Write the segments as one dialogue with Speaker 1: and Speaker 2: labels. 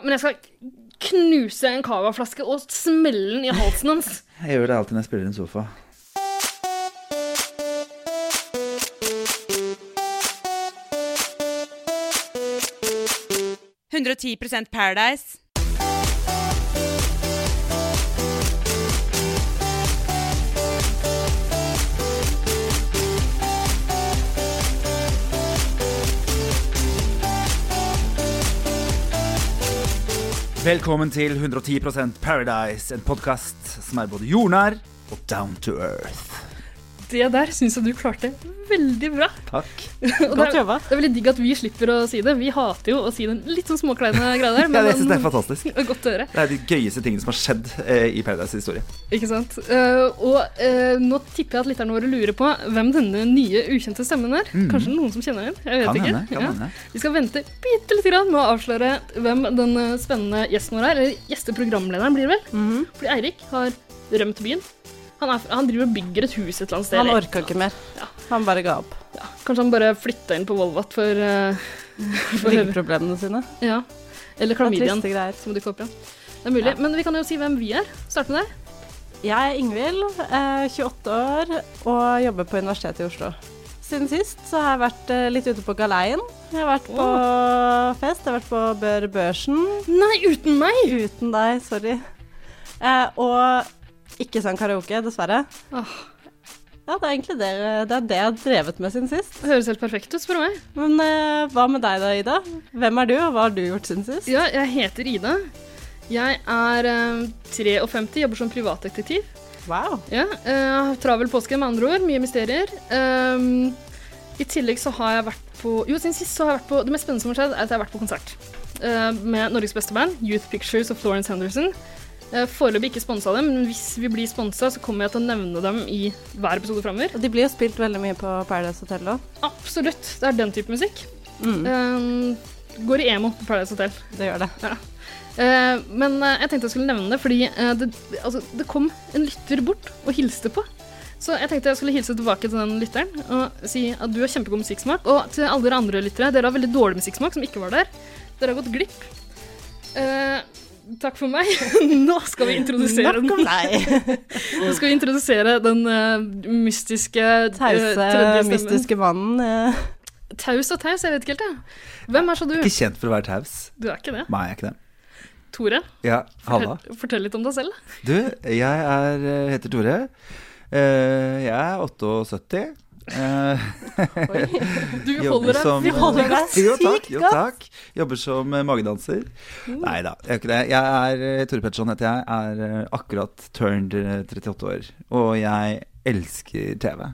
Speaker 1: Men jeg skal knuse en cavaflaske og smelle den i halsen hans.
Speaker 2: Jeg gjør det alltid når jeg spiller en sofa.
Speaker 3: Paradise.
Speaker 2: Velkommen til 110 Paradise, en podkast som er både jordnær og down to earth.
Speaker 1: Det der syns jeg du klarte veldig bra.
Speaker 2: Takk.
Speaker 1: Og det,
Speaker 3: Godt
Speaker 1: er,
Speaker 3: jobba.
Speaker 1: det er veldig digg at vi slipper å si det. Vi hater jo å si den litt sånn småkleine greia der.
Speaker 2: Ja, jeg synes det er fantastisk.
Speaker 1: men- Godt å høre.
Speaker 2: Det er de gøyeste tingene som har skjedd eh, i Paradise historie.
Speaker 1: Ikke sant? Eh, og eh, nå tipper jeg at lytterne våre lurer på hvem denne nye, ukjente stemmen er. Kanskje noen som kjenner den? Jeg vet
Speaker 2: Mm. Kan
Speaker 1: ikke.
Speaker 2: hende. kan
Speaker 1: Ja.
Speaker 2: hende.
Speaker 1: Vi skal vente bitte lite grann med å avsløre hvem den eh, spennende gjesten vår er. Eller gjesteprogramlederen blir det vel.
Speaker 3: Mhm.
Speaker 1: Fordi Eirik har rømt byen. Han, er, han driver og bygger et hus et eller annet sted.
Speaker 3: Han
Speaker 1: eller-
Speaker 3: orka ikke mer.
Speaker 1: Ja.
Speaker 3: Han bare ga opp
Speaker 1: Ja. Kanskje han bare flytta inn på Volvat for, eh, for
Speaker 3: ryggproblemene sine.
Speaker 1: Ja. Eller
Speaker 3: Det er
Speaker 1: klamydiaen,
Speaker 3: triste greier.
Speaker 1: som dukker opp igjen. Det er mulig.
Speaker 3: Ja.
Speaker 1: Men vi kan jo si hvem vi er. Start med deg.
Speaker 3: Jeg er Ingvild, eh, 28 år og jobber på Universitetet i Oslo. Siden sist så har jeg vært eh, litt ute på galeien. Jeg har vært på fest, jeg har vært på Bør Børsen.
Speaker 1: Nei, uten meg!
Speaker 3: Uten deg, sorry. Eh, og ikke sang karaoke, dessverre.
Speaker 1: Åh,
Speaker 3: Ja, det er egentlig det, det, er det jeg har drevet med siden sist.
Speaker 1: det høres helt perfekt ut, spør du meg.
Speaker 3: Men eh, hva med deg da, Ida? Hvem er du, og hva har du gjort siden sist?
Speaker 1: Ja, jeg heter Ida. Jeg er eh, 53, jobber som privatdetektiv.
Speaker 3: Wow.
Speaker 1: Ja, eh, Travel påske, med andre ord. Mye mysterier. Ehm, I tillegg så har jeg vært på Jo, siden sist så har jeg vært på Det mest spennende som har skjedd, er at jeg har vært på konsert. eh, med Norges beste band, Youth Pictures og Florence Henderson. Eh, Foreløpig ikke sponsa dem, men hvis vi blir sponsa, så kommer jeg til å nevne dem i hver episode framover.
Speaker 3: Og de blir jo spilt veldig mye på Paradise Hotel òg.
Speaker 1: Absolutt. Det er den type musikk.
Speaker 3: Mm,
Speaker 1: Ehm, går i emo på Paradise Hotel.
Speaker 3: det gjør det.
Speaker 1: Eh, men eh, jeg tenkte jeg skulle nevne det, fordi eh, det, altså, det kom en lytter bort og hilste på. Så jeg tenkte jeg skulle hilse tilbake til den lytteren og si at du har kjempegod musikksmak. Og til alle dere andre lyttere, dere har veldig dårlig musikksmak som ikke var der. Dere har gått glipp. Eh, takk for meg. Nå skal vi introdusere den.
Speaker 3: Nok om deg.
Speaker 1: Nå skal vi introdusere den eh, mystiske eh,
Speaker 3: Tause,
Speaker 1: tredje stemmen.
Speaker 3: mystiske mannen. eh.
Speaker 1: Taus og taus, jeg vet ikke helt, jeg. Hvem er så du?
Speaker 2: Ikke kjent for å være taus.
Speaker 1: Du er ikke det.
Speaker 2: Nei, jeg er ikke det.
Speaker 1: Tore,
Speaker 2: Ja, halla.
Speaker 1: fortell, fortell litt om deg selv.
Speaker 2: Du, jeg er, heter Tore. Eh, jeg er 78. Eh,
Speaker 1: Du
Speaker 2: Jobber
Speaker 1: holder deg
Speaker 2: som-
Speaker 3: Vi holder deg
Speaker 2: Jo, takk,
Speaker 3: sykt
Speaker 2: jo,
Speaker 3: godt. Mm.
Speaker 2: takk. Jobber som eh, magedanser. Nei da, jeg er ikke det. Jeg er eh, Tore Petterson heter jeg. Er eh, akkurat turned eh, 38 år. Og jeg elsker TV.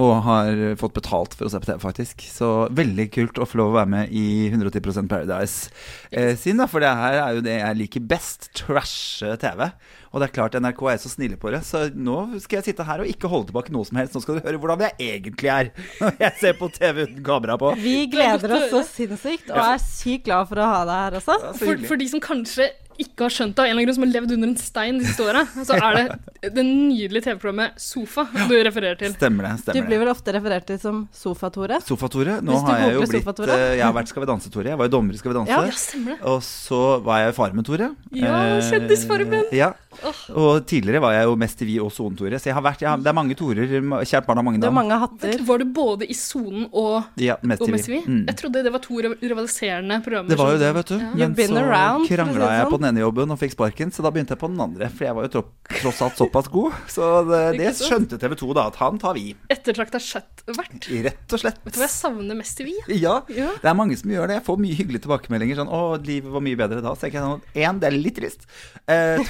Speaker 2: Og har eh, fått betalt for å se på TV, faktisk. Så veldig kult å få lov å være med i 110 Paradise eh, sin, da. For det her er jo det jeg liker best. Trashe TV. Og det er klart NRK er så snille på det, så nå skal jeg sitte her og ikke holde tilbake noe som helst. Nå skal du høre hvordan jeg egentlig er når jeg ser på TV uten kamera på.
Speaker 3: Vi
Speaker 1: Det er
Speaker 3: gleder
Speaker 1: godt å
Speaker 3: oss så
Speaker 1: høre.
Speaker 3: sinnssykt, og er sykt glad for å ha deg her også.
Speaker 2: Ja, så
Speaker 1: For,
Speaker 2: hyggelig.
Speaker 1: for de som kanskje ikke har skjønt det, av en eller annen grunn som har levd under en stein de siste åra, så er det det nydelige TV-programmet Sofa du refererer til.
Speaker 2: Stemmer det.
Speaker 3: Du
Speaker 2: stemmer
Speaker 3: blir
Speaker 2: det
Speaker 3: vel ofte referert til som Sofa-Tore.
Speaker 2: Sofa-Tore. Nå
Speaker 3: Hvis du
Speaker 2: har jeg jo
Speaker 3: googler
Speaker 2: blitt
Speaker 3: Sofa-Tore.
Speaker 2: eh, Jeg har vært Skal vi danse-Tore. Jeg var jo dommer i Skal vi danse.
Speaker 3: Ja,
Speaker 1: Ja, stemmer det.
Speaker 2: Og så var jeg Farmen-Tore.
Speaker 1: Ja,
Speaker 2: Eh,
Speaker 1: Kjendisfarmen.
Speaker 2: Ja.
Speaker 1: Åh.
Speaker 2: Og tidligere var jeg jo Mest TV og Son-Tore. Så jeg har vært, jeg har, det er mange Torer. Kjært barn har mange
Speaker 3: Du har
Speaker 2: navn.
Speaker 3: mange hatter.
Speaker 1: Var du både i Sonen og,
Speaker 2: Ja, mest
Speaker 1: og
Speaker 2: TV.
Speaker 1: Mest TV?
Speaker 2: Mm.
Speaker 1: Jeg trodde det var to riv- rivaliserende programmer.
Speaker 2: Det var jo det,
Speaker 1: som-
Speaker 2: vet du.
Speaker 1: Ja.
Speaker 2: Men
Speaker 3: You've been
Speaker 2: så
Speaker 3: around, for å si
Speaker 2: krangla
Speaker 3: det
Speaker 2: jeg på
Speaker 3: sånn.
Speaker 2: den ene jobben og fikk sparken, så da begynte jeg på den andre. For jeg var jo tro- tross alt såpass god. Så det, det
Speaker 1: Ikke sant?
Speaker 2: skjønte TV 2 da, at han tar vi.
Speaker 1: Ettertrakta chatvert.
Speaker 2: Rett og slett.
Speaker 1: Vet du hva jeg savner mest i Vi?
Speaker 2: Ja.
Speaker 1: Ja.
Speaker 2: Det er mange som gjør det. Jeg får mye hyggelige tilbakemeldinger. Sånn 'Å, livet var mye bedre da.' Så tenker jeg sånn Én, det er litt trist. Eh,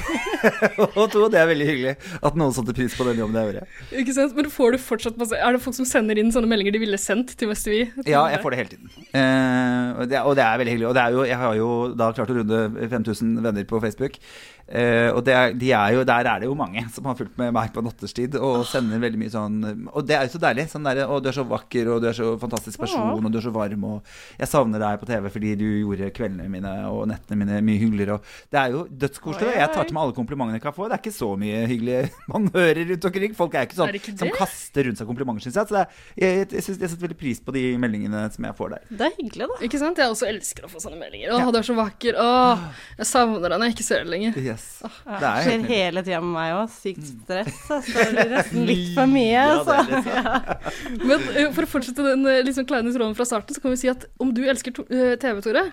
Speaker 2: to- og to, det er veldig hyggelig at noen satte pris på den jobben jeg gjorde.
Speaker 1: Ikke sant? Men får du fortsatt masse Er det folk som sender inn sånne meldinger de ville sendt til Mest Vi?
Speaker 2: Ja, jeg får det hele tiden. Eh, og, det, og det er veldig hyggelig. Og det er jo, jeg har jo da klart å runde 5000 venner på Facebook. Eh, og det er, de er jo, der er det jo mange som har fulgt med meg på nattestid og sender veldig mye sånn Og det er jo så deilig. Sånn derre 'Å, du er så vakker, og du er så fantastisk person, og du er så varm', og 'Jeg savner deg på TV fordi du gjorde kveldene mine og nettene mine mye hyggeligere', og Det er jo dødskoselig.
Speaker 3: Oi,
Speaker 2: og Jeg tar
Speaker 3: oi.
Speaker 2: til meg alle komplimentene Veronica får. Det er ikke så mye hyggelige man hører rundt omkring. Folk er ikke sånn
Speaker 1: Er det ikke
Speaker 2: som
Speaker 1: det?
Speaker 2: kaster rundt seg komplimenter, syns jeg. Så det er, jeg, jeg, synes- jeg setter veldig pris på de meldingene som jeg får der.
Speaker 3: Det er hyggelig, da.
Speaker 1: Ikke sant? Jeg også elsker å få sånne meldinger. Åh, du er så vakker. Åh,
Speaker 2: Ah.
Speaker 1: jeg savner deg når jeg ikke ser deg lenger.
Speaker 2: Yes.
Speaker 3: Ja,
Speaker 2: Det er
Speaker 3: skjer
Speaker 2: helt nydelig. Mm.
Speaker 3: hele tida med meg òg. Sykt stress. Altså, det blir nesten litt for mye. altså.
Speaker 2: Ja,
Speaker 1: altså.
Speaker 2: det
Speaker 3: Så.
Speaker 2: er sånn. det, så.
Speaker 1: Men eh, for å fortsette den eh, liksom kleine tråden fra starten, så kan vi si at om du elsker to eh, TV, Tore,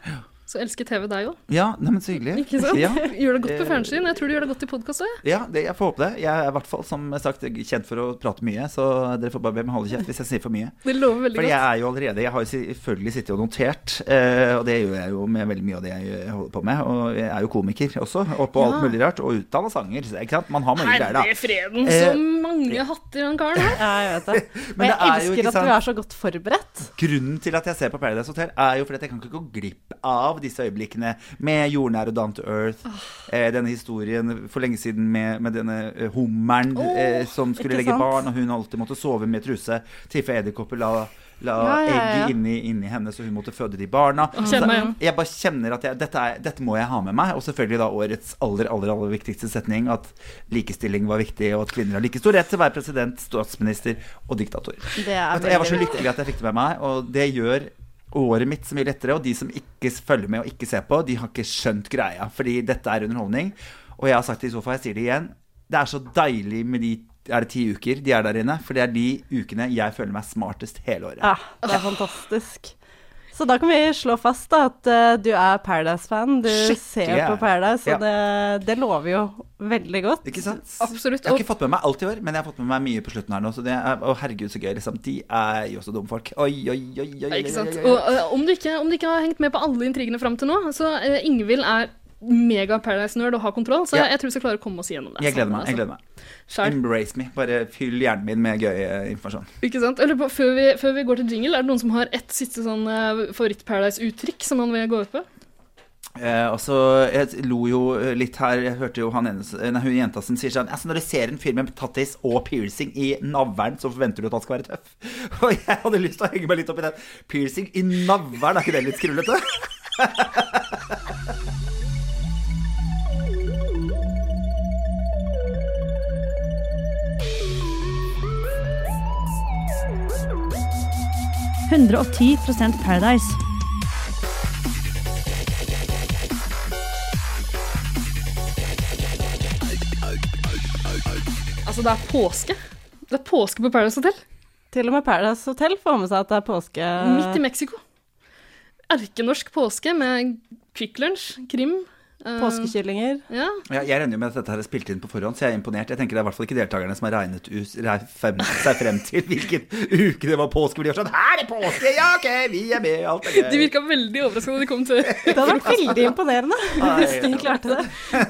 Speaker 1: så elsker TV deg òg.
Speaker 2: Ja, nei, men så hyggelig.
Speaker 1: Ikke sant?
Speaker 2: Ja.
Speaker 1: Gjør det godt
Speaker 2: Eh,
Speaker 1: på fjernsyn. Jeg tror du gjør det godt i podkast òg.
Speaker 2: Ja, det, jeg får håpe det. Jeg er i hvert fall som sagt kjent for å prate mye, så dere får bare be meg holde kjeft hvis jeg sier for mye.
Speaker 1: Det lover veldig
Speaker 2: For jeg
Speaker 1: godt.
Speaker 2: er jo allerede Jeg har jo selvfølgelig sittet og notert, eh, og det gjør jeg jo med veldig mye av det jeg holder på med. Og jeg er jo komiker også, og på alt
Speaker 1: Ja.
Speaker 2: mulig rart, og utdanna sanger. så- Ikke sant? Man har mye greier, da.
Speaker 1: Herre freden,
Speaker 2: Eh,
Speaker 1: så mange hatter han karen har.
Speaker 3: Ja, jeg vet det. Og
Speaker 2: Men
Speaker 3: jeg
Speaker 2: det er jo, ikke
Speaker 3: elsker at du
Speaker 2: sant-
Speaker 3: er så godt forberedt.
Speaker 2: Grunnen til at jeg ser på Paradise Hotel, er jo fordi at jeg kan ikke gå glipp av disse øyeblikkene med jordnær og down to earth.
Speaker 3: Ah.
Speaker 2: Eh, denne historien for lenge siden med, med denne eh, hummeren
Speaker 1: Åh,
Speaker 2: eh, som skulle
Speaker 3: ikke
Speaker 2: legge
Speaker 3: sant?
Speaker 2: barn, og hun alltid måtte sove med truse. Tiffa Edderkopper la, la
Speaker 3: Ja, ja, ja.
Speaker 2: egget inni, inni henne, så hun måtte føde de barna.
Speaker 1: Kjenn meg igjen.
Speaker 2: Jeg bare kjenner at jeg, dette, er, dette må jeg ha med meg. Og selvfølgelig da årets aller aller, aller viktigste setning, at likestilling var viktig, og at kvinner har like stor rett til å være president, statsminister og diktator.
Speaker 3: Det er
Speaker 2: Vet du, Jeg var så
Speaker 3: veldig-
Speaker 2: lykkelig at jeg fikk det med meg, og det gjør året mitt så mye lettere. Og de som ikke følger med og ikke ser på, de har ikke skjønt greia, fordi dette er underholdning. Og jeg har sagt det i sofa, jeg sier det igjen. Det er så deilig med de er det ti uker de er der inne, for det er de ukene jeg føler meg smartest hele året.
Speaker 3: Ja, det er fantastisk. Så da kan vi slå fast da, at eh, du er Paradise-fan. Du
Speaker 2: Skikkelig.
Speaker 3: ser på Paradise,
Speaker 2: Ja.
Speaker 3: og det, det lover jo veldig godt.
Speaker 2: Ikke sant?
Speaker 1: Absolutt.
Speaker 2: Jeg har
Speaker 1: Og
Speaker 2: ikke fått med meg alt i år, men jeg har fått med meg mye på slutten her nå. Så det er, å, herregud, så gøy. Liksom. De er jo så dumme folk. Oi, oi, oi. oi, oi,
Speaker 1: Ja, ikke sant?
Speaker 2: oi, oi,
Speaker 1: Og
Speaker 2: oi.
Speaker 1: eh, om, du ikke, om du ikke har hengt med på alle intrigene fram til nå, så uh, Ingvild er mega Paradise-nerd og har kontroll, så
Speaker 2: Ja.
Speaker 1: jeg tror vi skal klare å komme oss igjennom det. altså.
Speaker 2: Jeg gleder meg. jeg gleder meg
Speaker 1: Skjær.
Speaker 2: Embrace me. Bare fyll hjernen min med gøy eh, informasjon.
Speaker 1: Ikke sant? Eller, på- før, vi, før vi går til jingle, er det noen som har ett siste sånn eh, favoritt-Paradise-uttrykk som man vil gå ut på?
Speaker 2: Eh, og så Jeg lo jo eh, litt her. Jeg hørte jo han ene, s- nei, hun jenta som sier sånn altså, Når du ser en fyr med tattis og piercing i navlen, så forventer du at han skal være tøff. Og jeg hadde lyst til å henge meg litt opp i den. Piercing i navlen, er ikke det litt skrullete?
Speaker 4: Paradise.
Speaker 1: Altså, det er påske. Det er påske på Paradise Hotel.
Speaker 3: Til og med Paradise Hotel får med seg at det er påske.
Speaker 1: Midt i Mexico. Erkenorsk påske med Quick Lunch, krim eh,
Speaker 3: Påskekyllinger.
Speaker 1: Ja.
Speaker 2: Ja, jeg regner jo med at dette her er spilt inn på forhånd, så jeg er imponert. Jeg tenker det er i hvert fall ikke deltakerne som har regnet ut, reg- frem, seg frem til hvilken uke det var påske. For de var sånn Her er det påske! Ja, ok, vi er med! Alt er gøy.
Speaker 1: De virka veldig overraska da de kom til
Speaker 3: Det hadde vært veldig imponerende hvis de klarte det.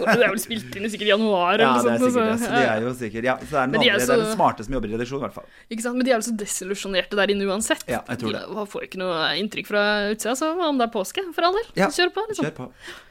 Speaker 1: Det er vel spilt inn i sikkert januar eller
Speaker 2: ja,
Speaker 1: noe
Speaker 2: det er
Speaker 1: sånt.
Speaker 2: sikkert det.
Speaker 1: altså.
Speaker 2: Så de er jo sikkert Ja, så er det
Speaker 1: Men de
Speaker 2: noen
Speaker 1: er
Speaker 2: andre. Det er
Speaker 1: så-
Speaker 2: den smarte som jobber i redaksjonen, i hvert fall.
Speaker 1: Ikke sant? Men de er jo så desillusjonerte der inne uansett.
Speaker 2: Ja, jeg tror det.
Speaker 1: De får ikke noe inntrykk fra utsida, så om det er påske, for all del.
Speaker 2: Ja.
Speaker 1: Kjør på, liksom.
Speaker 2: Kjør på.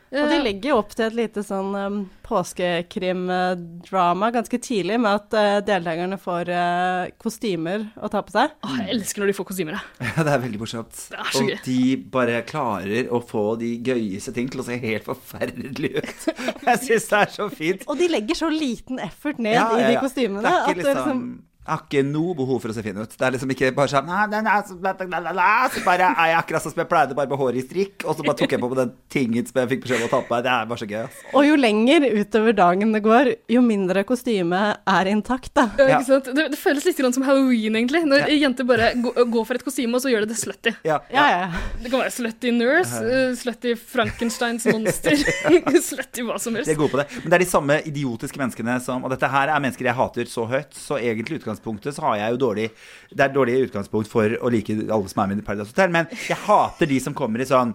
Speaker 3: Og de
Speaker 1: Eh,
Speaker 3: legger jo opp til et lite sånn um, påskekrimdrama ganske tidlig, med at eh, deltakerne får eh, kostymer å ta på seg.
Speaker 1: Åh, jeg elsker når de får kostymer. jeg.
Speaker 2: Ja, det er veldig morsomt.
Speaker 1: Det er så
Speaker 2: og
Speaker 1: gøy.
Speaker 2: de bare klarer å få de gøyeste ting til å se helt forferdelig ut. Jeg syns det er så fint.
Speaker 3: Og de legger så liten effort ned
Speaker 2: Ja, ja,
Speaker 3: i
Speaker 2: ja.
Speaker 3: de kostymene.
Speaker 2: Det er
Speaker 3: at
Speaker 2: ikke
Speaker 3: det liksom,
Speaker 2: liksom jeg har ikke noe behov for å se fin ut. Det er liksom ikke bare sånn «Nei, den er så bla, bla, bla, bla, bla», Så bare er jeg akkurat sånn som jeg pleide, bare med håret i strikk. Og så bare tok jeg på meg den tingen som jeg fikk beskjed om å ta på meg. Det er bare så gøy. ass.
Speaker 3: Og jo lenger utover dagen det går, jo mindre kostymet er intakt, da.
Speaker 1: Ja,
Speaker 2: Ja.
Speaker 1: ikke sant? Det, det føles litt grann som halloween, egentlig. Når jenter bare går, går for et kostyme, og så gjør de det slutty.
Speaker 2: Ja,
Speaker 3: Ja,
Speaker 2: ja.
Speaker 3: ja.
Speaker 1: Det kan være slutty nurse, eh, slutty Frankensteins monster, slutty hva som
Speaker 2: De er
Speaker 1: helst.
Speaker 2: gode på det. Men det er de samme idiotiske menneskene som Og dette her er mennesker jeg hater så høyt, så egentlig i utgangspunktet så har jeg jo dårlig Det er dårlig utgangspunkt for å like alle som er med i Paradise Hotel, men jeg hater de som kommer i sånn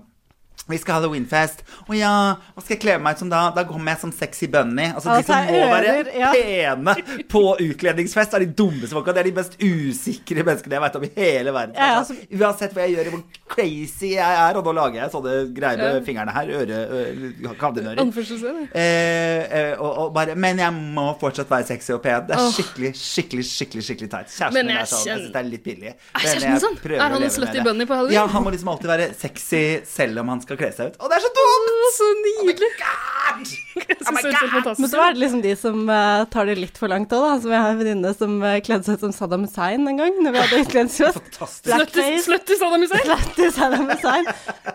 Speaker 2: vi skal ha halloweenfest. Å ja, hva skal jeg kle meg ut som da? Da kommer jeg som sexy bunny. Altså,
Speaker 3: Ja,
Speaker 2: de som
Speaker 3: så
Speaker 2: må
Speaker 3: er
Speaker 2: være
Speaker 3: ører, ja.
Speaker 2: pene på utkledningsfest, er de dummeste folka. Det er de mest usikre menneskene jeg veit om i hele verden.
Speaker 3: Ja, ja,
Speaker 2: Altså, uansett hva jeg gjør, hvor crazy jeg er, og nå lager jeg sånne greier med fingrene her, øre, øre kavdenører.
Speaker 1: Anførselstegn.
Speaker 2: Eh, eh, og, og bare, men jeg må fortsatt være sexy og pen. Det er
Speaker 1: Åh.
Speaker 2: skikkelig skikkelig, skikkelig skikkelig teit.
Speaker 1: Men
Speaker 2: Kjæresten min
Speaker 1: jeg
Speaker 2: er sånn. Jeg
Speaker 1: kjenner-
Speaker 2: synes det er litt billig.
Speaker 1: Er
Speaker 2: Men
Speaker 1: kjæresten
Speaker 2: jeg
Speaker 1: sånn?
Speaker 2: prøver
Speaker 1: Er
Speaker 2: å
Speaker 1: han en
Speaker 2: leve med
Speaker 1: slutty
Speaker 2: det.
Speaker 1: bunny på Halloween?
Speaker 2: Ja, han må liksom alltid være sexy selv om han skal kle seg ut. Og det er så dumt!
Speaker 1: Så nydelig!
Speaker 2: God!
Speaker 1: Jeg
Speaker 2: Oh
Speaker 1: synes
Speaker 2: my
Speaker 1: det helt fantastisk.
Speaker 3: Men så er det liksom de som eh, tar det litt for langt òg, da. Som jeg har en venninne som eh, kledde seg ut som Saddam Hussein en gang, når vi hadde utlendingsfest.
Speaker 2: Fantastisk.
Speaker 1: Slutty-
Speaker 3: Blackface.
Speaker 1: Slutty Saddam Hussein.
Speaker 3: Slett i Saddam Hussein.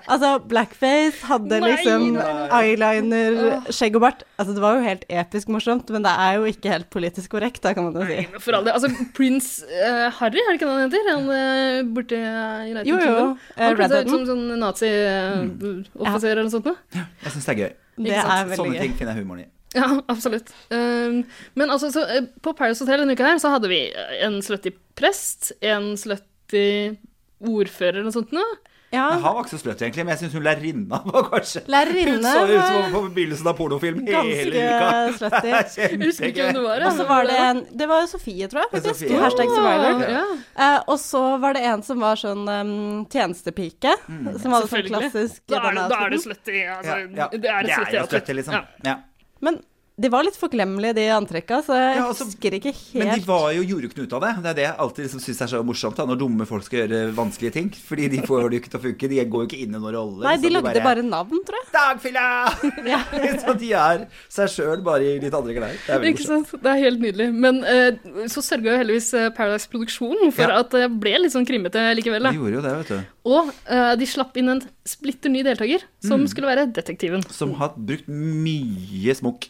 Speaker 3: Altså, blackface hadde
Speaker 1: Nei,
Speaker 3: liksom
Speaker 1: nei.
Speaker 3: eyeliner,
Speaker 1: Åh.
Speaker 3: skjegg og bart. Altså, det var jo helt episk morsomt, men det er jo ikke helt politisk korrekt, da, kan man jo si.
Speaker 1: Nei, men For all del. Altså, prins eh, Harry, er det ikke det han heter? Han uh, borte i United
Speaker 3: Jo, jo.
Speaker 1: Kingdom.
Speaker 3: eh, Mm.
Speaker 1: Han kledde seg ut
Speaker 3: Redheaden.
Speaker 1: som sånn nazi-offiser eller noe sånt. noe.
Speaker 2: Jeg syns det er gøy.
Speaker 3: Det
Speaker 1: sant?
Speaker 3: er veldig
Speaker 2: Sånne
Speaker 3: gøy.
Speaker 2: ting finner jeg humoren i.
Speaker 1: Ja, absolutt. Um, men altså, så, eh, på Paris Hotel denne uka her, så hadde vi eh, en slutty prest, en slutty ordfører eller noe sånt noe.
Speaker 3: Ja.
Speaker 2: Men Han var ikke så sløt egentlig, men jeg syns hun lærerinna var kanskje Hun
Speaker 3: Lærerinne
Speaker 2: så ut som
Speaker 3: var
Speaker 2: hun på begynnelsen av pornofilm hele uka.
Speaker 3: ganske slutty.
Speaker 2: Det er
Speaker 1: Jeg husker ikke hvem det
Speaker 2: kjempegøy.
Speaker 1: var. ja,
Speaker 3: Og så
Speaker 1: men-
Speaker 3: var det en Det var jo Sofie, tror jeg,
Speaker 2: Det er
Speaker 3: faktisk.
Speaker 2: Sofie.
Speaker 3: Hashtag survivor.
Speaker 1: Ja,
Speaker 3: Eh, og så var det en som var sånn em, tjenestepike,
Speaker 2: Mm.
Speaker 3: som hadde sånn
Speaker 1: Selvfølgelig.
Speaker 3: klassisk
Speaker 1: Da er det, da er det
Speaker 3: denne outfiten.
Speaker 1: slutty. Altså,
Speaker 2: Ja, ja.
Speaker 1: Det er et slutty outfit.
Speaker 2: slutty, liksom.
Speaker 1: Ja.
Speaker 2: Ja.
Speaker 3: Men de var litt forglemmelige, de antrekka, så jeg
Speaker 2: Ja, altså,
Speaker 3: husker ikke helt
Speaker 2: Men de var jo gjorde jo ikke noe ut av det. Det er det jeg alltid liksom syns er så morsomt, da, når dumme folk skal gjøre vanskelige ting. Fordi de får det jo ikke til å funke. De går jo ikke inn i noen rolle.
Speaker 3: Nei, de
Speaker 2: liksom.
Speaker 3: lagde bare navn, tror jeg.
Speaker 2: Dagfilla!
Speaker 3: Ja.
Speaker 2: så de er seg sjøl, bare i litt andre klær. Det er veldig
Speaker 1: Ikke
Speaker 2: morsomt.
Speaker 1: sant? Det er helt nydelig. Men eh, så sørga jo heldigvis eh, Paradise Produksjon for
Speaker 2: Ja.
Speaker 1: at det ble litt sånn krimete likevel.
Speaker 2: De
Speaker 1: Da.
Speaker 2: gjorde jo det, vet du.
Speaker 1: Og eh, de slapp inn en splitter ny deltaker, som
Speaker 2: Mm.
Speaker 1: skulle være detektiven.
Speaker 2: Som har brukt mye smokk.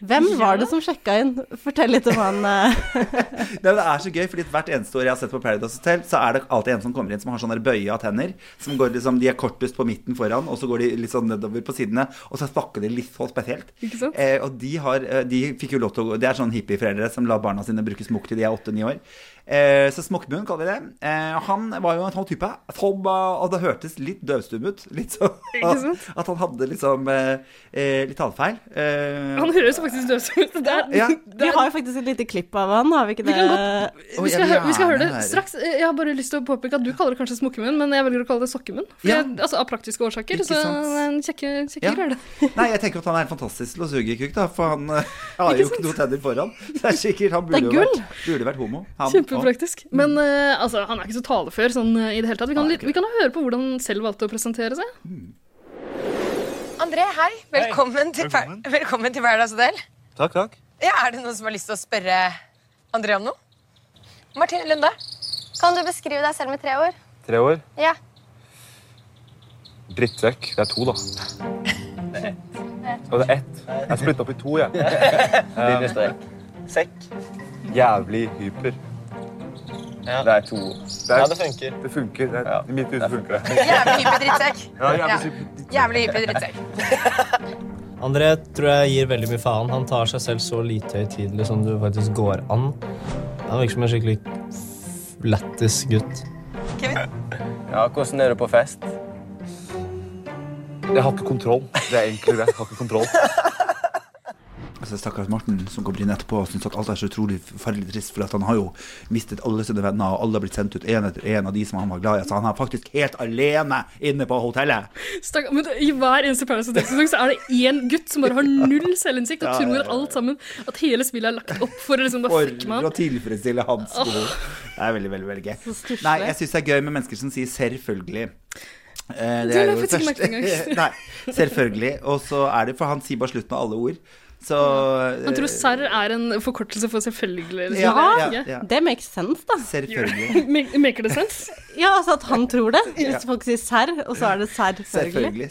Speaker 3: Hvem var det som sjekka inn? Fortell litt om han eh,
Speaker 2: Nei, men Det er så gøy, fordi hvert eneste år jeg har sett på Paradise Hotel, så er det alltid en som kommer inn som har sånne der bøya tenner. Som går liksom, de er kortest på midten foran, og så går de litt sånn nedover på sidene. Og så snakker de litt så spesielt.
Speaker 1: Ikke sant?
Speaker 2: Eh, og de, har, eh, de fikk jo lov til å gå Det er sånn hippieforeldre som lar barna sine bruke smokk til de er åtte-ni år. Eh, så Smokkmunn kaller vi det. Eh, han var jo en sånn type som eh, Og det hørtes litt døvstum ut. Litt sånn
Speaker 1: Ikke sant?
Speaker 2: at, at han hadde liksom eh, eh, litt tallfeil. Eh,
Speaker 1: Han høres faktisk døvsum ut. Det er-
Speaker 2: Ja.
Speaker 1: det
Speaker 3: Vi
Speaker 1: er-
Speaker 3: har jo faktisk et lite klipp av han, har vi ikke
Speaker 1: Vi
Speaker 3: det?
Speaker 1: kan godt-
Speaker 2: Å,
Speaker 1: Vi
Speaker 2: jeg
Speaker 1: skal,
Speaker 2: vil
Speaker 1: hø- vi skal høre
Speaker 2: gjerne
Speaker 1: det
Speaker 2: høre.
Speaker 1: straks. Eh, Jeg har bare lyst til å påpeke at du kaller det kanskje smokkemunn, men jeg velger å kalle det sokkemunn. For
Speaker 2: Ja.
Speaker 1: jeg, altså, av praktiske årsaker.
Speaker 2: Ikke
Speaker 1: Så det
Speaker 2: sant?
Speaker 1: er en kjekke, kjekke
Speaker 2: Ja.
Speaker 1: greier, det.
Speaker 2: Nei, jeg tenker at han er fantastisk til å suge kukk, da. For han eh, har jo ikke noen tenner foran. Så det er sikkert han burde,
Speaker 3: Det er
Speaker 2: jo
Speaker 3: gull.
Speaker 2: vært, burde vært homo. Han,
Speaker 1: Kjempepraktisk. Men eh, altså, han er ikke så talefør sånn eh, i det hele tatt. Vi kan,
Speaker 2: Nei,
Speaker 1: li-
Speaker 2: ikke
Speaker 1: vi kan høre på hvordan han selv valgte å presentere seg.
Speaker 5: André, hei. Velkommen, Til, Par- velkommen til Paradise Hotel.
Speaker 6: Takk, takk.
Speaker 5: Ja, er det noen som har lyst til å spørre André om noe? Martine Lunde?
Speaker 7: Kan du beskrive deg selv med tre ord?
Speaker 6: Tre år.
Speaker 7: Ja.
Speaker 6: Drittsekk. Det er to, da. Og det er ett. Jeg er splitta opp i to, jeg.
Speaker 8: Lille strek. Sekk.
Speaker 6: Jævlig hyper.
Speaker 8: Ja.
Speaker 6: Det er to. Det,
Speaker 8: Ja,
Speaker 6: er,
Speaker 8: det funker.
Speaker 6: det funker. Det er,
Speaker 8: Ja.
Speaker 6: I mitt hus funker det.
Speaker 5: Jævlig hyppig drittsekk.
Speaker 6: Ja, jævlig
Speaker 5: Jævlig hyppig drittsekk.
Speaker 8: André tror jeg gir veldig mye faen. Han tar seg selv så lite høytidelig som det faktisk går an. Han virker som en skikkelig f- lættis gutt.
Speaker 5: Kevin?
Speaker 8: Ja, hvordan er du på fest?
Speaker 6: Jeg har ikke kontroll. Det er egentlig det. Jeg har ikke kontroll.
Speaker 2: Altså, Stakkars Morten som kommer inn etterpå og syns at alt er så utrolig forferdelig trist. For at han har jo mistet alle sine venner, og alle har blitt sendt ut én etter én av de som han var glad i. Så han er faktisk helt alene inne på hotellet.
Speaker 1: Stakk- Men I hver eneste Paradise Hotel-sesong så er det én gutt som bare har null selvinnsikt og tror alt sammen at hele spillet er lagt opp for å liksom bare fucke med
Speaker 2: For å
Speaker 1: han.
Speaker 2: tilfredsstille hans behov. Det er veldig, veldig veldig gøy.
Speaker 3: stusslig.
Speaker 2: Nei, jeg syns det er gøy med mennesker som sier 'selvfølgelig'. Eh,
Speaker 1: Du
Speaker 2: er
Speaker 1: la
Speaker 2: jo
Speaker 1: faktisk ikke
Speaker 2: første-
Speaker 1: merke det engang.
Speaker 2: Nei, selvfølgelig. Og så er det For han sier bare slutten av alle ord. Så eh,
Speaker 1: Han tror serr er en forkortelse for selvfølgelig. Liksom.
Speaker 2: Ja, ja,
Speaker 1: Det er ikke-
Speaker 2: ja.
Speaker 3: Det makes sense, da.
Speaker 2: Selvfølgelig.
Speaker 1: Make- Maker det sense?
Speaker 3: Ja, altså at han tror det. Hvis folk sier serr, og så er det serr,
Speaker 2: Selvfølgelig.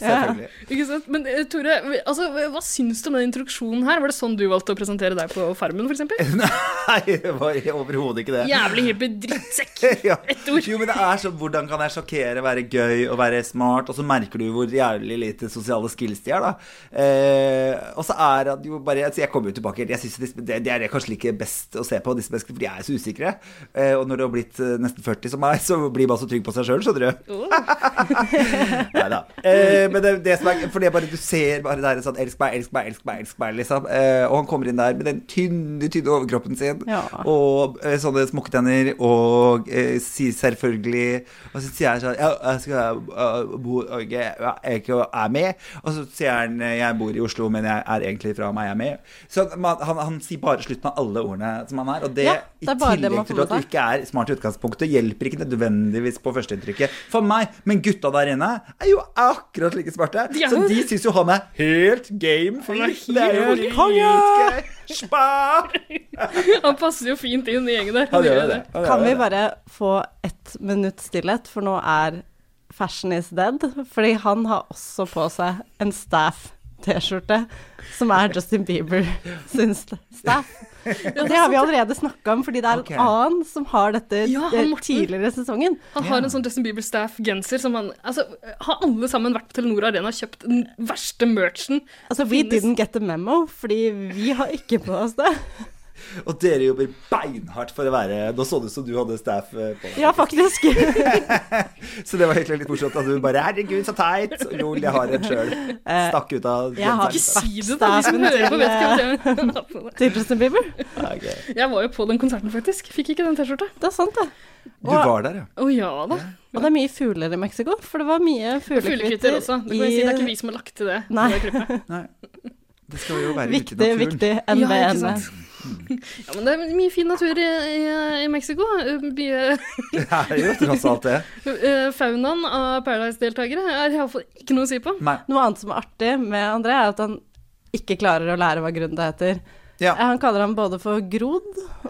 Speaker 3: selvfølgelig.
Speaker 2: selvfølgelig.
Speaker 1: Ikke sant? Men eh, Tore, vi- altså, hva syns du om den introduksjonen her? Var det sånn du valgte å presentere deg på Farmen, f.eks.?
Speaker 2: Nei, det var overhodet ikke det.
Speaker 1: Jævlig hippie drittsekk.
Speaker 2: Ja.
Speaker 1: Ett ord.
Speaker 2: Jo, men det er sånn Hvordan kan jeg sjokkere, være gøy og være smart? Og så merker du hvor jævlig lite sosiale skills de er, da. Eh, og så er det jo bare altså, Jeg kommer jo tilbake Jeg synes det, det, det er kanskje ikke best å se på, disse menneskene, for de er så usikre. Eh, og når du har blitt eh, nesten 40 som meg, så blir man så trygg på seg sjøl, skjønner du.
Speaker 1: Åh.
Speaker 2: Neida. Eh, men det, det som er For det er bare du ser bare der sånn Elsk meg, elsk meg, elsk meg, elsk meg, liksom. Eh, og han kommer inn der med den tynne, tynne overkroppen sin
Speaker 3: Ja.
Speaker 2: og eh, sånne smokketenner og eh, sier selvfølgelig Og så sier jeg sånn Ja, jeg skal eh, bo i Norge, jeg er ikke- jeg er med. Og så sier han eh, Jeg bor i Oslo, men jeg er egentlig fra Meier jeg med. Så man, han, han sier bare slutten av alle ordene som han er. Og det,
Speaker 3: Ja, det er
Speaker 2: i
Speaker 3: bare det
Speaker 2: tillegg
Speaker 3: man får
Speaker 2: til at
Speaker 3: med
Speaker 2: du ikke er smart i utgangspunktet, hjelper ikke nødvendigvis på førsteinntrykket for meg. Men gutta der inne er jo akkurat like smarte.
Speaker 1: De er
Speaker 2: Så
Speaker 1: jo
Speaker 2: de
Speaker 1: det.
Speaker 2: syns jo han er helt game
Speaker 1: Han er
Speaker 2: fyr. Det er jo
Speaker 1: helt
Speaker 2: dritgøy. Spa!
Speaker 1: Han passer jo fint inn i gjengen der.
Speaker 2: Han gjør jo det. Han gjør
Speaker 3: Kan
Speaker 2: jo
Speaker 3: vi
Speaker 2: det.
Speaker 3: bare få ett minutt stillhet, for nå er fashion is dead. Fordi han har også på seg en staff-T-skjorte, som er Justin Bieber sin st- staff. Og det har vi allerede snakka om, fordi det er
Speaker 2: Ok.
Speaker 3: en annen som har dette
Speaker 1: Ja, han
Speaker 3: eh,
Speaker 1: Morten.
Speaker 3: tidligere i sesongen.
Speaker 1: Han har en sånn Justin Bieber Staff-genser som han Altså, har alle sammen vært på Telenor Arena og kjøpt den verste merchen?
Speaker 3: Altså, we
Speaker 1: Finnes-
Speaker 3: didn't get the memo, fordi vi har ikke på oss det.
Speaker 2: Og dere jobber beinhardt for å være Nå så det ut som du hadde staff eh, på.
Speaker 3: Ja, faktisk.
Speaker 2: Så det var egentlig litt morsomt at du bare 'herregud, så teit'. Og Lol, jeg har en sjøl.
Speaker 3: eh,
Speaker 2: Stakk ut av
Speaker 3: jeg har-
Speaker 1: Ikke si det, da! De som
Speaker 3: Staffen
Speaker 1: hører på, vet
Speaker 3: til-
Speaker 1: ikke hvem det er.
Speaker 3: Til Justin Bieber.
Speaker 2: Ja, ok.
Speaker 1: Jeg var jo på den konserten, faktisk. Fikk ikke den T-skjorta.
Speaker 3: Det er sant, det.
Speaker 2: Du var der, ja.
Speaker 1: Å ja da.
Speaker 3: Og det er mye fugler i Mexico, for det var mye
Speaker 1: Fuglekvitter
Speaker 3: fuglekvitter
Speaker 1: også. Det, kan jeg si, det er ikke vi som har lagt til det.
Speaker 3: Nei.
Speaker 1: Det er gruppe.
Speaker 2: Nei. Det skal jo være ute i
Speaker 3: Viktig,
Speaker 2: naturen.
Speaker 3: viktig
Speaker 1: Ja, ikke
Speaker 3: NBN.
Speaker 1: sant? Ja, men det er mye fin natur i, i, i Mexico. Mye
Speaker 2: Det er jo tross alt det.
Speaker 1: Eh, Faunaen av Paradise-deltakere er iallfall ikke noe å si på.
Speaker 2: Nei.
Speaker 3: Noe annet som er artig med André, er at han ikke klarer å lære hva Grunda heter.
Speaker 2: Ja,
Speaker 3: Han kaller ham både for Grod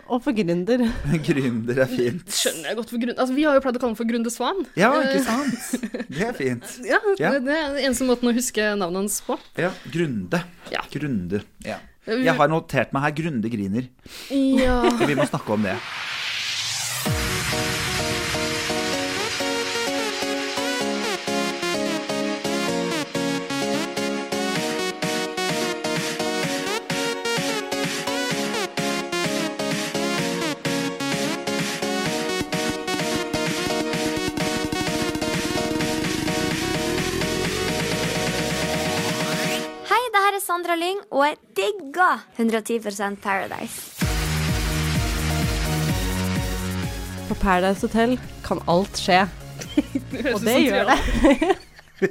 Speaker 3: og for Gründer.
Speaker 2: gründer er fint.
Speaker 1: Skjønner jeg godt for grunn... Altså, Vi har jo pleid å kalle den for Grunde Svan.
Speaker 2: Ja, ikke sant? Det er fint.
Speaker 1: Ja,
Speaker 2: Ja.
Speaker 1: Det, det er den eneste måten å huske navnet hans på.
Speaker 2: Ja, Grunde.
Speaker 1: Ja.
Speaker 2: Grunde. Ja. Jeg har notert meg her Grunde griner.
Speaker 1: Ja.
Speaker 2: Vi må snakke om det.
Speaker 9: Hei, det her er Sandra Lyng, og jeg digger 110 Paradise.
Speaker 3: På Paradise Hotel kan alt skje, og det gjør det.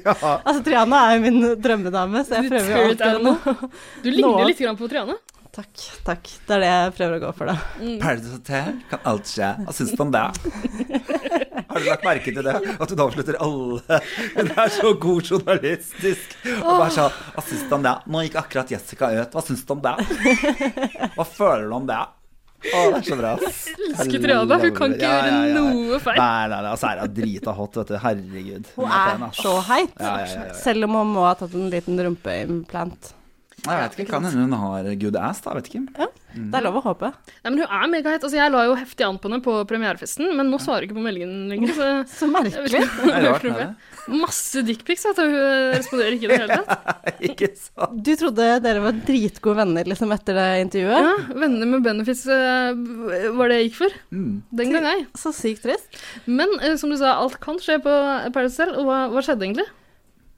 Speaker 3: Altså, Triana er jo min drømmedame, så jeg
Speaker 1: Du
Speaker 3: prøver jo
Speaker 1: tør
Speaker 3: alltid å
Speaker 1: Triana.
Speaker 3: nå.
Speaker 1: Du ligner
Speaker 3: Nå.
Speaker 1: litt grann på Triane.
Speaker 3: Takk, takk. Det er det jeg prøver å gå for, da.
Speaker 2: Paradise Hotel kan alt skje. Hva syns du om det? Har du lagt merke til det? At hun avslutter alle Hun er så god journalistisk. Og bare sånn Hva syns du om det? Nå gikk akkurat Jessica ut. Hva syns du om det? Hva føler du om det? Å, det er så bra. ass.
Speaker 1: Elsker Triana. Hun kan ikke
Speaker 2: Ja, ja, ja.
Speaker 1: gjøre noe feil.
Speaker 2: Nei, nei, nei. Altså, er hun drita hot, vet du. Herregud. altså.
Speaker 3: Hun
Speaker 2: pen,
Speaker 3: er
Speaker 2: ass.
Speaker 3: så heit,
Speaker 2: Ja, ja, ja, ja.
Speaker 3: selv om hun må ha tatt en liten rumpeimplant.
Speaker 2: Jeg vet ikke, Kan hende hun har good ass, da. Vet ikke. Mm.
Speaker 3: Det er lov å håpe.
Speaker 1: Nei, men Hun er megahet. Altså, jeg la jo heftig an på henne på premierefesten, men nå svarer hun ikke på meldingen lenger. Så
Speaker 3: Så
Speaker 1: jeg
Speaker 3: merkelig.
Speaker 1: vet ikke om
Speaker 2: Det
Speaker 1: hun
Speaker 2: er
Speaker 1: har
Speaker 2: rart,
Speaker 1: hørt noe
Speaker 2: er
Speaker 1: mer. Masse dickpics, vet du. Hun responderer ikke i det hele tatt.
Speaker 2: det? Ikke sant?
Speaker 3: Du trodde dere var dritgode venner liksom etter det intervjuet.
Speaker 1: Ja, Venner med benefits eh, var det jeg gikk for.
Speaker 2: Mm.
Speaker 1: Den gang, ei.
Speaker 3: Så sykt trist.
Speaker 1: Men eh, som du sa, alt kan skje på Paradise Hotel, og hva, hva skjedde egentlig?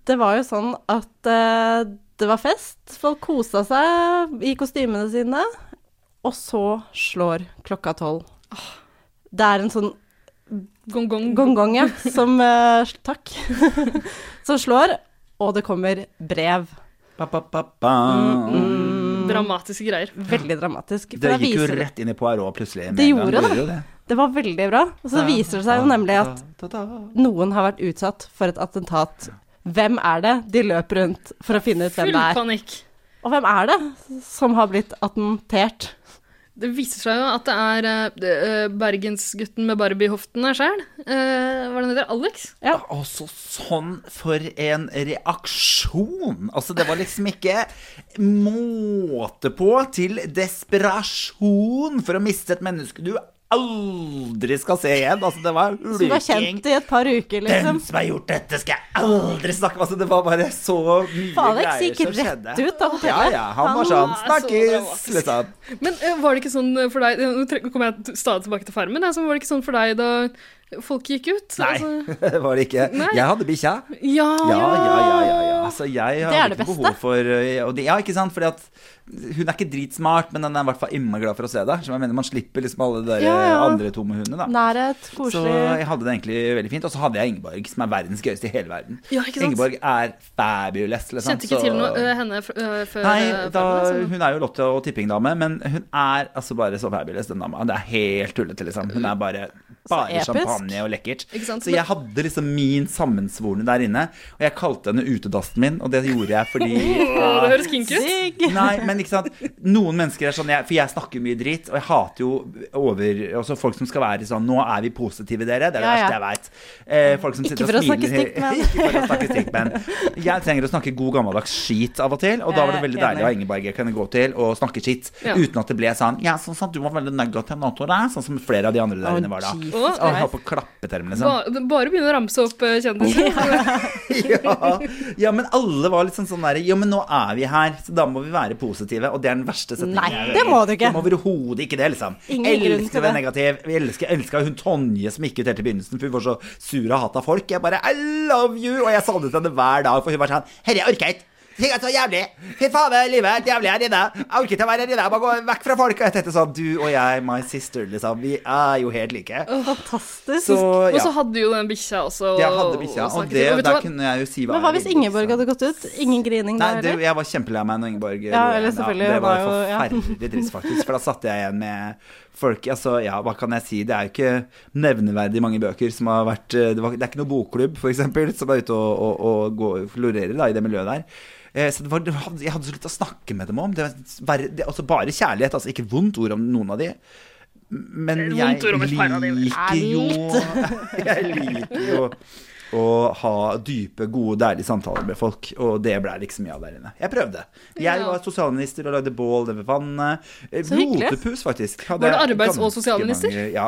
Speaker 3: Det var jo sånn at eh, det var fest, folk kosa seg i kostymene sine, og så slår klokka tolv. Det er en sånn
Speaker 1: Gong-gong.
Speaker 3: gong-gong, ja, som eh, sl- Takk. som slår, og det kommer brev.
Speaker 2: Ba, ba, ba, ba.
Speaker 1: Dramatiske greier.
Speaker 3: Veldig dramatisk. Mm, for
Speaker 2: Det
Speaker 3: da
Speaker 2: gikk jo
Speaker 3: viser-
Speaker 2: rett inn i Poirot plutselig. med
Speaker 3: Det
Speaker 2: en gang.
Speaker 3: gjorde det.
Speaker 2: jo det.
Speaker 3: Det var veldig bra. Og så viser det seg jo nemlig at noen har vært utsatt for et attentat. Hvem er det? De løper rundt for å finne ut hvem
Speaker 1: Full
Speaker 3: det er.
Speaker 1: panikk.
Speaker 3: Og hvem er det som har blitt attentert?
Speaker 1: Det viser seg jo at det er eh, det, eh, bergensgutten med Barbie-hoftene sjæl. Eh, hva er det han heter? Alex?
Speaker 2: Altså, sånn for en reaksjon! Altså, det var liksom ikke måte på til desperasjon for å miste et menneske du aldri skal se igjen. Altså, det var
Speaker 3: Som du har kjent i et par uker,
Speaker 2: Den
Speaker 3: liksom.
Speaker 2: som har gjort dette, skal jeg aldri snakke med! Altså, det var bare så mye
Speaker 3: Alex
Speaker 2: greier
Speaker 3: gikk
Speaker 2: som
Speaker 3: rett
Speaker 2: skjedde.
Speaker 3: ut av
Speaker 2: Ja,
Speaker 3: hotellet.
Speaker 2: ja, han var
Speaker 1: Han var
Speaker 2: sånn
Speaker 1: så
Speaker 2: Snakkes!
Speaker 1: dramatisk.
Speaker 2: Liksom.
Speaker 1: eh, Men eh, var det ikke sånn for deg Nå tre- kommer jeg t- stadig tilbake til Farmen. Altså, var det ikke sånn for deg da folk gikk ut.
Speaker 2: Nei,
Speaker 1: Altså,
Speaker 2: det var det ikke.
Speaker 1: Nei.
Speaker 2: Jeg hadde bikkja.
Speaker 1: ja,
Speaker 2: Ja, ja, ja. ja, ja. Altså, jeg
Speaker 3: Det er
Speaker 2: hadde
Speaker 3: det
Speaker 2: ikke
Speaker 3: beste.
Speaker 2: behov for eh, og det, Ja, ikke sant? Fordi at hun er ikke dritsmart, men den er i hvert fall innmari glad for å se deg. Så jeg mener, man slipper liksom alle de der
Speaker 3: Ja, ja.
Speaker 2: andre tomme hundene, da.
Speaker 3: Nærhet,
Speaker 2: Så
Speaker 3: koselig.
Speaker 2: jeg hadde det egentlig veldig fint. Og så hadde jeg Ingeborg, som er verdens gøyeste i hele verden.
Speaker 1: Ja, ikke sant?
Speaker 2: Ingeborg er fabulous. Liksom.
Speaker 1: Kjente ikke
Speaker 2: så-
Speaker 1: til noe ø, henne f- ø, før eh, altså.
Speaker 2: Nei,
Speaker 1: ø,
Speaker 2: da,
Speaker 1: filmen, så-
Speaker 2: hun er jo Lotte og tippingdame, men hun er altså bare så fabulous, den dama. Det er helt tullete, liksom. Hun er bare bare
Speaker 3: episk.
Speaker 2: champagne og lekkert.
Speaker 1: Ikke sant?
Speaker 2: Så jeg hadde liksom min sammensvorne der inne, og jeg kalte henne utedassen min, og det gjorde jeg fordi
Speaker 1: Å, Det høres kinky ut.
Speaker 3: Digg.
Speaker 2: Nei, men ikke sant Noen mennesker er sånn jeg, For jeg snakker mye dritt Og jeg hater jo over Også folk som skal være sånn Nå er vi positive dere Det er det
Speaker 3: Ja, ja.
Speaker 2: verste jeg vet eh, Folk som sitter
Speaker 3: for å
Speaker 2: og
Speaker 3: snakke
Speaker 2: smiler
Speaker 3: stygt, men-
Speaker 2: Ikke for å snakke stygt, men Jeg trenger å snakke god gammeldags skit av og til Og da var det veldig
Speaker 3: Jeg er
Speaker 2: deilig å ha Ingeborg jeg kunne gå til Og snakke skit
Speaker 1: Ja.
Speaker 2: Uten at det ble sånn Ja, sånn som du var veldig negativ nå, Tore Sånn som flere av de andre
Speaker 3: Å,
Speaker 2: der inne var da
Speaker 3: Jesus
Speaker 2: Og
Speaker 1: Christ.
Speaker 2: han på klappetermen liksom
Speaker 1: Ba, bare begynne å ramse opp ø, kjendiser.
Speaker 2: ja, ja, men alle var litt sånn sånn der Ja, men nå er vi her, så da må vi være positive. Og det er den verste setningen.
Speaker 3: Nei,
Speaker 2: jeg
Speaker 3: det
Speaker 2: hører.
Speaker 3: må du ikke.
Speaker 2: Du må overhodet ikke det, liksom.
Speaker 3: Ingen grunn
Speaker 2: elsker
Speaker 3: til
Speaker 2: å være
Speaker 3: det.
Speaker 2: negativ. Vi elsker, elsker hun Tonje som gikk ut helt i begynnelsen, for hun var så sur og hata folk. Jeg bare I love you! Og jeg savnet henne hver dag, for hun var sånn Herre, jeg orker ikke. Ting er så jævlig. Fy faen, livet er helt jævlig her inne. Jeg orker ikke å være her inne. Jeg må gå vekk fra folk. Og jeg tenkte sånn Du og jeg, my sister, liksom. Vi er jo helt like.
Speaker 3: Fantastisk.
Speaker 2: Så
Speaker 1: Og
Speaker 2: ja.
Speaker 1: så hadde jo den bikkja også.
Speaker 2: Jeg hadde bikkja,
Speaker 1: snakke
Speaker 2: og
Speaker 1: til.
Speaker 2: det,
Speaker 1: vet du
Speaker 2: der
Speaker 1: hva?
Speaker 2: kunne jeg jo si hva
Speaker 3: Men hva
Speaker 2: jeg
Speaker 3: hvis
Speaker 2: ville, liksom.
Speaker 3: Ingeborg
Speaker 2: så.
Speaker 3: hadde gått ut? Ingen grining da
Speaker 2: Nei, det,
Speaker 3: heller?
Speaker 2: jeg var kjempelei meg når Ingeborg
Speaker 3: Ja,
Speaker 2: gjorde
Speaker 3: eller
Speaker 2: det.
Speaker 3: selvfølgelig,
Speaker 2: Det
Speaker 3: hun
Speaker 2: var
Speaker 3: var jo- ja.
Speaker 2: forferdelig trist, faktisk. For da satt jeg igjen med folk Altså, ja, hva kan jeg si? Det er jo ikke nevneverdig mange bøker som har vært eh, Det, var, det er ikke noe bokklubb, for eksempel, som er ute og, og, og går, florerer da, i det miljøet der. Eh, Så det var, det var, jeg hadde så lite å snakke med dem om. Det var verre- det, altså bare kjærlighet, altså ikke vondt ord om noen av de. Men jeg
Speaker 1: Vondt ord om et par av de, men-
Speaker 2: liker jo Jeg liker jo å ha dype, gode, deilige samtaler med folk, og det ble liksom mye av der inne. Jeg prøvde. Jeg
Speaker 1: Ja.
Speaker 2: var sosialminister og lagde bål over vannet. Eh,
Speaker 3: Så hyggelig.
Speaker 2: Rotepus, faktisk. Hadde
Speaker 1: Var du
Speaker 2: jeg
Speaker 1: arbeids- og
Speaker 2: ganske
Speaker 1: sosialminister?
Speaker 2: mange- Ja.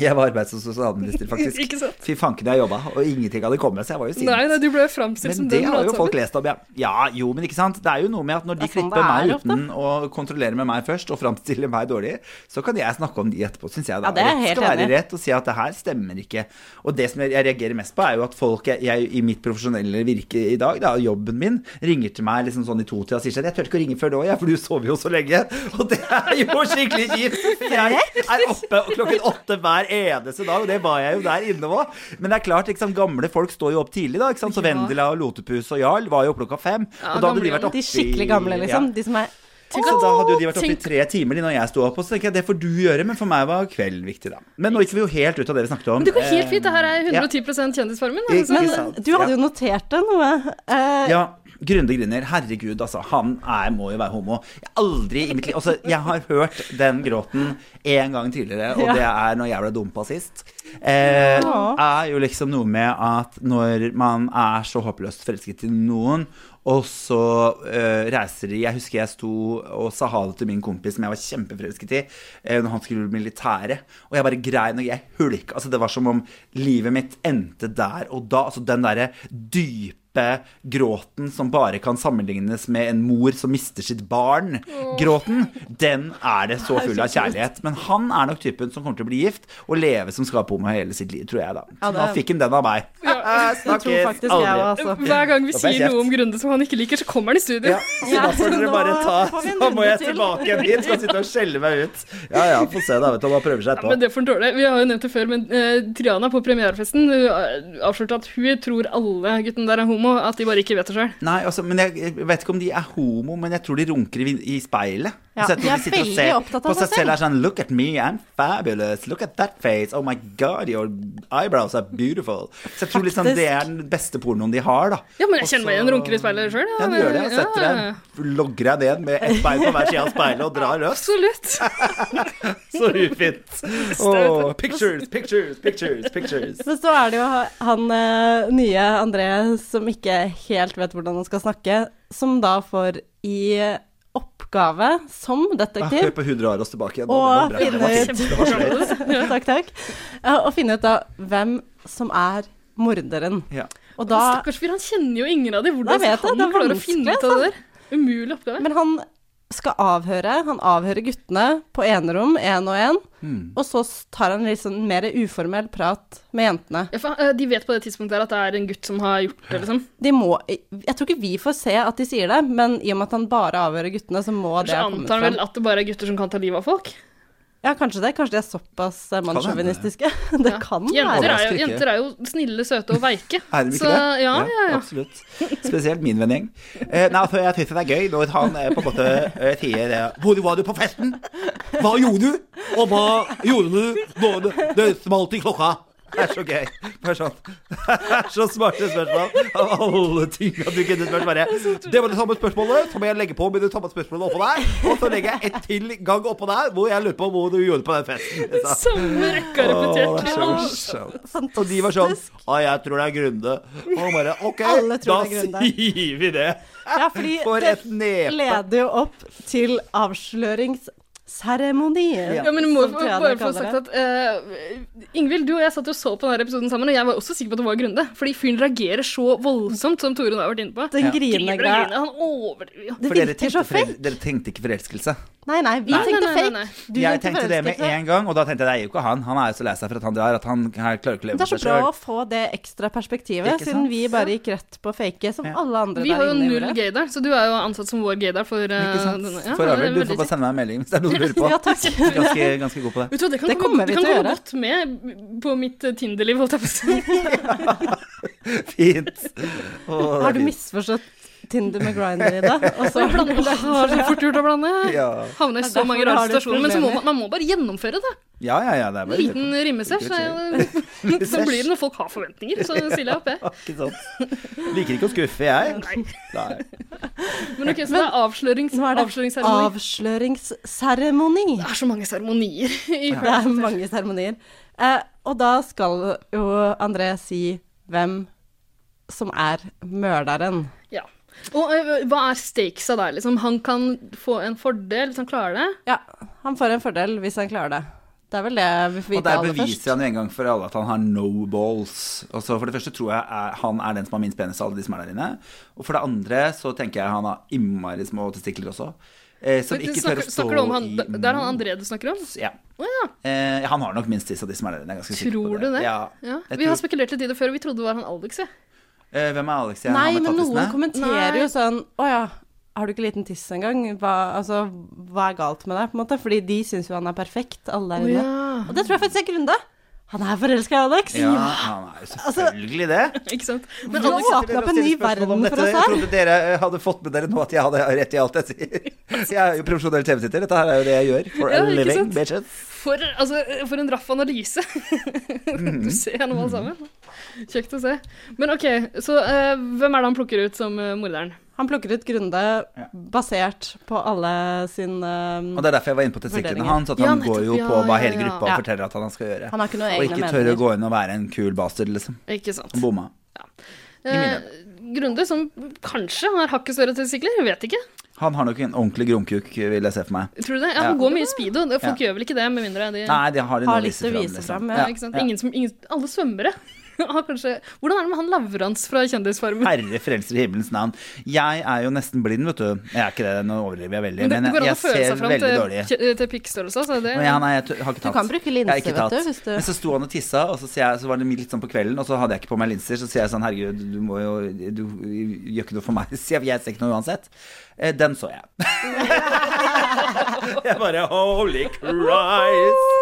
Speaker 2: Jeg var arbeids- og sosialminister, faktisk.
Speaker 1: Ikke sant?
Speaker 2: Fy fanken, jeg jobba, og ingenting hadde kommet, så jeg var jo sint.
Speaker 1: Nei, nei, du ble framstilt som
Speaker 2: Men
Speaker 1: den
Speaker 2: det har jo
Speaker 1: ratsamen.
Speaker 2: folk lest om, ja. ja. Jo, men ikke sant. Det er jo noe med at når de
Speaker 3: Det er sånn
Speaker 2: klipper meg
Speaker 3: det er ofte.
Speaker 2: uten å kontrollere med meg først, og framstiller meg dårlig, så kan jeg snakke om de etterpå, syns jeg. Da.
Speaker 3: Ja, det er jeg
Speaker 2: Rett
Speaker 3: helt
Speaker 2: skal være
Speaker 3: enig i.
Speaker 2: rett og si at det her stemmer ikke. Og det som jeg, jeg reagerer mest på, er jo at folk jeg, jeg i mitt profesjonelle virke i dag, da, jobben min, ringer til meg liksom sånn i to-tida og sier sånn Jeg tør ikke å ringe før nå, jeg, for du sover jo så lenge. Og det er jo skikkelig kjipt. for Jeg er oppe klokken åtte hver eneste dag, og det var jeg jo der inne òg. Men det er klart, liksom, gamle folk står jo opp tidlig, da. Ikke sant? Så Vendela og Lotepus og Jarl var jo opp klokka fem. og da hadde de
Speaker 1: gamle,
Speaker 2: vært oppe
Speaker 3: De skikkelig gamle,
Speaker 2: i-
Speaker 3: liksom.
Speaker 2: ja.
Speaker 3: De som er
Speaker 2: Tenk at da hadde jo de vært oppe i
Speaker 1: Tenk-
Speaker 2: tre timer de når jeg sto opp, og så tenker jeg det får du gjøre, men for meg var kvelden viktig, da. Men nå gikk vi jo helt ut av det vi snakket om.
Speaker 1: Men det går helt fint. Det her er
Speaker 2: Eh, ja.
Speaker 1: 110 Kjendisfarmen.
Speaker 2: Ikke
Speaker 1: Altså.
Speaker 2: sant?
Speaker 3: Men du hadde jo notert deg noe. Eh,
Speaker 2: Ja, Grunde Grinner. Herregud, altså. Han er, må jo være homo. Jeg har aldri i mitt liv Altså, jeg har hørt den gråten én gang tidligere, og
Speaker 3: Ja.
Speaker 2: det er når jeg ble dumpa sist. Eh, er jo liksom noe med at når man er så håpløst forelsket i noen, og så eh, reiser de Jeg husker jeg sto og sa ha det til min kompis som jeg var kjempeforelsket i, eh, når han skulle i militæret, og jeg bare grein og jeg hulka. Altså, det var som om livet mitt endte der og da. Altså den derre dype gråten som bare kan sammenlignes med en mor som mister sitt barn. Gråten, den er det så full av kjærlighet. Men han er nok typen som kommer til å bli gift og leve som skapomo hele sitt liv, tror jeg, da. Så nå
Speaker 3: det-
Speaker 2: fikk han den av meg.
Speaker 3: jeg tror
Speaker 2: Snakkes
Speaker 3: faktisk jeg
Speaker 2: aldri.
Speaker 3: var altså.
Speaker 1: Hver gang vi
Speaker 2: Da får jeg
Speaker 1: sier
Speaker 2: kjeft.
Speaker 1: noe om Grunde som han ikke liker, så kommer han i studio.
Speaker 2: Ja, så da får dere
Speaker 3: nå
Speaker 2: bare ta
Speaker 3: får vi en
Speaker 2: Da må jeg
Speaker 3: runde til.
Speaker 2: tilbake igjen hit, skal sitte og skjelle meg ut. Ja ja, få se, da. Vet du, han bare prøver seg
Speaker 1: Men
Speaker 2: etterpå.
Speaker 1: det får han tåle. Vi har jo nevnt det før, men eh, Triana på premierefesten eh, avslørte at hun tror alle guttene der er homo, at de bare ikke vet det sjøl.
Speaker 2: Nei, altså, men jeg, jeg vet ikke om de er homo, men jeg tror de runker i, vin- i speilet.
Speaker 3: Ja,
Speaker 2: Så jeg tror
Speaker 3: de er
Speaker 2: sitter og
Speaker 3: veldig
Speaker 2: ser
Speaker 3: opptatt av
Speaker 2: på
Speaker 3: seg
Speaker 2: seg selv. Er sånn, Look at me, I'm fabulous. Look at that face. Oh my god, your eyebrows are beautiful. Så jeg tror liksom
Speaker 3: Faktisk.
Speaker 2: det er den beste pornoen de har, da.
Speaker 1: Ja, men jeg
Speaker 2: Og
Speaker 1: kjenner meg
Speaker 2: så-
Speaker 1: igjen runker i speilet sjøl.
Speaker 2: Ja, du gjør det. Jeg setter deg, logger deg ned med ett bein på hver side av speilet og drar løs.
Speaker 1: Absolutt.
Speaker 2: Så ufint. Åh, pictures, pictures, pictures, pictures.
Speaker 3: Men så er det jo han eh, nye André som ikke helt vet hvordan han skal snakke, som da får i oppgave som
Speaker 2: Ja, Hør
Speaker 3: detektiv
Speaker 2: på hun drar oss tilbake igjen. Det var
Speaker 3: Og
Speaker 2: bra.
Speaker 3: finne ut-
Speaker 2: Det var sløyt.
Speaker 3: Takk, takk. Eh, Å finne ut da hvem som er morderen.
Speaker 2: Ja.
Speaker 3: Og da
Speaker 1: Stakkars fyr, han kjenner jo ingen av dem.
Speaker 3: Nei,
Speaker 1: Hvordan
Speaker 3: jeg vet
Speaker 1: skal
Speaker 3: det,
Speaker 1: han
Speaker 3: det er
Speaker 1: klare å finne ut
Speaker 3: vanskelig,
Speaker 1: av det der? Umulig oppgave.
Speaker 3: Men han skal avhøre. Han avhører guttene på enerom, én og én.
Speaker 2: Hmm.
Speaker 3: Og så tar han litt sånn mer uformell prat med jentene.
Speaker 1: Ja, for, eh, de vet på det tidspunktet her at det er en gutt som har gjort det, liksom.
Speaker 3: De må Jeg tror ikke vi får se at de sier det, men i og med at han bare avhører guttene, så må det
Speaker 1: Så
Speaker 3: ha kommet
Speaker 1: antar han
Speaker 3: fram.
Speaker 1: vel at det bare er gutter som kan ta livet av folk.
Speaker 3: Ja, kanskje det. Kanskje de er såpass eh,
Speaker 2: hende.
Speaker 3: mannssjåvinistiske. Det kan
Speaker 1: Jenter
Speaker 3: være.
Speaker 1: er, jo,
Speaker 2: Overrasker ikke.
Speaker 1: jenter er jo snille, søte og veike.
Speaker 2: Er de
Speaker 1: så,
Speaker 2: ikke det?
Speaker 1: Ja, ja, ja.
Speaker 2: Absolutt. Spesielt min vennegjeng. Eh, nei, for jeg syns det er gøy når han eh, på en måte eh, sier det Hvor var du på festen? Hva gjorde du? Og hva gjorde du da det- det smalt i klokka? Det er så gøy. Bare sånn. Det er så smarte spørsmål. Av alle ting at du kunne spurt, bare Det var det samme spørsmålet, så må jeg legge på med det samme spørsmålet oppå der. Og så legger jeg et til gang oppå der hvor jeg lurer på hvor du gjorde det på den festen. Så.
Speaker 1: Samme rekke har
Speaker 2: Åh,
Speaker 1: repetert.
Speaker 2: det er så morsomt. Og de var sånn
Speaker 3: Fantastisk.
Speaker 2: Å, jeg tror det er Grunde. Og han bare OK, da
Speaker 3: Alle tror det er Grunde.
Speaker 2: sier vi det.
Speaker 3: Ja, fordi
Speaker 2: For
Speaker 3: det
Speaker 2: et nepe.
Speaker 3: leder jo opp til avsløringsseremonien.
Speaker 2: Ja.
Speaker 1: Ja, men du må
Speaker 3: som
Speaker 1: jo
Speaker 3: Triana
Speaker 1: bare få
Speaker 3: kaller
Speaker 1: sagt
Speaker 3: det.
Speaker 1: at eh, Ingvild, du og jeg satt jo og så på denne episoden sammen, og jeg var også sikker på at det var Grunde. Fordi fyren reagerer så voldsomt, som Torunn har vært inne på.
Speaker 3: Den
Speaker 2: Ja.
Speaker 1: Griner og
Speaker 3: griner
Speaker 1: griner,
Speaker 3: da.
Speaker 1: han over... Ja.
Speaker 3: Det
Speaker 2: For dere
Speaker 3: virker så
Speaker 2: tenkte,
Speaker 3: fake.
Speaker 2: forel dere tenkte ikke forelskelse.
Speaker 3: Nei, nei, vi
Speaker 1: Nei,
Speaker 3: tenkte
Speaker 1: nei, nei,
Speaker 3: fake.
Speaker 1: nei, nei.
Speaker 3: Du
Speaker 2: jeg tenkte det med
Speaker 3: forelskelse.
Speaker 2: en gang, og da tenkte jeg det er jo ikke han. Han er jo så lei seg for at han drar at han her klarer ikke å leve
Speaker 3: Det er
Speaker 2: med
Speaker 3: så
Speaker 2: seg
Speaker 3: bra
Speaker 2: sjøl.
Speaker 3: å få det ekstra perspektivet,
Speaker 2: Ikke
Speaker 3: siden
Speaker 2: sant?
Speaker 3: vi bare gikk rett på fake som
Speaker 2: Ja.
Speaker 3: alle andre
Speaker 1: Vi har
Speaker 3: der
Speaker 1: jo
Speaker 3: inne
Speaker 1: null
Speaker 3: gjorde.
Speaker 1: gaydar, så du er jo ansatt som vår gaydar for eh,
Speaker 2: Ikke sant?
Speaker 1: denne. Ja,
Speaker 2: For
Speaker 1: det er
Speaker 2: øvrig, du
Speaker 1: veldig
Speaker 2: får bare sende meg en melding hvis det er noe du lurer på.
Speaker 3: Ja, takk.
Speaker 2: Ganske, ganske god på det.
Speaker 1: Vet du hva, det kan
Speaker 3: Det
Speaker 1: komme,
Speaker 3: kommer vi
Speaker 1: det kan
Speaker 3: til å
Speaker 1: komme
Speaker 3: gjøre.
Speaker 1: godt med på mitt eh, Tinder-liv, holdt jeg på å si.
Speaker 2: Fint. Å, det er
Speaker 3: Har du
Speaker 2: fint.
Speaker 3: misforstått Tinder med Grindr i dag? Og så
Speaker 1: Har så fort gjort å blande.
Speaker 2: Ja.
Speaker 1: Havner i
Speaker 3: Det er
Speaker 1: så mange
Speaker 3: derfor du
Speaker 1: rare
Speaker 3: har litt
Speaker 1: situasjoner. Men så må
Speaker 3: problemer.
Speaker 1: man, man må bare gjennomføre det.
Speaker 2: ja, ja, ja. Det er bare
Speaker 1: Liten rimesesj.
Speaker 2: Ikke
Speaker 1: Så, så blir det når folk har forventninger, så stiller jeg opp, jeg.
Speaker 2: Ikke sant. Liker ikke å skuffe, jeg. Nei.
Speaker 1: Men ok, så det er avslørings,
Speaker 3: Nå er det
Speaker 1: avsløringsseremoni.
Speaker 3: avsløringsseremoni.
Speaker 1: Det er så mange seremonier. i
Speaker 3: Det er mange seremonier. Eh, og da skal jo André si hvem som er mørderen.
Speaker 1: Ja. Og eh, hva er stakesa der, liksom? Han kan få en fordel hvis han klarer det.
Speaker 3: Ja, han får en fordel hvis han klarer det. Det er vel det vi får
Speaker 2: Og
Speaker 3: vite
Speaker 2: der
Speaker 3: aller først.
Speaker 2: beviser han jo en gang for alle at han har no balls. Og så For det første tror jeg er, han er den som har minst penis av alle de som er der inne. Og for det andre så tenker jeg han har innmari små testikler også. Eh, som
Speaker 1: Men
Speaker 2: ikke tør
Speaker 1: snakker,
Speaker 2: å stå
Speaker 1: snakker du om han,
Speaker 2: i
Speaker 1: Det er han André du snakker om?
Speaker 2: Ja.
Speaker 1: Å ja.
Speaker 2: Eh, han har nok minst tiss av de som er der inne. jeg er ganske sikker på
Speaker 1: Tror du det?
Speaker 2: Ja.
Speaker 1: ja.
Speaker 2: Jeg
Speaker 1: Vi har
Speaker 2: tror-
Speaker 1: spekulert litt i det før, og vi trodde det var han Alex, ja.
Speaker 2: eh, hvem er Alex igjen?
Speaker 3: Nei,
Speaker 2: Han med
Speaker 3: men noen
Speaker 2: tattisene?
Speaker 3: kommenterer
Speaker 1: Nei.
Speaker 3: jo sånn Å ja, har du ikke liten tiss engang? Hva, altså, hva er galt med deg? på en måte? Fordi de syns jo han er perfekt, alle der inne. Og det tror jeg faktisk er Grunde. Han er forelska i Alex.
Speaker 2: Ja, han er jo
Speaker 1: Altså-
Speaker 2: selvfølgelig det.
Speaker 1: Ikke sant? Men
Speaker 3: Du
Speaker 1: Alex
Speaker 3: har åpna opp en ny
Speaker 2: Jeg stiller spørsmål om
Speaker 3: verden
Speaker 2: dette.
Speaker 3: for oss her.
Speaker 2: Jeg trodde dere eh, hadde fått med dere nå at jeg hadde rett i alt jeg sier. Jeg er jo profesjonell TV-titter. Dette her er jo det jeg gjør for
Speaker 1: Ja,
Speaker 2: a
Speaker 1: ikke
Speaker 2: living.
Speaker 1: sant?
Speaker 2: bitches.
Speaker 1: For, altså, for en raff analyse.
Speaker 2: Mm.
Speaker 1: du ser gjennom alle sammen. Kjekt å se. Men OK, så eh, hvem er det han plukker ut som eh, morderen?
Speaker 3: Han plukker ut Grunde basert på alle sin eh,
Speaker 2: Og det er derfor jeg var inne på testiklene
Speaker 3: Vurderinger.
Speaker 2: hans. At
Speaker 1: Ja,
Speaker 2: han
Speaker 1: nettopp.
Speaker 2: går jo
Speaker 1: Ja,
Speaker 2: på hva
Speaker 1: ja,
Speaker 2: hele
Speaker 1: ja.
Speaker 2: gruppa
Speaker 3: Ja.
Speaker 2: forteller at han skal gjøre.
Speaker 3: Han har ikke noen
Speaker 2: Og
Speaker 3: egne
Speaker 2: ikke tør å
Speaker 3: meninger.
Speaker 2: gå inn og være en kul bastard, liksom.
Speaker 1: Ikke sant.
Speaker 2: Han bomma.
Speaker 1: Eh, Grunde, som kanskje har hakket større testikler, jeg vet ikke.
Speaker 2: Han har nok en ordentlig gromkuk, vil jeg se for meg.
Speaker 1: Tror du det? Ja,
Speaker 2: Ja.
Speaker 1: han går mye speedo. Folk
Speaker 2: Ja.
Speaker 1: gjør vel ikke det, med mindre de
Speaker 2: Nei, det har de nå
Speaker 3: Har litt
Speaker 2: vist
Speaker 3: å
Speaker 2: fram,
Speaker 3: vise fram,
Speaker 2: liksom.
Speaker 3: ja.
Speaker 1: ja, ikke sant? Ingen som, ingen, alle svømmere har kanskje Hvordan er det med han Lavrans fra Kjendisfarmen?
Speaker 2: Herre frelser i himmelens navn. Jeg er jo nesten blind, vet du. Jeg er ikke det, nå overdriver jeg veldig.
Speaker 1: Men det,
Speaker 2: Men
Speaker 1: det går an å
Speaker 2: jeg, jeg
Speaker 1: føle seg
Speaker 2: ser
Speaker 1: fram
Speaker 2: veldig
Speaker 1: til,
Speaker 2: dårlig.
Speaker 1: kje- til pikkstørrelse. altså, det-
Speaker 2: Men jeg, nei, jeg t- har ikke tatt.
Speaker 3: kan bruke
Speaker 2: Jeg har ikke
Speaker 3: linse, vet
Speaker 2: tatt.
Speaker 3: du, hvis du-
Speaker 2: Men så sto han og tissa, og så, sier jeg, så var det litt sånn på kvelden, og så hadde jeg ikke på meg linser. Så sier jeg sånn, herregud, du må jo Du gjør ikke noe for meg. Sier jeg, jeg ser ikke noe uansett. Eh, Den så jeg. jeg bare holy Christ.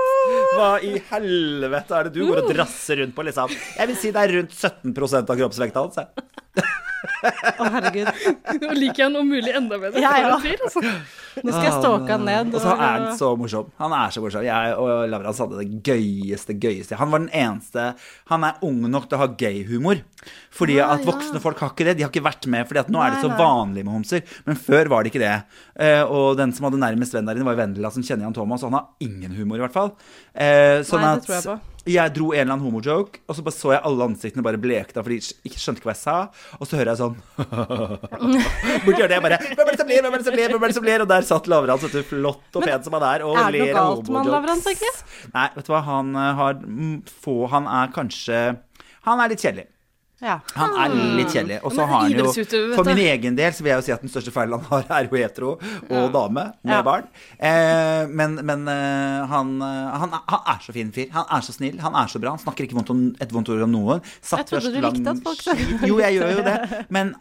Speaker 2: Hva i helvete er det du går og drasser rundt på, liksom? Jeg vil si det er rundt 17 av kroppsvekta hans. jeg.
Speaker 3: Å, herregud.
Speaker 1: Og liker jeg han om mulig enda bedre.
Speaker 3: Ja, ja.
Speaker 1: for en fyr, altså.
Speaker 3: Nå skal jeg stalke han ned.
Speaker 2: Og så er han så morsom. Han er så morsom. Jeg og Lavrans hadde det gøyeste, gøyeste. Han var den eneste Han er ung nok til å ha gay-humor. Fordi
Speaker 3: Ah,
Speaker 2: at voksne folk har ikke det. De har ikke vært med, Fordi at nå er det så vanlig med homser. Men før var det ikke det. Eh, Og den som hadde nærmest venn der inne, var jo Vendela, som kjenner Jan Thomas. Og han har ingen humor, i hvert fall. Eh, Sånn
Speaker 3: Nei, det
Speaker 2: at
Speaker 3: tror jeg på.
Speaker 2: jeg dro en eller annen homojoke, og så bare så jeg alle ansiktene bare blekna, for de ikke skjønte ikke hva jeg sa. Og så hører jeg sånn Borti hjørnet jeg bare Hvem er det som ler, hvem er det som ler, hvem er det som ler? Og der satt Lavrans, vet du, flott og pen som han er, og
Speaker 3: er det noe
Speaker 2: ler av
Speaker 3: galt med han, Lavrans,
Speaker 2: homojokes.
Speaker 3: egentlig?
Speaker 2: Nei, vet du hva, han eh, har mm, få Han er kanskje Han er litt kjedelig.
Speaker 3: Ja.
Speaker 2: Han er
Speaker 3: Ah.
Speaker 2: litt kjedelig. Og så
Speaker 1: Ja, men
Speaker 2: har han jo
Speaker 1: idrettsutøver, vet
Speaker 2: For
Speaker 1: du.
Speaker 2: min egen del så vil jeg jo si at den største feilen han har, er jo hetero og dame med
Speaker 3: Ja.
Speaker 2: barn. Eh, men men eh, han, eh, han, er- han er så fin fyr. Han er så snill, han er så bra. Han snakker ikke vondt om, et vondt ord om noen. Satt
Speaker 3: Jeg trodde
Speaker 2: først
Speaker 3: du
Speaker 2: lang
Speaker 3: likte at folk
Speaker 2: skit.
Speaker 3: snakket
Speaker 2: Jo, jeg gjør jo det. Men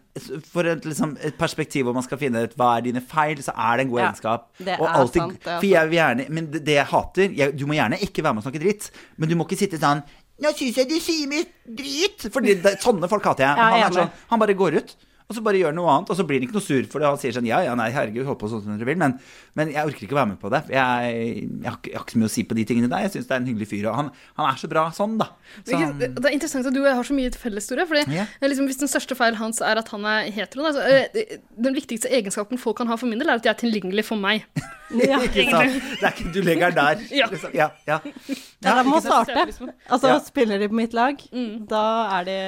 Speaker 2: for et, liksom, et perspektiv hvor man skal finne ut hva er dine feil, så er det en god
Speaker 3: Ja,
Speaker 2: egenskap.
Speaker 3: det
Speaker 2: og
Speaker 3: er
Speaker 2: alltid-
Speaker 3: sant, det er
Speaker 2: for jeg vil gjerne Men det, det jeg hater jeg, Du må gjerne ikke være med og snakke dritt, men du må ikke sitte sånn nå syns jeg du sier mye drit! For sånne folk hater jeg.
Speaker 3: Ja,
Speaker 2: han, er
Speaker 3: jeg er enig.
Speaker 2: sånn, han bare går ut, og så bare gjør noe annet. Og så blir han ikke noe sur for det. Han sier sånn ja, ja, nei, herregud, hold på sånn som dere vil, men, men jeg orker ikke være med på det. for Jeg, jeg, har ikke, jeg har ikke så mye å si på de tingene der. Jeg syns det er en hyggelig fyr, og han, han er så bra sånn, da. Så,
Speaker 1: Hvilken- Det er interessant at du og jeg har så mye felles historie. Fordi
Speaker 2: Ja.
Speaker 1: eh, liksom, Hvis den største feilen hans er at han er hetero da, så, eh, det- Den viktigste egenskapen folk kan ha for min del, er at de er tilgjengelig for meg.
Speaker 2: ikke sant? sånn, Det er ikke, du legger den der.
Speaker 1: Ja.
Speaker 2: liksom. ja, ja.
Speaker 3: Ja,
Speaker 2: Ja,
Speaker 3: de må
Speaker 2: ikke sant?
Speaker 3: starte. Altså,
Speaker 2: Ja. Mm.
Speaker 3: spiller de på mitt lag, da er de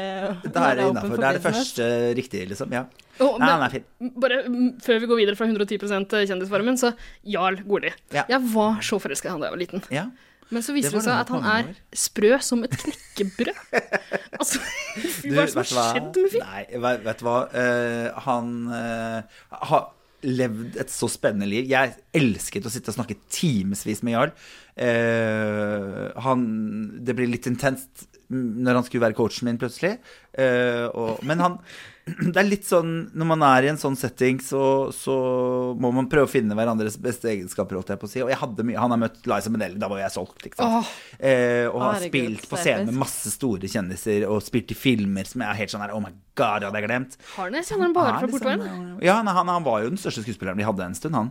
Speaker 2: Da er det
Speaker 3: open
Speaker 2: innafor.
Speaker 3: for
Speaker 2: Det er det
Speaker 3: business.
Speaker 2: første riktige, liksom. Ja.
Speaker 1: Og,
Speaker 2: Nei, han
Speaker 1: men,
Speaker 2: er fin.
Speaker 1: bare mm, Før vi går videre fra 110 eh, Kjendisfarmen, så Jarl Goli.
Speaker 2: Ja.
Speaker 1: Jeg var så forelska i han da jeg var liten.
Speaker 2: Ja.
Speaker 1: Men så
Speaker 2: Det
Speaker 1: viser
Speaker 2: var
Speaker 1: det seg
Speaker 2: noe
Speaker 1: at han
Speaker 2: mange
Speaker 1: er sprø som et knekkebrød. altså, hva er det som
Speaker 2: vet du hva?
Speaker 1: har skjedd med fyren?
Speaker 2: Nei, vet, vet du hva? Eh, han eh, har levd et så spennende liv. Jeg elsket å sitte og snakke timevis med Jarl. Eh, han Det ble litt intenst mm, når han skulle være coachen min plutselig. Eh, og, men han Det er litt sånn når man er i en sånn setting, så, så må man prøve å finne hverandres beste egenskaper, holdt jeg på å si. Og jeg hadde mye Han har møtt Liza Minnelli, da var jeg solgt, ikke sant. Eh, og har
Speaker 3: Herregud,
Speaker 2: spilt på
Speaker 3: så
Speaker 2: scene
Speaker 3: episk.
Speaker 2: med masse store kjendiser og spilt i filmer som jeg er helt sånn her Oh my god, det hadde jeg glemt.
Speaker 1: Har han det? Kjenner han bare
Speaker 2: Er
Speaker 1: fra
Speaker 2: liksom-
Speaker 1: portveien?
Speaker 2: Ja, han, han, han var jo den største skuespilleren vi hadde en stund, han.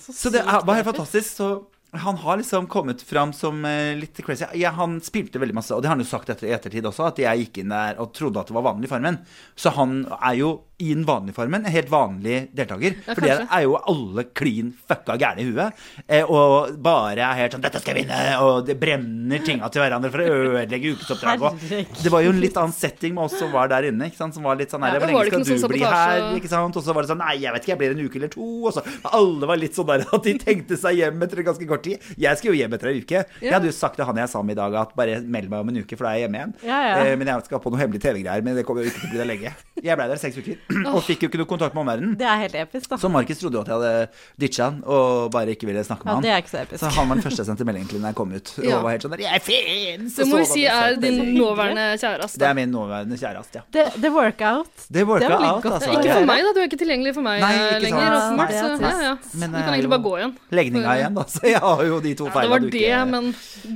Speaker 2: Så det er, var helt fantastisk. Så han har liksom kommet fram som eh, litt crazy. Ja, han spilte veldig masse, og det har han jo sagt etter, i ettertid også, at jeg gikk inn der og trodde at det var vanlig Farmen. Så han er jo i den vanlige Farmen en helt vanlig deltaker.
Speaker 1: Ja,
Speaker 2: for det
Speaker 1: kanskje.
Speaker 2: er jo alle klin fucka gærne i huet. Eh, og bare er helt sånn 'Dette skal jeg vinne!' Og det brenner tinga til hverandre for å ødelegge ukesoppdraget. Og Det var jo en litt annen setting med oss som var der inne, ikke sant? som var litt sånn her,
Speaker 1: Ja,
Speaker 2: 'Hvor
Speaker 1: var det ikke
Speaker 2: lenge skal
Speaker 1: noe
Speaker 2: du
Speaker 1: sånn
Speaker 2: bli
Speaker 1: sabotasje-
Speaker 2: her?' ikke sant? Og så var det sånn Nei, jeg vet ikke, jeg blir en uke eller to. Og så Alle var litt sånn der at de tenkte seg hjem etter en ganske kort tid. Jeg skulle jo hjem etter en uke. Jeg hadde jo sagt til han jeg sa med i dag at bare meld meg om en uke, for da er jeg hjemme igjen.
Speaker 3: Ja, ja.
Speaker 2: Eh, Men jeg skal på noe hemmelig TV-greier, men det kommer jo ikke til å bli der lenge. Jeg ble der i seks uker og fikk jo ikke noe kontakt med omverdenen.
Speaker 3: Det er helt episk, da.
Speaker 2: Så Markus trodde jo at jeg hadde ditcha han og bare ikke ville snakke med
Speaker 3: ja,
Speaker 2: han.
Speaker 3: det er ikke så episk.
Speaker 2: Så han var den første jeg sendte melding til når jeg kom ut. Og
Speaker 1: Ja.
Speaker 2: var helt sånn der, jeg fins!
Speaker 1: Det må vi si er din nåværende kjæreste.
Speaker 2: liksom Det er min nåværende kjæreste, ja.
Speaker 3: Det, det workout.
Speaker 2: Det worka
Speaker 3: Det var litt
Speaker 2: out,
Speaker 3: godt å
Speaker 2: altså.
Speaker 3: høre.
Speaker 1: Ikke for meg, da. Du er ikke tilgjengelig for meg
Speaker 2: Nei,
Speaker 1: eh,
Speaker 2: ikke sant.
Speaker 1: lenger. åpenbart,
Speaker 3: Nei,
Speaker 1: så,
Speaker 3: det er
Speaker 1: ja, ja.
Speaker 2: Men eh,
Speaker 1: Du
Speaker 2: det
Speaker 1: kan
Speaker 2: er
Speaker 1: egentlig
Speaker 2: jo
Speaker 1: bare gå igjen.
Speaker 2: Legninga igjen, da. Så jeg har jo de to
Speaker 1: Det
Speaker 2: feilene
Speaker 1: var
Speaker 2: du
Speaker 1: det,
Speaker 2: ikke
Speaker 1: men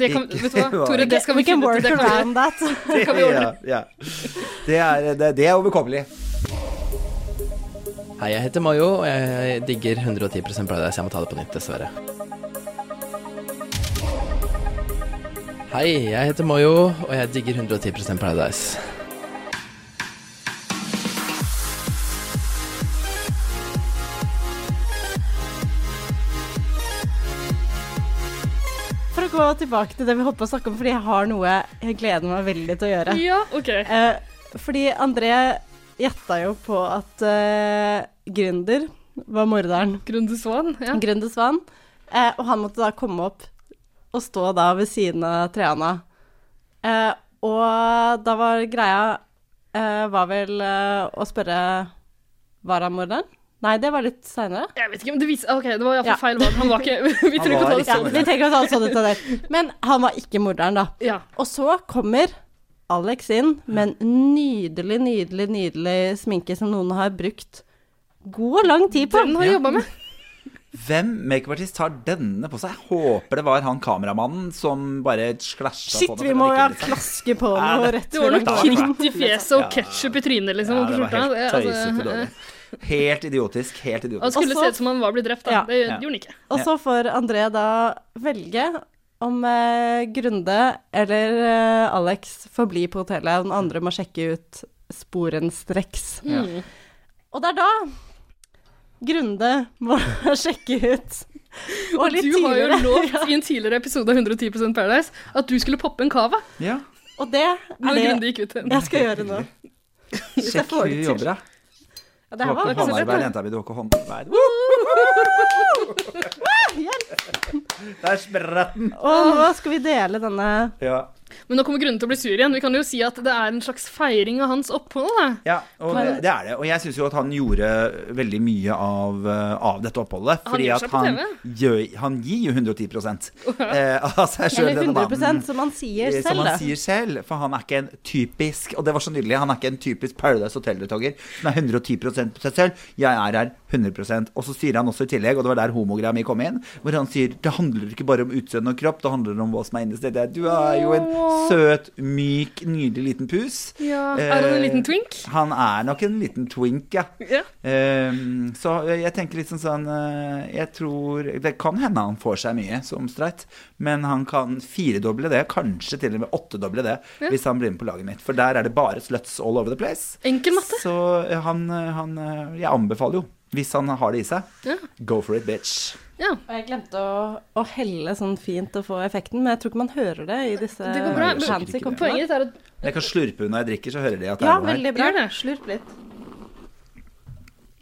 Speaker 1: det kan,
Speaker 2: ikke-
Speaker 1: Vet du hva, Tore, det skal vi
Speaker 3: We can
Speaker 1: finne ut.
Speaker 3: work
Speaker 1: Det kan vi-
Speaker 3: around that.
Speaker 1: Det kan vi ordne.
Speaker 2: Ja, ja. Det, er, det, det er overkommelig.
Speaker 10: Hei, jeg heter Mayo, og jeg digger 110 Paradise. Jeg må ta det på nytt, dessverre. Hei, jeg heter Mayo, og jeg digger 110 Paradise.
Speaker 3: For å gå tilbake til det vi holdt på å snakke om, fordi jeg har noe jeg gleder meg veldig til å gjøre.
Speaker 1: Ja, ok.
Speaker 3: Eh, fordi André gjetta jo på at eh, Gründer var morderen.
Speaker 1: Grunde Svan. Ja.
Speaker 3: Gründer Svan. Eh, og han måtte da komme opp og stå da ved siden av Triana. Eh, og da var greia eh, var vel eh, å spørre Var han morderen? Nei, det var litt seinere.
Speaker 1: Jeg vet ikke, men det viser Ok, det var
Speaker 3: Ja.
Speaker 1: iallfall feil valg. Han var ikke Vi trenger ikke å ta det
Speaker 3: Ja,
Speaker 1: sånn.
Speaker 3: vi trenger å ta sånn ut av det. Men han var ikke morderen, da.
Speaker 1: Ja.
Speaker 3: Og så kommer Alex inn med en nydelig, nydelig, nydelig sminke som noen har brukt god og lang tid på.
Speaker 1: Den har jeg jobba med.
Speaker 2: Hvem makeupartist har denne på seg? Jeg håper det var han kameramannen som bare slasja
Speaker 3: Shit,
Speaker 2: på det.
Speaker 3: vi
Speaker 2: for
Speaker 3: må
Speaker 2: det
Speaker 3: ja
Speaker 2: gikk litt sånn.
Speaker 3: klaske på
Speaker 2: Ja,
Speaker 3: noe
Speaker 2: det-
Speaker 3: rett
Speaker 1: Det var
Speaker 3: før
Speaker 1: noe
Speaker 3: han går.
Speaker 1: kritt i fjeset og ketsjup i trynet, liksom.
Speaker 2: Ja,
Speaker 1: på
Speaker 2: det var
Speaker 1: skjorta.
Speaker 2: helt
Speaker 1: altså,
Speaker 2: tøysete dårlig. Helt idiotisk. Helt
Speaker 1: Han
Speaker 2: idiotisk.
Speaker 1: skulle
Speaker 3: Og så-
Speaker 1: se ut som han var blitt drept, da.
Speaker 3: Ja.
Speaker 1: Det gjorde han ikke.
Speaker 3: Og så får André da velge om eh, Grunde eller eh, Alex får bli på hotellet, og den andre må sjekke ut sporenstreks. Og det er da Grunde må sjekke ut. Og litt
Speaker 1: Du har jo
Speaker 3: tidligere.
Speaker 1: lovt i en tidligere episode av 110 Paradise at du skulle poppe en cava
Speaker 2: Ja,
Speaker 3: Og det
Speaker 1: når
Speaker 3: er
Speaker 1: Grunde
Speaker 3: det
Speaker 1: gikk ut.
Speaker 3: jeg skal gjøre nå.
Speaker 2: sjekk hvor du jobber, da.
Speaker 3: Ja,
Speaker 2: Du
Speaker 3: det her
Speaker 2: har
Speaker 3: var
Speaker 2: ikke
Speaker 3: ikke så lett.
Speaker 2: håndarbeid, jenta mi. Du har ikke håndarbeid. Woo! Der spratt den.
Speaker 3: Og nå skal vi dele denne
Speaker 2: Ja.
Speaker 1: Men nå kommer grunnen til å bli sur igjen. Vi kan jo si at det er en slags feiring av hans opphold. Da.
Speaker 2: Ja, og det, det er det. Og jeg syns jo at han gjorde veldig mye av, eh, av dette oppholdet.
Speaker 1: Han
Speaker 2: Fordi
Speaker 1: gjør
Speaker 2: at
Speaker 1: seg på
Speaker 2: han,
Speaker 1: TV.
Speaker 2: gjør, han gir jo 110 eh, av seg sjøl,
Speaker 3: Eller
Speaker 2: denne
Speaker 3: 100
Speaker 2: mannen.
Speaker 3: som han sier
Speaker 2: Eh, Som
Speaker 3: selv, da.
Speaker 2: han sier selv, for han er ikke en typisk Og det var så nydelig, han er ikke en typisk Paradise Hotel-deltaker som er 110 på seg selv. Jeg er her 100 Og så sier han også i tillegg, og det var der homogreia mi kom inn, hvor han sier det handler ikke bare om utseende og kropp, det handler om hva som er inni stedet. Du er jo en søt, myk, nydelig liten pus.
Speaker 1: Ja, er han en
Speaker 2: Eh,
Speaker 1: liten twink?
Speaker 2: Han er nok en liten twink, ja.
Speaker 1: Ja.
Speaker 2: Ehm, så jeg tenker litt sånn sånn eh, Jeg tror Det kan hende han får seg mye som streit, men han kan firedoble det, kanskje til og med åttedoble det,
Speaker 1: Ja.
Speaker 2: hvis han blir med på laget mitt. For der er det bare sluts all over the place.
Speaker 1: Enkel matte.
Speaker 2: Så eh, han, eh, han eh, Jeg anbefaler jo, hvis han har det i seg,
Speaker 1: Ja.
Speaker 2: go for it, bitch.
Speaker 3: Og jeg glemte å, å helle sånn fint og få effekten, men jeg tror ikke man hører det i disse
Speaker 1: Det går bra.
Speaker 2: Nei, jeg skjønner
Speaker 3: fancy
Speaker 2: ikke det.
Speaker 3: koppene.
Speaker 1: Poenget ditt er at
Speaker 2: Jeg kan slurpe når jeg drikker, så hører de at det
Speaker 3: Ja,
Speaker 2: er noe her.
Speaker 3: veldig bra.
Speaker 1: Gjør det.
Speaker 3: Slurp litt.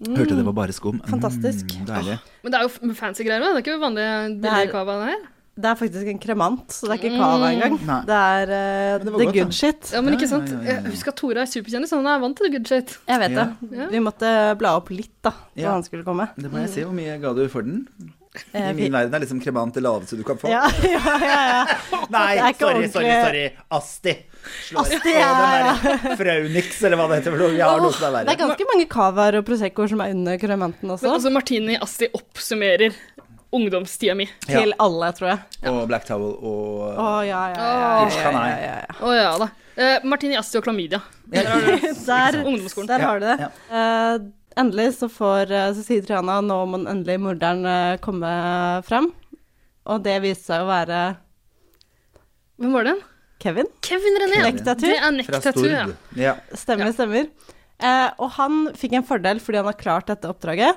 Speaker 2: Hørte det var bare skum.
Speaker 3: Mm. Fantastisk.
Speaker 2: Mm, deilig.
Speaker 1: Men det er jo f- fancy greier òg. Det er ikke vanlig
Speaker 3: Det
Speaker 1: billig
Speaker 3: er-
Speaker 1: cava, det her.
Speaker 3: Det er faktisk en kremant, så det er ikke cava engang.
Speaker 2: Nei.
Speaker 3: Det er eh,
Speaker 2: det var
Speaker 3: the
Speaker 2: godt, da.
Speaker 3: good shit.
Speaker 1: Ja, men
Speaker 2: Ja,
Speaker 1: ikke sant?
Speaker 2: ja, ja, ja, ja.
Speaker 1: Jeg husker at Tore er superkjendis, han er vant til the good shit.
Speaker 3: Jeg vet
Speaker 2: Ja.
Speaker 3: det.
Speaker 1: Ja.
Speaker 3: Vi måtte bla opp litt, da, da
Speaker 2: Ja.
Speaker 3: han skulle komme.
Speaker 2: Det må jeg si. Hvor mye ga du for den? I
Speaker 3: Eh, vi-
Speaker 2: min verden er liksom kremant det laveste du kan få.
Speaker 3: Ja, ja, ja. ja.
Speaker 2: Nei,
Speaker 3: Det er ikke
Speaker 2: sorry,
Speaker 3: ordentlig.
Speaker 2: sorry, sorry. Asti. Slår
Speaker 3: Asti,
Speaker 2: på den
Speaker 3: ja,
Speaker 2: der Fraunix, eller hva det heter. For noe. Vi har noe som er
Speaker 3: Det er
Speaker 2: verre.
Speaker 3: ganske mange cavaer og proseccoer som er under kremanten
Speaker 1: Men
Speaker 3: også.
Speaker 1: altså, Martini Asti oppsummerer ungdomstida mi.
Speaker 2: Ja.
Speaker 3: Til alle, tror jeg.
Speaker 2: Og Black Towel
Speaker 3: Å,
Speaker 2: og
Speaker 3: ja,
Speaker 1: Å.
Speaker 3: ja, ja, ja, ja, ja, ja.
Speaker 1: Å ja da. Eh, Martini Asti og klamydia.
Speaker 3: Der,
Speaker 1: Ungdomsskolen.
Speaker 3: der har du det.
Speaker 2: Ja,
Speaker 3: Eh, endelig så får eh, Cecilie Triana nå må den endelig morderen eh, komme frem. Og det viste seg å være
Speaker 1: Hvem var den?
Speaker 3: Kevin.
Speaker 1: Kevin René.
Speaker 3: Nektatu.
Speaker 1: Det er
Speaker 2: Fra
Speaker 1: Nektatu, ja.
Speaker 2: Stord. Ja.
Speaker 3: Stemmer, stemmer. Eh, og han fikk en fordel fordi han har klart dette oppdraget,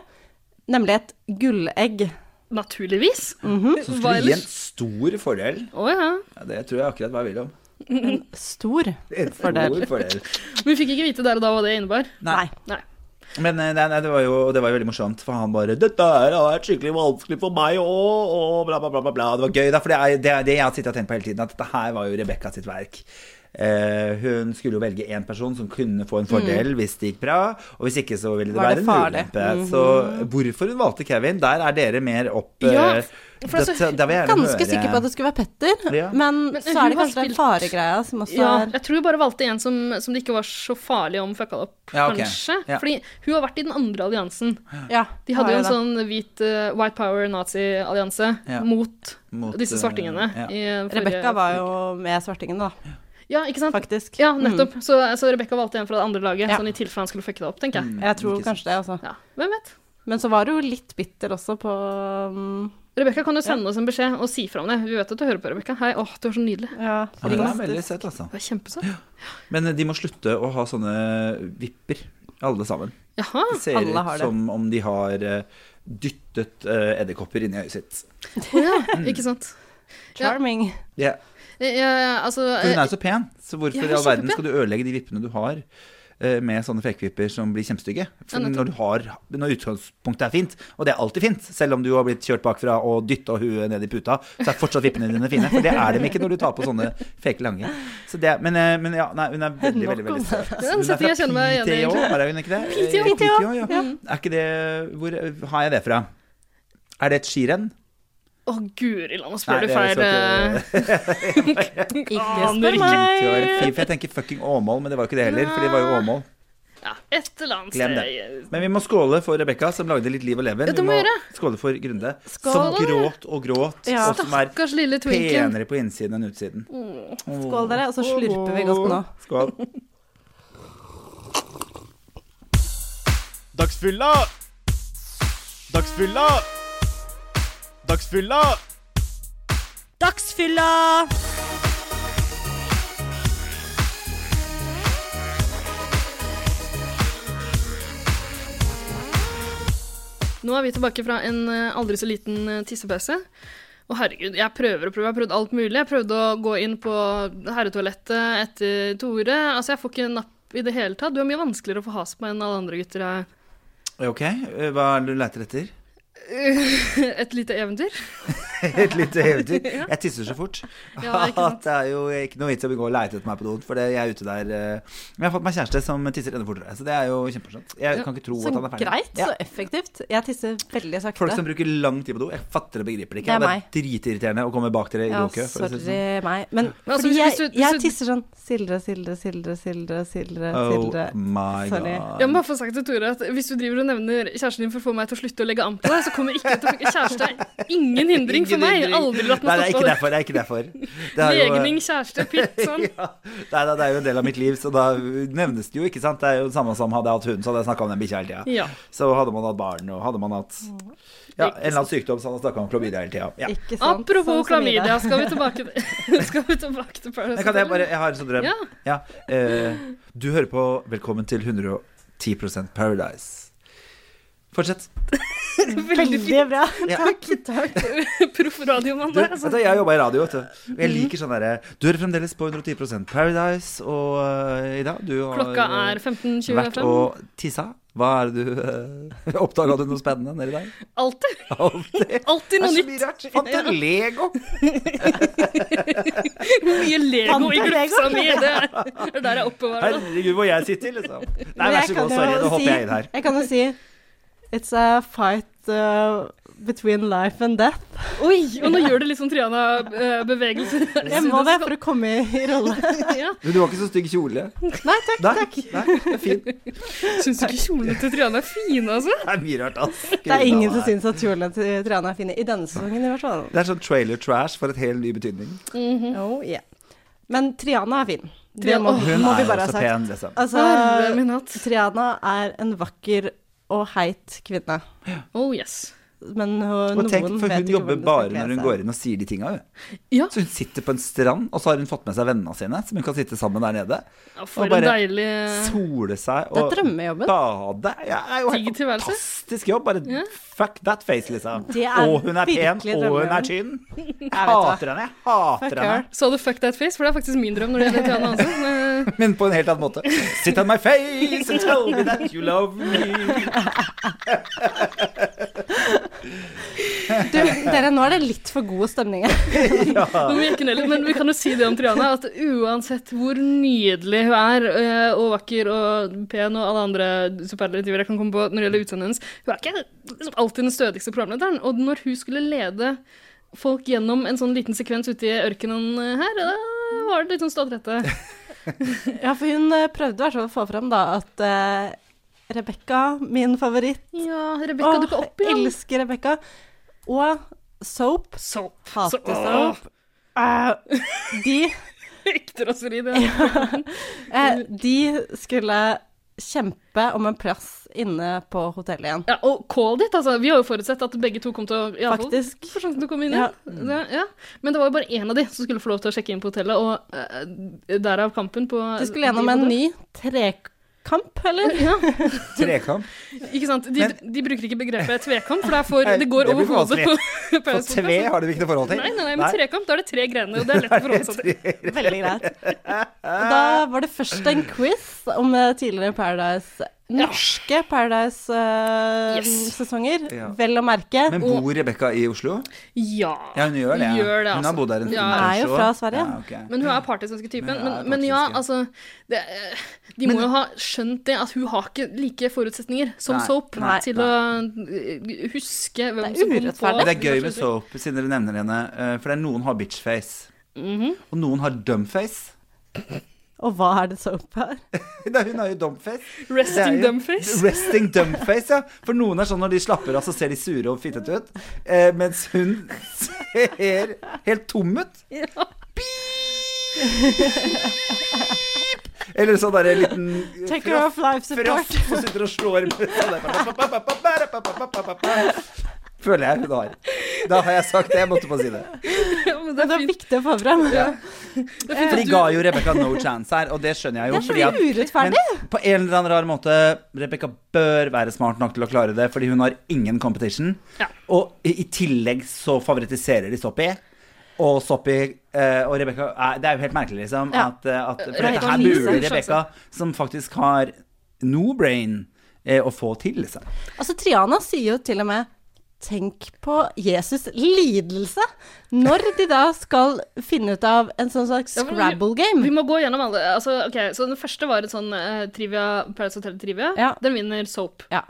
Speaker 3: nemlig et gullegg.
Speaker 1: Naturligvis.
Speaker 3: Hm?
Speaker 2: Som
Speaker 1: Hva
Speaker 2: skulle gi en
Speaker 1: ellers?
Speaker 2: stor fordel.
Speaker 1: Å ja.
Speaker 2: Ja, det tror jeg akkurat hva jeg vil om.
Speaker 3: Stor.
Speaker 2: En stor
Speaker 3: Fordel.
Speaker 2: fordel.
Speaker 1: Men vi fikk ikke vite der og da hva det innebar.
Speaker 2: Nei.
Speaker 1: Nei.
Speaker 2: Men eh, nei, nei, det, var jo, det var jo veldig morsomt, for han bare 'Dette her har vært skikkelig vanskelig for meg òg', og bla, bla, bla, bla, bla. Det var gøy, da, for det er det, er det jeg har sittet og tenkt på hele tiden, at dette her var jo Rebekka sitt verk. Eh, hun skulle jo velge én person som kunne få en fordel hvis det gikk bra, og hvis ikke så ville det
Speaker 3: Mm. Var
Speaker 2: være
Speaker 3: det
Speaker 2: en
Speaker 3: farlig? Mhm.
Speaker 2: ulempe. Så hvorfor hun valgte Kevin, der er dere mer opp
Speaker 1: Ja,
Speaker 2: eh,
Speaker 1: for altså,
Speaker 2: dette- da vil jeg gjerne
Speaker 3: Ganske
Speaker 2: høre-
Speaker 3: sikker på at det skulle være Petter,
Speaker 2: Ja.
Speaker 3: men
Speaker 1: Men eh,
Speaker 3: så
Speaker 1: hun
Speaker 3: er det
Speaker 1: har
Speaker 3: kanskje den
Speaker 1: spilt-
Speaker 3: faregreia som også
Speaker 1: Ja,
Speaker 3: er
Speaker 1: jeg tror hun bare valgte en som, som det ikke var så farlig om fucka opp,
Speaker 2: Ja, ok.
Speaker 1: kanskje.
Speaker 2: Ja.
Speaker 1: Fordi hun har vært i den andre alliansen.
Speaker 3: Ja,
Speaker 1: De hadde
Speaker 3: har
Speaker 1: jo en
Speaker 3: det.
Speaker 1: sånn hvit eh, white power-nazi-allianse
Speaker 2: Ja.
Speaker 1: mot,
Speaker 2: mot,
Speaker 1: disse
Speaker 2: eh,
Speaker 1: svartingene.
Speaker 2: ja.
Speaker 1: i forrige-
Speaker 3: Rebekka var jo med svartingen, da,
Speaker 1: Ja, ikke sant?
Speaker 3: faktisk.
Speaker 1: Ja, nettopp. Så, så Rebekka valgte en fra det andre laget,
Speaker 3: Mm. Ja.
Speaker 1: sånn i tilfelle han skulle fucke det opp, tenker jeg.
Speaker 3: Mm. Jeg tror
Speaker 2: Ikke sant.
Speaker 3: kanskje det, altså.
Speaker 1: Ja, Hvem vet?
Speaker 3: Men så var du jo litt bitter også på um,
Speaker 1: Rebekka kan jo sende oss en beskjed og si fra om det. Vi vet at du hører på, Rebekka. Hei, åh, du er så nydelig.
Speaker 3: Ja,
Speaker 2: Ja, det er veldig søtt, altså.
Speaker 1: Du er kjempesøt.
Speaker 2: Men eh, de må slutte å ha sånne vipper, alle sammen.
Speaker 1: Jaha.
Speaker 2: Det ser
Speaker 3: Alle har
Speaker 2: ut
Speaker 3: det.
Speaker 2: som om de har eh, dyttet eh, edderkopper inn i øyet sitt.
Speaker 1: Å ja,
Speaker 2: Mm.
Speaker 1: ikke sant.
Speaker 3: Charming.
Speaker 2: Ja,
Speaker 1: Eh, eh, altså
Speaker 2: For hun
Speaker 1: eh,
Speaker 2: er jo så pen, så hvorfor
Speaker 1: Ja,
Speaker 2: i
Speaker 1: hun er
Speaker 2: all verden
Speaker 1: kjempepen.
Speaker 2: skal du ødelegge de vippene du har eh, med sånne frekvipper som blir kjempestygge? For
Speaker 1: Ja, nettopp.
Speaker 2: når, du har, når utgangspunktet er fint, og det er alltid fint, selv om du har blitt kjørt bakfra og dytta huet ned i puta, så er fortsatt vippene dine fine. For det er dem ikke når du tar på sånne fake lange. Så det, men, eh, men ja, nei, hun er veldig, veldig veldig søt.
Speaker 1: er en
Speaker 2: Hun
Speaker 1: setting jeg kjenner meg igjen i,
Speaker 2: PTO,
Speaker 1: egentlig.
Speaker 2: er hun ikke det?
Speaker 1: PTO,
Speaker 2: Eh, PTO, ja. Er ikke det Hvor har jeg det fra? Er det et skirenn?
Speaker 1: Å, eh, guri land, nå
Speaker 2: Nei,
Speaker 1: spør du
Speaker 2: det er
Speaker 1: feil.
Speaker 2: så
Speaker 1: eh,
Speaker 3: Ikke
Speaker 1: Aner
Speaker 3: spør
Speaker 1: ikke.
Speaker 2: Det
Speaker 3: meg.
Speaker 2: var fint, for jeg tenker fucking Åmål, men det var jo ikke det heller, for det var jo Åmål.
Speaker 1: Ja, et eller annet
Speaker 2: Glem det.
Speaker 1: sted.
Speaker 2: Men vi må skåle for Rebekka, som lagde litt liv og leven.
Speaker 1: Ja, det
Speaker 2: Vi
Speaker 1: må
Speaker 2: må
Speaker 1: vi
Speaker 2: skåle for Grunde,
Speaker 3: Skål.
Speaker 2: som gråt og gråt,
Speaker 3: Ja.
Speaker 2: og som er
Speaker 1: Stakkars lille twinken.
Speaker 2: penere på innsiden enn utsiden.
Speaker 3: Skål, dere. Og så slurper vi godt nå.
Speaker 2: Skål.
Speaker 11: Dagsfylla! Dagsfylla! Dagsfylla!
Speaker 4: Dagsfylla!
Speaker 1: Nå er vi tilbake fra en eh, aldri så liten eh, tissepause. Å herregud, jeg prøver og prøver. Jeg har prøvd alt mulig. Jeg prøvde å gå inn på herretoalettet etter Tore. Altså, jeg får ikke napp i det hele tatt. Du er mye vanskeligere å få has på enn alle andre gutter. jeg.
Speaker 2: eh, Ok, hva er det du leter etter?
Speaker 1: Et lite eventyr.
Speaker 2: et lite eventyr. Jeg tisser så fort
Speaker 1: Ja, ikke sant.
Speaker 2: at det er jo ikke noe vits i å gå og leite etter meg på doen, for det- jeg er ute der eh, Men jeg har fått meg kjæreste som tisser enda fortere, så det er jo kjempemorsomt. Jeg kan ikke tro
Speaker 3: Så
Speaker 2: at han er ferdig.
Speaker 3: greit,
Speaker 2: Ja.
Speaker 3: så effektivt. Jeg tisser veldig sakte.
Speaker 2: Folk som bruker lang tid på do, jeg fatter og begriper det
Speaker 3: Det
Speaker 2: ikke.
Speaker 3: er
Speaker 2: Det er, dritirriterende å komme bak dere i
Speaker 3: ja,
Speaker 2: dokø. for å si det
Speaker 3: sorry
Speaker 2: sånn.
Speaker 3: meg. Men
Speaker 1: altså,
Speaker 3: fordi
Speaker 1: hvis- hvis
Speaker 3: jeg,
Speaker 1: du- hvis
Speaker 3: jeg
Speaker 1: du-
Speaker 3: tisser sånn sildre, sildre, sildre, sildre, sildre,
Speaker 2: Oh
Speaker 3: sildre.
Speaker 2: my
Speaker 3: Sorry.
Speaker 2: god.
Speaker 1: Jeg må bare få sagt til Tore at Hvis du driver og nevner kjæresten din for å få meg til å slutte å legge an på deg, så kommer ikke til å funke. Kjæreste er ingen hindring for
Speaker 2: Ingen
Speaker 1: meg.
Speaker 2: hindring.
Speaker 1: Aldri latt
Speaker 2: Nei, det
Speaker 1: meg
Speaker 2: er ikke
Speaker 1: stoppe.
Speaker 2: derfor. Det er ikke derfor. Det er jo-
Speaker 1: Legning, kjæreste, pytt, sånn.
Speaker 2: ja, nei, da, det er jo en del av mitt liv, så da nevnes det jo, ikke sant. Det er jo det samme som hadde jeg hatt hund, så hadde jeg snakka om den bikkja hele tida.
Speaker 1: Ja.
Speaker 2: Så hadde man hatt barn, og hadde man hatt ja, en eller annen sykdom, så hadde man snakka om klamydia hele tida. Ja.
Speaker 3: Ikke sant?
Speaker 1: Apropos
Speaker 3: Sånn som Ida.
Speaker 1: klamydia, skal vi tilbake til, skal vi tilbake til Paradise
Speaker 2: Men kan jeg
Speaker 1: Hotel?
Speaker 2: bare Jeg har en sånn drøm.
Speaker 1: Ja.
Speaker 2: Ja, eh, du hører på Velkommen til 110 Paradise. Fortsett.
Speaker 3: Veldig bra.
Speaker 2: Ja.
Speaker 3: Takk. takk.
Speaker 1: Proff radiomann
Speaker 2: Du,
Speaker 1: der,
Speaker 2: vet du,
Speaker 1: altså.
Speaker 2: jeg har jobba i radio, vet du. Og Jeg liker sånn derre Du hører fremdeles på 110 Paradise, og eh, Ida, du har
Speaker 1: Klokka
Speaker 2: eh,
Speaker 1: er
Speaker 2: vært
Speaker 1: 15.25.
Speaker 2: og tissa. Hva er det du uh, Oppdaga du noe spennende nedi der?
Speaker 1: Alltid.
Speaker 2: Alltid.
Speaker 1: Alltid
Speaker 2: Det
Speaker 1: noe
Speaker 2: er så
Speaker 1: nytt.
Speaker 2: mye rart. Fant en Lego!
Speaker 1: Mye Lego i
Speaker 3: Fant en Lego.
Speaker 1: gruppa mi. Det er der jeg oppbevarer det.
Speaker 2: Herregud, hvor jeg sitter, liksom. Nei,
Speaker 3: Men
Speaker 2: vær
Speaker 3: jeg
Speaker 2: så
Speaker 3: kan
Speaker 2: god,
Speaker 3: jo
Speaker 2: sorry. Nå
Speaker 3: si-
Speaker 2: hopper jeg inn her.
Speaker 3: Jeg kan jo si It's a fight uh, between life and death.
Speaker 1: Oi, og nå gjør det litt sånn Triana-bevegelser.
Speaker 3: Jeg må det for å komme i rolle.
Speaker 1: Ja.
Speaker 2: Men du var ikke så stygg kjole.
Speaker 3: Nei, takk.
Speaker 2: Nei, nei, det er fint.
Speaker 1: Syns du ikke kjolene til Triana er fine, altså?
Speaker 2: Det er mye rart, ass.
Speaker 3: Det er ingen som syns at kjolene til Triana er fine. I denne sesongen, i hvert fall.
Speaker 2: Det er sånn trailer trash for et helt ny betydning.
Speaker 1: Mhm.
Speaker 3: Oh, yeah. Men Triana er fin. Det
Speaker 1: Triana-
Speaker 3: må,
Speaker 2: Hun
Speaker 3: må
Speaker 2: er
Speaker 3: vi bare
Speaker 2: også
Speaker 3: ha sagt.
Speaker 2: pen, liksom.
Speaker 1: Herre
Speaker 3: Altså,
Speaker 1: min hatt.
Speaker 3: Triana er en vakker og heit kvinne.
Speaker 1: Oh yes.
Speaker 3: Men hun,
Speaker 2: Og tenk,
Speaker 3: noen
Speaker 2: for
Speaker 3: vet
Speaker 2: hun
Speaker 3: ikke
Speaker 2: jobber
Speaker 3: hvordan de skal
Speaker 2: bare
Speaker 3: kle
Speaker 2: når hun
Speaker 3: seg.
Speaker 2: går inn og sier de tinga, hun.
Speaker 1: Ja.
Speaker 2: Så hun sitter på en strand, og så har hun fått med seg vennene sine, som hun kan sitte sammen der nede.
Speaker 1: Ja, for
Speaker 2: Og bare
Speaker 1: en deilig
Speaker 2: Sole seg
Speaker 3: Det
Speaker 2: og
Speaker 3: er drømmejobben.
Speaker 2: bade. Ja, det er jo
Speaker 1: Digg
Speaker 2: helt
Speaker 1: tilværelse.
Speaker 2: fantastisk jobb. Bare fuck that face, liksom.
Speaker 3: Det er
Speaker 2: Og hun er pen,
Speaker 3: virkelig
Speaker 2: og hun
Speaker 3: drømmejobben.
Speaker 2: er tynn. Jeg
Speaker 3: Jeg vet det.
Speaker 2: hater henne. Jeg hater
Speaker 3: Fuck
Speaker 2: henne.
Speaker 3: her.
Speaker 1: Sa du 'fuck that face'? For det er faktisk min drøm når det gjelder Triana Hansen. Eh,
Speaker 2: Men på en helt annen måte. Sit on my face and tell me that you love me.
Speaker 3: Du, dere, nå er det litt for god stemning her.
Speaker 1: nå må vi ikke ned litt, Men vi kan jo si det om Triana, at uansett hvor nydelig hun er, eh, og vakker og pen og alle andre superlativer jeg kan komme på når det gjelder utseendet hennes, hun er ikke liksom, alltid den stødigste programlederen. Og når hun skulle lede folk gjennom en sånn liten sekvens ute i ørkenen eh, her, da var det litt sånn ståtrette.
Speaker 3: Ja, for hun eh, prøvde i hvert fall å få fram da at uh, Rebekka, min favoritt
Speaker 1: Ja, Rebekka dukka
Speaker 3: Åh,
Speaker 1: opp igjen.
Speaker 3: Elsker Rebekka. Og Soap.
Speaker 1: Soap.
Speaker 3: Hater
Speaker 1: Så-
Speaker 3: Soap. Eh, de,
Speaker 1: Ekte raseri, det.
Speaker 3: eh, de skulle kjempe om en plass inne på hotellet igjen.
Speaker 1: Ja, og call it, altså. Vi har jo forutsett at begge to kom til å i alle fall,
Speaker 3: Faktisk.
Speaker 1: for sjansen til å komme inn
Speaker 3: Ja.
Speaker 1: igjen. Det, ja. Men det var jo bare én av de som skulle få lov til å sjekke inn på hotellet, og eh, derav kampen på
Speaker 3: De skulle gjennom en ny trekamp, eller?
Speaker 1: ja,
Speaker 2: Trekamp.
Speaker 1: ikke sant? De,
Speaker 2: Men-
Speaker 1: de bruker ikke begrepet tvekamp, for det, er for,
Speaker 2: Nei,
Speaker 1: det går
Speaker 2: det blir
Speaker 1: over
Speaker 2: for
Speaker 1: hodet på
Speaker 2: For
Speaker 1: Paradise
Speaker 2: tre
Speaker 3: sånn-
Speaker 1: Hotel.
Speaker 2: har du ikke noe forhold til.
Speaker 1: Nei, nei, nei, men trekamp, da er det tre grener, og det er lett å forholde seg til.
Speaker 3: Veldig greit. Da var det først en quiz om eh, tidligere Paradise Norske
Speaker 1: Yes.
Speaker 3: Paradise-sesonger,
Speaker 2: Ja.
Speaker 3: vel å merke.
Speaker 2: Men bor Rebekka i Oslo?
Speaker 1: Ja.
Speaker 2: Ja, hun gjør det.
Speaker 1: Gjør det,
Speaker 2: Hun
Speaker 1: altså.
Speaker 2: har bodd der en stund.
Speaker 1: Ja.
Speaker 3: Hun er jo
Speaker 2: kanskje,
Speaker 3: fra
Speaker 2: også. Ja,
Speaker 3: Sverige.
Speaker 2: ok.
Speaker 1: Men hun er partisk typen.
Speaker 2: Men hun er
Speaker 1: Men, men ja,
Speaker 2: partisk,
Speaker 1: altså det, eh, De må jo ha skjønt det, at hun har ikke like forutsetninger som
Speaker 2: Nei,
Speaker 1: Soap
Speaker 3: nei,
Speaker 1: til å eh, huske hvem
Speaker 3: Det er
Speaker 1: som kom på
Speaker 3: urettferdig.
Speaker 2: Men det er gøy med soap, siden dere nevner henne, eh, for det er noen har bitchface.
Speaker 1: Mhm.
Speaker 2: Og noen har dumface.
Speaker 3: Og hva er det Soap er?
Speaker 2: Nei, hun har jo dumface. Det er
Speaker 1: Resting
Speaker 2: jo-
Speaker 1: Dumface.
Speaker 2: Resting dumface, ja. For noen er sånn når de slapper av, så ser de sure og fittete ut. Eh, mens hun ser helt tom ut.
Speaker 1: Ja.
Speaker 2: Eller sånn derre liten eh,
Speaker 3: Taker
Speaker 2: fra-
Speaker 3: off life support.
Speaker 2: Fraff som sitter og slår med sånn der. Føler jeg hun har. Da har jeg sagt det. Jeg måtte bare si det.
Speaker 1: men
Speaker 3: Det
Speaker 1: det er
Speaker 3: er
Speaker 1: fint.
Speaker 3: viktig å få fram.
Speaker 1: Det er fint
Speaker 2: For de
Speaker 1: at
Speaker 2: ga
Speaker 1: du,
Speaker 2: jo Rebekka no chance her, og det skjønner jeg jo.
Speaker 3: Det er
Speaker 2: fordi
Speaker 3: fordi urettferdig.
Speaker 2: Men på en eller annen rar måte, Rebekka bør være smart nok til å klare det, fordi hun har ingen competition.
Speaker 1: Ja.
Speaker 2: Og i i tillegg så favoritiserer de Soppy. Og Soppy eh, og Rebekka eh, Det er jo helt merkelig, liksom.
Speaker 3: Ja.
Speaker 2: At, eh, at, for
Speaker 1: Rebekka
Speaker 2: dette her
Speaker 1: har liten
Speaker 2: burde
Speaker 1: sjanse.
Speaker 2: Rebekka,
Speaker 3: altså.
Speaker 2: som faktisk har no brain, eh, å få til, liksom.
Speaker 3: Altså, Triana sier jo til og med Tenk på Jesus' lidelse når de da skal finne ut av en sånn slags
Speaker 1: Ja, men vi-
Speaker 3: Scrabble-game.
Speaker 1: Vi må gå gjennom alle. Altså, ok, så Den første var et sånn eh, trivia, Paradise Hotel-trivia. Den vinner Soap.
Speaker 3: Ja.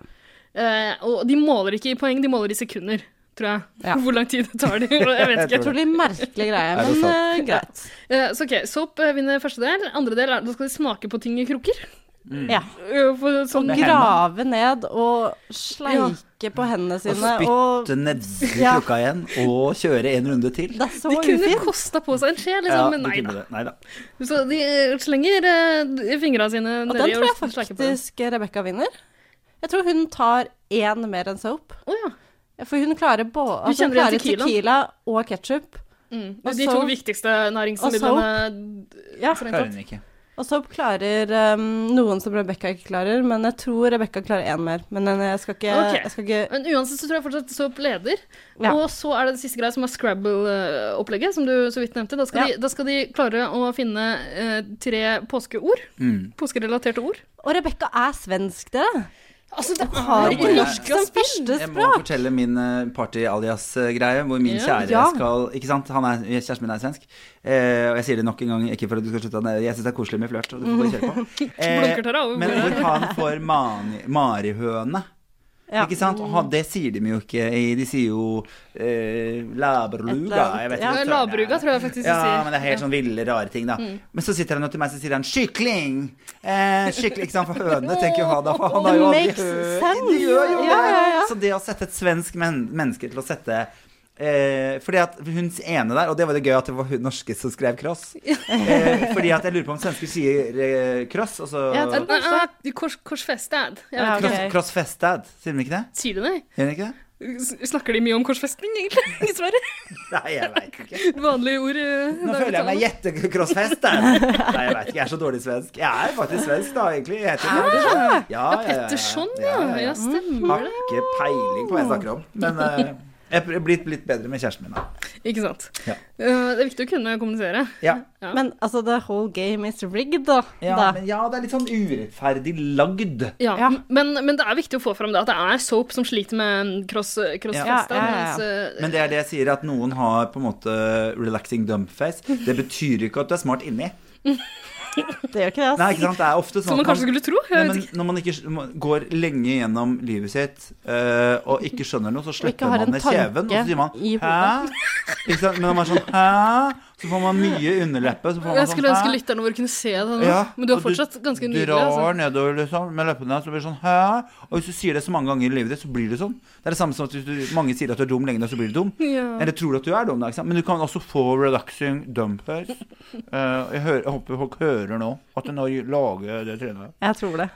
Speaker 1: Eh, og de måler ikke i poeng, de måler i sekunder, tror jeg. Hvor lang tid det tar de. Jeg vet ikke.
Speaker 3: Jeg tror det er merkelig greie,
Speaker 1: Er det
Speaker 3: men
Speaker 1: sant?
Speaker 3: eh, greit.
Speaker 1: Eh, så ok, Soap eh, vinner første del. Andre del er da skal de smake på ting i krukker.
Speaker 3: Ja.
Speaker 1: Eh, for sånn-
Speaker 3: Og grave ned og sleike på hendene
Speaker 2: Og
Speaker 3: sine og
Speaker 2: spytte nedi
Speaker 3: Ja.
Speaker 2: klokka igjen, og kjøre en runde til.
Speaker 3: Det er så
Speaker 1: De kunne
Speaker 3: ufint.
Speaker 1: kosta på seg en skje, liksom, men
Speaker 2: de
Speaker 1: nei
Speaker 2: kunne
Speaker 1: da.
Speaker 2: det. Nei da.
Speaker 1: Så de eh, slenger eh, fingra sine
Speaker 3: Og
Speaker 1: nedi
Speaker 3: den tror jeg
Speaker 1: sleker på den.
Speaker 3: faktisk Rebekka vinner. Jeg tror hun tar én mer enn soap. For hun klarer, bå
Speaker 1: Du
Speaker 3: altså, hun
Speaker 1: kjenner
Speaker 3: klarer
Speaker 1: igjen
Speaker 3: tequila.
Speaker 1: tequilaen.
Speaker 3: og ketsjup.
Speaker 1: Mm.
Speaker 3: Og
Speaker 1: De to
Speaker 3: soap.
Speaker 1: viktigste
Speaker 3: Og
Speaker 1: næringsmidlene.
Speaker 3: Ja.
Speaker 1: strengt tatt.
Speaker 3: Og soap klarer um, noen som Rebekka ikke klarer, men jeg tror Rebekka klarer én mer. Men eh, jeg skal ikke,
Speaker 1: Ok.
Speaker 3: jeg skal ikke
Speaker 1: Men uansett så tror jeg fortsatt Soap leder.
Speaker 3: Ja.
Speaker 1: Og så er det det siste greia som er Scrabble-opplegget, som du så vidt nevnte. Da skal,
Speaker 3: Ja.
Speaker 1: de, da skal de klare å finne eh, tre påskeord. Påskerelaterte ord.
Speaker 3: Og Rebekka er svensk, dere.
Speaker 1: Altså, det
Speaker 3: Har
Speaker 1: er
Speaker 2: ikke
Speaker 1: ikke norsk
Speaker 2: norsk
Speaker 1: å spille!
Speaker 2: Jeg må fortelle min eh, party-alias-greie, hvor min
Speaker 1: Ja.
Speaker 2: kjære
Speaker 1: Ja.
Speaker 2: skal Ikke sant? Han er, kjæresten min er svensk. Eh, og jeg sier det nok en gang, ikke for at du skal slutte, nei, jeg syns det er koselig med flørt, og du får bare kjøre på. Eh,
Speaker 1: Blunker tar av.
Speaker 2: men hvor han får mani, marihøne.
Speaker 3: Ja.
Speaker 2: Ikke sant? Og han- det sier de jo ikke. i- De sier jo eh, labruga. Jeg
Speaker 1: Ja,
Speaker 2: vet ikke hva søren det er.
Speaker 1: Labruga tror jeg faktisk de
Speaker 2: Ja,
Speaker 1: sier.
Speaker 2: men det er helt sånn ville, rare ting, da.
Speaker 1: Mm.
Speaker 2: Men så sitter han og til meg så sier han 'kykling'! Eh, kykling, ikke sant, for hønene tenker jo han da, for han har jo aldri
Speaker 3: Oh, Makes
Speaker 2: hørt
Speaker 3: sense.
Speaker 2: Det gjør jo
Speaker 3: Ja, ja, ja.
Speaker 2: det! Så det å sette et svensk men menneske til å sette eh, fordi at hun ene der, og det var det gøy at det var hun norske som skrev 'cross'. Eh, fordi at jeg lurer på om svensker sier eh, 'cross', og så
Speaker 1: Ja, det er- ah, de kors, korsfestad. Jeg vet
Speaker 2: cross,
Speaker 1: ikke.
Speaker 2: Crossfestad, sier de ikke det?
Speaker 1: Sier de det?
Speaker 2: Gjør de ikke det?
Speaker 1: S- Snakker de mye om korsfesting, egentlig? I Sverige?
Speaker 2: Nei, jeg vet ikke.
Speaker 1: Vanlige ord. eh,
Speaker 2: Nå føler jeg meg jettekrossfest. Nei, jeg vet ikke, jeg er så dårlig svensk. Jeg er faktisk svensk, da, egentlig. Jeg heter Pettersson. Ja, ja, ja, ja.
Speaker 1: Petterson, ja. Ja, stemmer
Speaker 2: Har
Speaker 1: det.
Speaker 2: ikke peiling på hva jeg snakker om. Men eh, jeg er blitt litt bedre med kjæresten min, da.
Speaker 1: Ikke sant.
Speaker 2: Ja.
Speaker 1: Eh, Det er viktig å kunne kommunisere.
Speaker 2: Ja.
Speaker 1: Ja.
Speaker 3: Men altså, the whole game is rigged, da.
Speaker 2: Ja,
Speaker 3: da.
Speaker 2: men ja, det er litt sånn urettferdig lagd.
Speaker 1: Ja, Men, men det er viktig å få fram det at det er soap som sliter med cross, crossfesta.
Speaker 2: Ja, ja, ja,
Speaker 1: mens, eh,
Speaker 2: Men det er det jeg sier, at noen har på en måte relaxing dump face. Det betyr ikke at du er smart inni.
Speaker 3: Det gjør ikke det,
Speaker 2: Nei, ikke sant? Det er ofte sånn
Speaker 1: Som man
Speaker 2: at
Speaker 1: kanskje skulle tro, jeg
Speaker 2: Nei,
Speaker 1: vet
Speaker 2: men Når man ikke sk- man går lenge gjennom livet sitt eh, og ikke skjønner noe, så
Speaker 3: ikke
Speaker 2: sletter
Speaker 3: har en
Speaker 2: man ned kjeven, og så
Speaker 3: tanke
Speaker 2: sier man
Speaker 3: i hodet.
Speaker 2: hæ? Ikke sant? Men når man er sånn hæ? Så får man mye underleppe. Så får man
Speaker 1: Jeg skulle
Speaker 2: sånn,
Speaker 1: ønske
Speaker 2: «Hæ?»
Speaker 1: lytterne våre kunne se det nå,
Speaker 2: Ja,
Speaker 1: men du er
Speaker 2: og
Speaker 1: fortsatt ganske nydelig.
Speaker 2: drar
Speaker 1: Altså.
Speaker 2: nedover liksom, med leppene, så blir det sånn hæ? Og hvis du sier det så mange ganger i livet ditt, så blir det sånn. Det er det samme som at hvis du, mange sier at du er dum lenge nok, så blir du dum.
Speaker 1: Ja.
Speaker 2: Eller tror at du er dum, da. Ikke sant? Men du kan også få relaxing dump face. Eh, jeg, hører, jeg håper folk hører nå at hun har laget det trynet.
Speaker 3: Jeg tror det.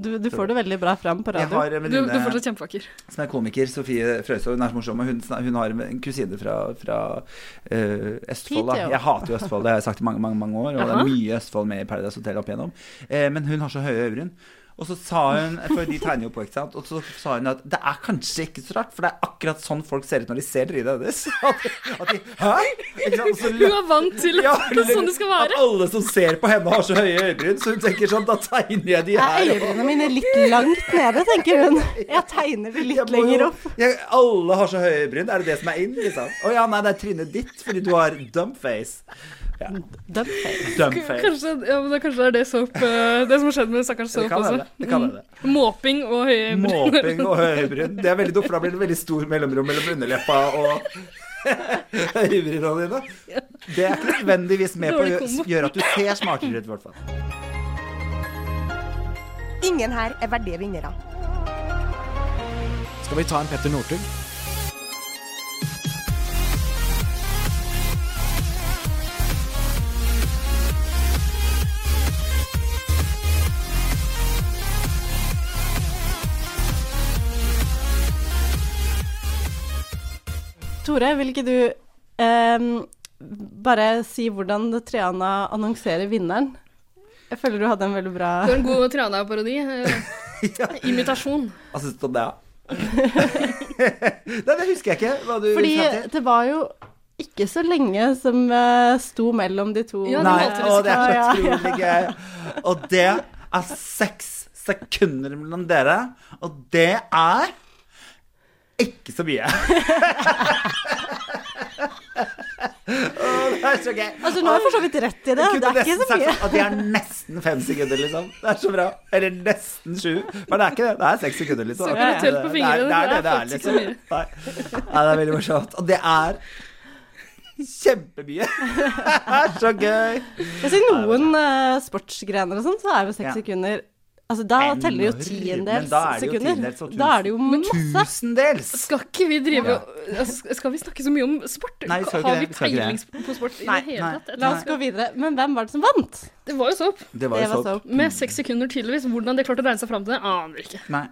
Speaker 3: Du, du får det veldig bra fram på
Speaker 2: Jeg
Speaker 3: radio.
Speaker 2: har en
Speaker 1: Du, du er
Speaker 2: venninne
Speaker 1: fortsatt kjempevakker.
Speaker 2: som er komiker, Sofie Frøysaa. Hun er så morsom. og Hun, snak- hun har en kusine fra, fra eh, Østfold. Da.
Speaker 3: Hit, jo.
Speaker 2: Jeg hater jo Østfold, det har jeg sagt i mange mange, mange år. Og det
Speaker 1: Jaha.
Speaker 2: er mye Østfold med i Paradise Hotel opp igjennom. Eh, men hun har så høye øyebryn. Og så sa hun for de tegner jo på, ikke sant? Og så sa hun at det er kanskje ikke så rart, for det er akkurat sånn folk ser ut når de ser trynet hennes. At, at de, Hæ? Ikke sant? Og så
Speaker 1: Hun er vant til
Speaker 2: Ja,
Speaker 1: at det er sånn det skal
Speaker 2: At
Speaker 1: være.
Speaker 2: alle som ser på henne, har så høye øyebryn, så hun tenker sånn Da tegner jeg de
Speaker 3: Er
Speaker 2: her. og-
Speaker 3: øyebrynene mine litt langt nede, tenker hun. Jeg tegner de
Speaker 2: Jeg
Speaker 3: litt
Speaker 2: må
Speaker 3: lenger
Speaker 2: jo-
Speaker 3: opp.
Speaker 2: Jeg, alle har så høye bryn. Er det det som er in? Liksom? Å ja, nei, det er trynet ditt fordi du har dumpface. Ja.
Speaker 3: Dumpface.
Speaker 2: Dumpface.
Speaker 1: Kanskje, ja, men det, kanskje det er det, soap, eh, det som har skjedd med stakkars
Speaker 2: Det
Speaker 1: soap
Speaker 2: kan være
Speaker 1: også. Mm.
Speaker 2: det. det, kan være det.
Speaker 1: Måping og høye
Speaker 2: Måping og høyebryn. Det er veldig dumt, for da blir det veldig stor mellomrom mellom underleppa og høyebrynene dine. Det er ikke nødvendigvis med på å
Speaker 1: Dårlig
Speaker 2: gjø-
Speaker 1: kombo.
Speaker 2: gjøre at du ser smartere ut, i hvert fall.
Speaker 5: Ingen her er verdige vinnere.
Speaker 10: Skal vi ta en Petter Northug?
Speaker 3: Tore, vil ikke du ehm, bare si hvordan Triana annonserer vinneren? Jeg føler du hadde en veldig bra
Speaker 1: Det var en god Triana-parodi. eh, Imitasjon.
Speaker 2: Hva syns du om det, da? Nei, det husker jeg ikke. Hva du
Speaker 3: Fordi
Speaker 2: sa til.
Speaker 3: det var jo ikke så lenge som eh, sto mellom de to.
Speaker 1: Ja, de
Speaker 2: Nei,
Speaker 1: måtte
Speaker 2: og det er så
Speaker 3: Ja, ja.
Speaker 2: utrolig gøy. Og det er seks sekunder mellom dere, og det er Ikke så mye. Åh, det er så gøy.
Speaker 3: Altså, nå har jeg for så vidt rett i det.
Speaker 2: Jeg kunne
Speaker 3: Det er ikke
Speaker 2: nesten
Speaker 3: så
Speaker 2: sagt
Speaker 3: mye.
Speaker 2: sånn At det er nesten fem sekunder, liksom. Det er så bra. Eller nesten sju. Men det er ikke det. Det er seks sekunder, liksom.
Speaker 1: Så kan du telle på
Speaker 2: Det er-
Speaker 1: fingrene.
Speaker 2: Det er det det er,
Speaker 1: faktisk ikke
Speaker 2: liksom.
Speaker 1: så mye.
Speaker 2: Nei. Nei, det er veldig morsomt. Og det er kjempemye. Det er så gøy.
Speaker 3: Jeg sier noen eh, sportsgrener og sånn, så er jo seks
Speaker 2: Ja.
Speaker 3: sekunder Altså, da teller det jo
Speaker 2: Enorm, men
Speaker 3: tiendels
Speaker 2: da er det jo
Speaker 3: sekunder.
Speaker 2: tiendels og
Speaker 3: Da er det jo masse.
Speaker 2: Tusendels.
Speaker 1: Skal ikke vi drive altså, Skal vi snakke så mye om sport?
Speaker 2: Nei, vi skal ikke
Speaker 1: Har
Speaker 2: det,
Speaker 1: vi
Speaker 2: vi skal ikke
Speaker 1: peiling på sport i
Speaker 2: Nei,
Speaker 1: det hele
Speaker 2: nei,
Speaker 1: tatt? Jeg
Speaker 3: La oss
Speaker 1: tror
Speaker 3: gå videre. Men hvem var det som vant?
Speaker 1: ikke- Det var jo sopp.
Speaker 2: Det var
Speaker 3: Det
Speaker 2: jo
Speaker 3: var
Speaker 2: sånn.
Speaker 3: soap.
Speaker 1: Med seks sekunder tidligvis. Hvordan de klarte å regne seg fram til det, aner ikke.
Speaker 2: Nei.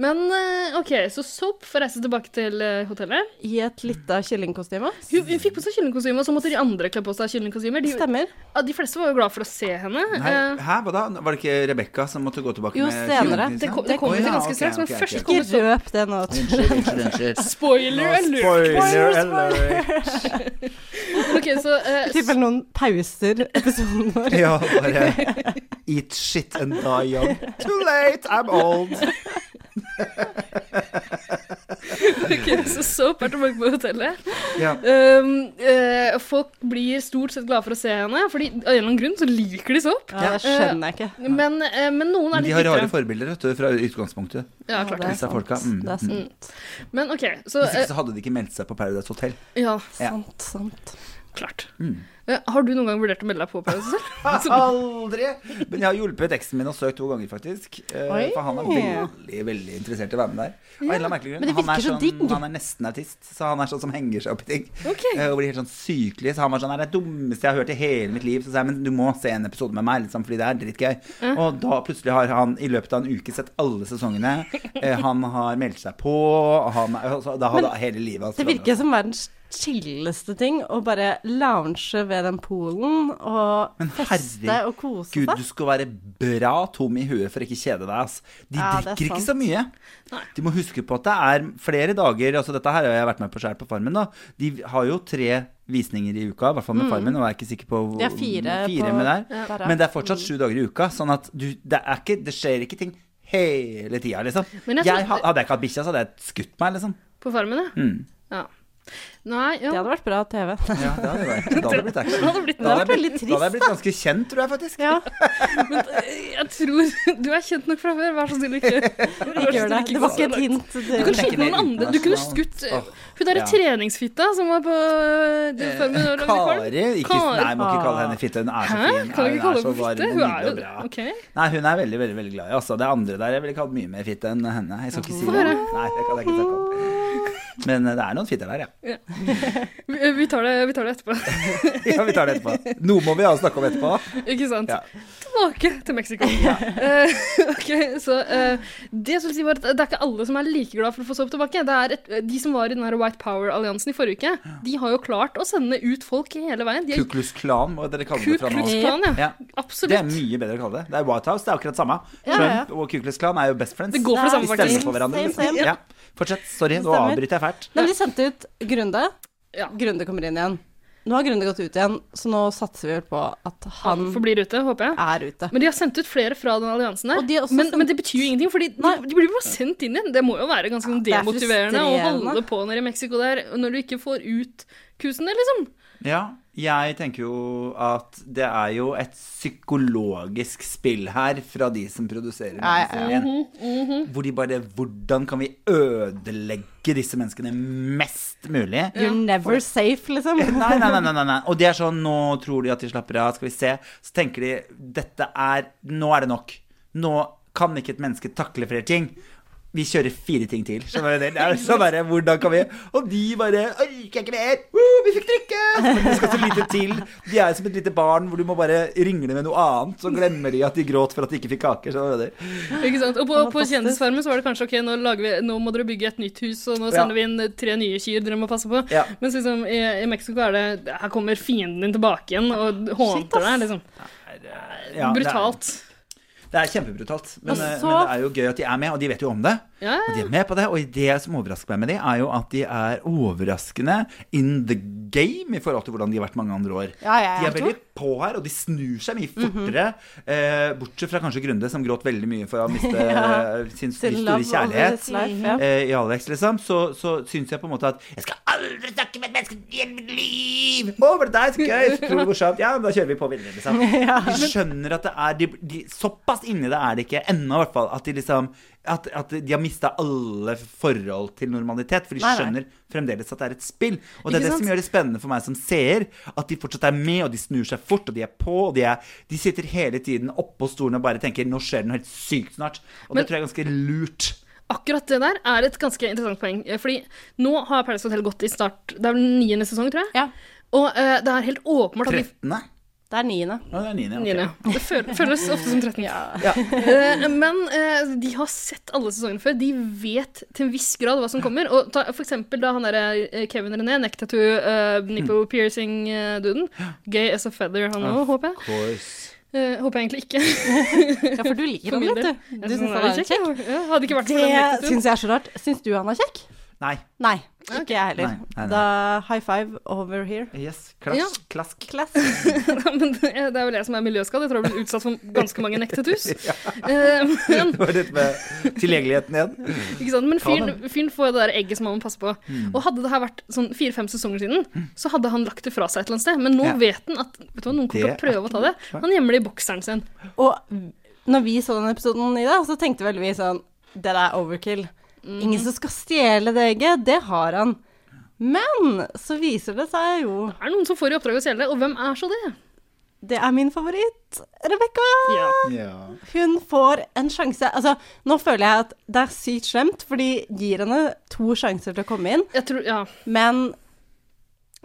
Speaker 1: Men eh, OK, så sopp får reise tilbake til eh, hotellet.
Speaker 3: I et lite kyllingkostyme.
Speaker 1: Hun, hun fikk på seg kyllingkostyme, og så måtte de andre kle på seg kyllingkostymer. De,
Speaker 3: Stemmer.
Speaker 1: ja, de fleste var jo glad for å se henne.
Speaker 2: Nei,
Speaker 1: Eh,
Speaker 2: Hæ, hva da? Var det ikke Rebekka som måtte gå tilbake
Speaker 3: Jo,
Speaker 2: med
Speaker 3: senere.
Speaker 2: kyllingkrisen?
Speaker 1: det, ko- det kommer
Speaker 2: Å,
Speaker 1: vi til
Speaker 2: ja,
Speaker 1: ganske
Speaker 2: ok,
Speaker 1: straks,
Speaker 2: ok,
Speaker 1: men
Speaker 2: ok,
Speaker 1: først
Speaker 2: ok.
Speaker 3: Ikke
Speaker 1: kommer sånn- sopp.
Speaker 3: røp det nå.
Speaker 10: Unnskyld, unnskyld, unnskyld.
Speaker 1: Spoiler alert!
Speaker 2: Spoiler alert.
Speaker 1: Men OK, så eh,
Speaker 3: I tilfelle noen pauser episoden vår.
Speaker 2: Ja, bare Eat shit and die young. Too late, I'm old.
Speaker 1: Ok, så Soap er tilbake på hotellet.
Speaker 2: Ja.
Speaker 1: Um, eh, folk blir stort sett glade for å se henne, Fordi av en eller annen grunn så liker de Soap.
Speaker 3: Ja, det skjønner jeg ikke.
Speaker 1: Men, eh, men noen er
Speaker 2: Men
Speaker 1: litt
Speaker 2: de har rare
Speaker 1: bitre.
Speaker 2: forbilder vet du, fra utgangspunktet.
Speaker 1: Ja, klart det.
Speaker 2: Disse folka. Mm,
Speaker 3: Det er
Speaker 2: mm.
Speaker 3: sant.
Speaker 1: Men OK, så
Speaker 2: Hvis ikke
Speaker 1: eh,
Speaker 2: så hadde de ikke meldt seg på Paradise Hotel.
Speaker 1: Ja,
Speaker 2: Ja.
Speaker 3: Sant, sant.
Speaker 1: klart.
Speaker 2: Mm.
Speaker 1: Eh, har du noen gang vurdert å melde deg på Paradise Hotel?
Speaker 2: Aldri! Men jeg har hjulpet eksen min og søkt to ganger, faktisk. Eh,
Speaker 3: Oi.
Speaker 2: For han er veldig veldig interessert i å være med der. Av en eller annen merkelig grunn.
Speaker 3: men det
Speaker 2: han, er
Speaker 3: virker så
Speaker 2: sånn,
Speaker 3: digg.
Speaker 2: han er nesten autist, så han er sånn som henger seg opp i ting.
Speaker 1: Ok.
Speaker 2: Eh, Og blir helt sånn sykelig. Så han var sånn Det er det dummeste jeg har hørt i hele mitt liv. Så sa jeg men du må se en episode med meg, liksom, fordi det er drittgøy. Og da plutselig har han i løpet av en uke sett alle sesongene. Eh, Han har meldt seg på, og han er, og så- da har da hele livet hans
Speaker 3: Det virker som verdens chilleste ting å bare lounge ved den poolen og
Speaker 2: Men
Speaker 3: feste og kose
Speaker 2: Gud,
Speaker 3: seg.
Speaker 2: du skal være bra tom i huet for å ikke kjede deg. Ass. De
Speaker 3: Ja, det er
Speaker 2: drikker ikke så
Speaker 3: sant.
Speaker 2: mye. De må huske på at det er flere dager altså Dette her har jeg vært med på selv på Farmen. da De har jo tre visninger i uka, i hvert fall med Farmen. Og jeg er ikke sikker på hvor
Speaker 3: De har Mm. fire, på,
Speaker 2: med der.
Speaker 3: der, ja. Mm.
Speaker 2: Men det er fortsatt sju dager i uka, sånn at du, det, er ikke, det skjer ikke ting hele tida, liksom.
Speaker 1: Men jeg
Speaker 2: Jeg,
Speaker 1: tror-
Speaker 2: ha- hadde jeg ikke hatt bikkja, så hadde jeg skutt meg, liksom.
Speaker 1: På Farmen, ja?
Speaker 2: Mm.
Speaker 1: ja. Nei,
Speaker 3: Det
Speaker 1: ja.
Speaker 3: hadde vært bra TV.
Speaker 2: Ja, det hadde vært, da hadde det blitt action.
Speaker 1: Det hadde blitt-
Speaker 2: Da hadde jeg
Speaker 3: det hadde vært
Speaker 2: blitt- da
Speaker 3: veldig
Speaker 2: hadde jeg blitt ganske kjent, tror jeg faktisk.
Speaker 3: Ja,
Speaker 1: eh, Jeg tror du er kjent nok fra før. Vær så snill, ikke
Speaker 3: ikke gjør det. Det var ikke et hint.
Speaker 1: Du
Speaker 3: til-
Speaker 1: kunne skutt noen andre. Du kunne skutt eh, hun derre
Speaker 2: Ja.
Speaker 1: treningsfitta som var på eh, det Farmen. og lagde kvalm.
Speaker 2: Kari ikke,
Speaker 1: Kari. Ah.
Speaker 2: Nei, må ikke kalle henne fitte. Hun er så
Speaker 1: Hæ?
Speaker 2: fin.
Speaker 1: Kan du
Speaker 2: Nei,
Speaker 1: ikke kalle
Speaker 2: så
Speaker 1: henne for
Speaker 2: varm
Speaker 1: fitte?
Speaker 2: og
Speaker 1: Hun
Speaker 2: nydelig
Speaker 1: er jo
Speaker 2: og bra.
Speaker 1: OK.
Speaker 2: Nei, hun er veldig, veldig veldig glad i altså. Det andre der jeg ville kalt mye mer fitte enn henne. Jeg skal ikke si
Speaker 1: Få
Speaker 2: det.
Speaker 1: høre.
Speaker 2: Nei, det kan jeg ikke snakke om. Men eh, det er noen fitter der, ja.
Speaker 1: Vi, vi, tar det, vi tar det etterpå.
Speaker 2: ja. Vi tar det etterpå. Noe må vi ha å snakke om etterpå.
Speaker 1: Ikke sant?
Speaker 2: Ja.
Speaker 1: Tilbake til Mexico. Eh, ok, så eh, Det jeg skulle si var at det er ikke alle som er like glad for å få sopp tilbake. Det er et, De som var i den her White Power-alliansen i forrige uke, de har jo klart å sende ut folk hele veien. De er
Speaker 2: Kuklus Klan, må dere kalle
Speaker 1: Ku
Speaker 2: det fra nå
Speaker 1: Klux
Speaker 2: av.
Speaker 1: Klan, ja.
Speaker 2: Ja. Det er
Speaker 1: Absolutt.
Speaker 2: mye bedre å kalle det. Det er White House, det er akkurat samme.
Speaker 3: Ja, ja.
Speaker 2: Trump og Kuklus Klan er jo best friends.
Speaker 1: Det går for det
Speaker 2: De
Speaker 1: samme,
Speaker 2: stemmer
Speaker 1: faktisk.
Speaker 2: på hverandre.
Speaker 3: Same, same.
Speaker 2: liksom. Ja. Fortsett. Sorry, nå
Speaker 3: Stemmer.
Speaker 2: avbryter jeg fælt.
Speaker 3: Nei, men de sendte ut Grunde.
Speaker 1: Ja.
Speaker 3: Grunde kommer inn igjen. Nå har Grunde gått ut igjen, så nå satser vi vel på at han
Speaker 1: Han forblir ute, håper jeg.
Speaker 3: er ute.
Speaker 1: Men de har sendt ut flere fra den alliansen der.
Speaker 3: Og de har også
Speaker 1: men,
Speaker 3: sendt-
Speaker 1: men det betyr jo ingenting, for de,
Speaker 3: Nei.
Speaker 1: de blir bare sendt inn igjen. Det må jo være ganske sånn
Speaker 3: det er
Speaker 1: demotiverende å
Speaker 3: frustrerende.
Speaker 1: holde på nede i Mexico der når du ikke får ut kusene, liksom.
Speaker 2: Ja, jeg tenker jo at det er jo et psykologisk spill her fra de som produserer
Speaker 3: Ja, ja, ja. Mhm,
Speaker 2: serien. Hvor de bare Hvordan kan vi ødelegge disse menneskene mest mulig?
Speaker 3: You're never safe, liksom.
Speaker 2: Nei, nei, nei, nei, nei, nei. Og det er sånn Nå tror de at de slapper av, skal vi se. Så tenker de Dette er Nå er det nok. Nå kan ikke et menneske takle flere ting. Vi kjører fire ting til. Skjønner du det? Det er så bare, hvordan kan vi Og de bare Orker ikke mer! Woo, vi fikk drikke! Men det skal så lite til. De er som et lite barn hvor du må bare ringle med noe annet. Så glemmer de at de gråt for at de ikke fikk kaker. Skjønner du det?
Speaker 1: Ikke sant? Og på, på
Speaker 3: Fantastisk.
Speaker 1: Kjendisfarmen så var det kanskje ok, nå, lager vi, nå må dere bygge et nytt hus, og nå
Speaker 2: Ja.
Speaker 1: sender vi inn tre nye kyr dere må passe på.
Speaker 2: Ja.
Speaker 1: Mens liksom i, i Mexico er det Her kommer fienden din tilbake igjen og hånter deg, liksom.
Speaker 2: Ja, det er-
Speaker 1: Brutalt.
Speaker 2: Det er kjempebrutalt. Men,
Speaker 3: Og
Speaker 2: eh,
Speaker 3: så-
Speaker 2: men det er jo gøy at de er med, og de vet jo om det.
Speaker 1: Ja, ja.
Speaker 2: Og de er med på det, og det som overrasker meg med de, er jo at de er overraskende in the game i forhold til hvordan de har vært mange andre år.
Speaker 3: Ja, Mhm. ja, ja.
Speaker 2: De er veldig på her, og de snur seg mye fortere. eh, bortsett fra kanskje Grunde, som gråt veldig mye for å miste
Speaker 3: Ja.
Speaker 2: eh, sin
Speaker 3: Sin
Speaker 2: store
Speaker 3: love of
Speaker 2: kjærlighet
Speaker 3: his life, ja.
Speaker 2: eh, i Alex, liksom. Så, så syns jeg på en måte at Jeg skal aldri snakke med et menneske i hele mitt liv! Å, var det deg? Så gøy! Så utrolig morsomt. Ja, men da kjører vi på videre, liksom.
Speaker 3: Ja.
Speaker 2: De skjønner at det er de, de, Såpass inni det er det ikke ennå, i hvert fall. At de liksom at, at de har mista alle forhold til normalitet. For de
Speaker 3: Nei, nei.
Speaker 2: skjønner fremdeles at det er et spill. Og
Speaker 1: Ikke
Speaker 2: det er det
Speaker 1: sant?
Speaker 2: som gjør det spennende for meg som seer. At de fortsatt er med, og de snur seg fort, og de er på. Og de, er, de sitter hele tiden oppå stolen og bare tenker 'nå skjer det noe helt sykt snart'. Og
Speaker 1: Men-
Speaker 2: det tror jeg er ganske lurt.
Speaker 1: Akkurat det der er et ganske interessant poeng. eh, Fordi nå har Paradise Hotel gått i start Det er vel den niende sesong, tror jeg.
Speaker 3: Ja.
Speaker 1: Og eh, det er helt åpenbart at de
Speaker 2: 13.?
Speaker 3: Det er niende.
Speaker 2: Ja, det er 9.
Speaker 1: Niende. Det føl- føles ofte som 13. Eh, Men eh, de har sett alle sesongene før. De vet til en viss grad hva som kommer. Og ta, for eksempel da han der eh, Kevin René, neck tattoo, eh, nipple piercing-duden. Gay as a feather, han òg, håper jeg. Eh, håper jeg egentlig ikke.
Speaker 3: Ja, for du liker
Speaker 1: For
Speaker 3: ham
Speaker 1: min
Speaker 3: litt,
Speaker 1: del.
Speaker 3: du. Du syns han er
Speaker 1: litt
Speaker 3: litt kjekk?
Speaker 1: Ja, hadde ikke vært for den neck
Speaker 3: Det
Speaker 1: tattooen.
Speaker 3: syns jeg er så rart. Syns du han er kjekk?
Speaker 2: Nei.
Speaker 3: Nei. Ikke jeg heller.
Speaker 2: Nei, nei, nei.
Speaker 3: Da high five over here.
Speaker 2: Yes. Klask.
Speaker 1: Ja.
Speaker 2: Klask.
Speaker 3: Class.
Speaker 1: Men det er vel jeg som er miljøskadd. Jeg tror jeg har blitt utsatt for ganske mange neck tattoos. Eh, Men,
Speaker 2: Det var dette med tilgjengeligheten igjen.
Speaker 1: ikke sant? Men
Speaker 2: Ta Mm.
Speaker 1: fyren fyren får jo det der egget som han må passe på. Og hadde det her vært sånn fire-fem sesonger siden, så hadde han lagt det fra seg et eller annet sted. Men nå
Speaker 2: Ja.
Speaker 1: vet han at vet du hva, noen kommer til
Speaker 2: Det
Speaker 1: å prøve å ta det. Han gjemmer det i bokseren sin.
Speaker 3: Og når vi så den episoden i dag, så tenkte vel vi sånn Det der er overkill.
Speaker 1: Mm.
Speaker 3: Ingen som skal stjele det egget. Det har han. Men så viser det seg jo
Speaker 1: Det er noen som får i oppdrag å stjele det, og hvem er så det?
Speaker 3: Det er min favoritt, Rebekka.
Speaker 1: Ja.
Speaker 2: Ja.
Speaker 3: Hun får en sjanse. Altså, nå føler jeg at det er sykt slemt, for de gir henne to sjanser til å komme inn,
Speaker 1: Jeg tror, ja.
Speaker 3: men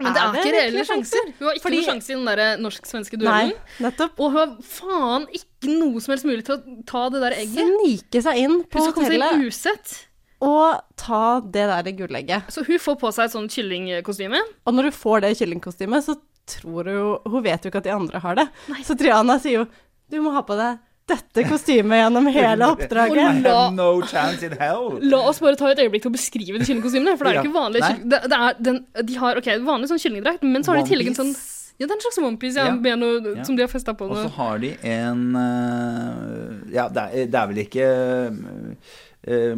Speaker 1: Men det
Speaker 3: Er
Speaker 1: er,
Speaker 3: det
Speaker 1: ikke reelle
Speaker 3: virkelig
Speaker 1: sjanser.
Speaker 3: sjanser?
Speaker 1: Hun har ikke
Speaker 3: Fordi-
Speaker 1: noen sjanse i den der eh, norsk-svenske
Speaker 3: Nei,
Speaker 1: duellen.
Speaker 3: nettopp.
Speaker 1: Og hun har faen ikke noe som helst mulighet til å ta det der egget.
Speaker 3: Snike seg inn
Speaker 1: Hun
Speaker 3: på
Speaker 1: skal komme seg
Speaker 3: hotellet
Speaker 1: usett.
Speaker 3: og ta det der gullegget.
Speaker 1: Så hun får på seg et sånn kyllingkostyme.
Speaker 3: Og når du får det kyllingkostymet, så tror hun jo Hun vet jo ikke at de andre har det. Så Triana sier jo Du må ha på deg dette kostymet gjennom hele
Speaker 1: Oi.
Speaker 3: oppdraget.
Speaker 2: I have no chance in hell.
Speaker 1: La oss bare ta et øyeblikk til å beskrive de kyllingkostymene. For det er jo
Speaker 2: Ja.
Speaker 1: ikke vanlig
Speaker 2: Nei.
Speaker 1: det, det er den, De har ok, vanlig sånn kyllingdrakt, men så har de i tillegg en sånn
Speaker 2: One Piece.
Speaker 1: Ja, det er en slags onepiece ja,
Speaker 2: Ja.
Speaker 1: med noe
Speaker 2: Ja.
Speaker 1: som de har festa på
Speaker 2: Og så
Speaker 1: noe.
Speaker 2: har de en eh, Ja, det er, det er vel ikke eh,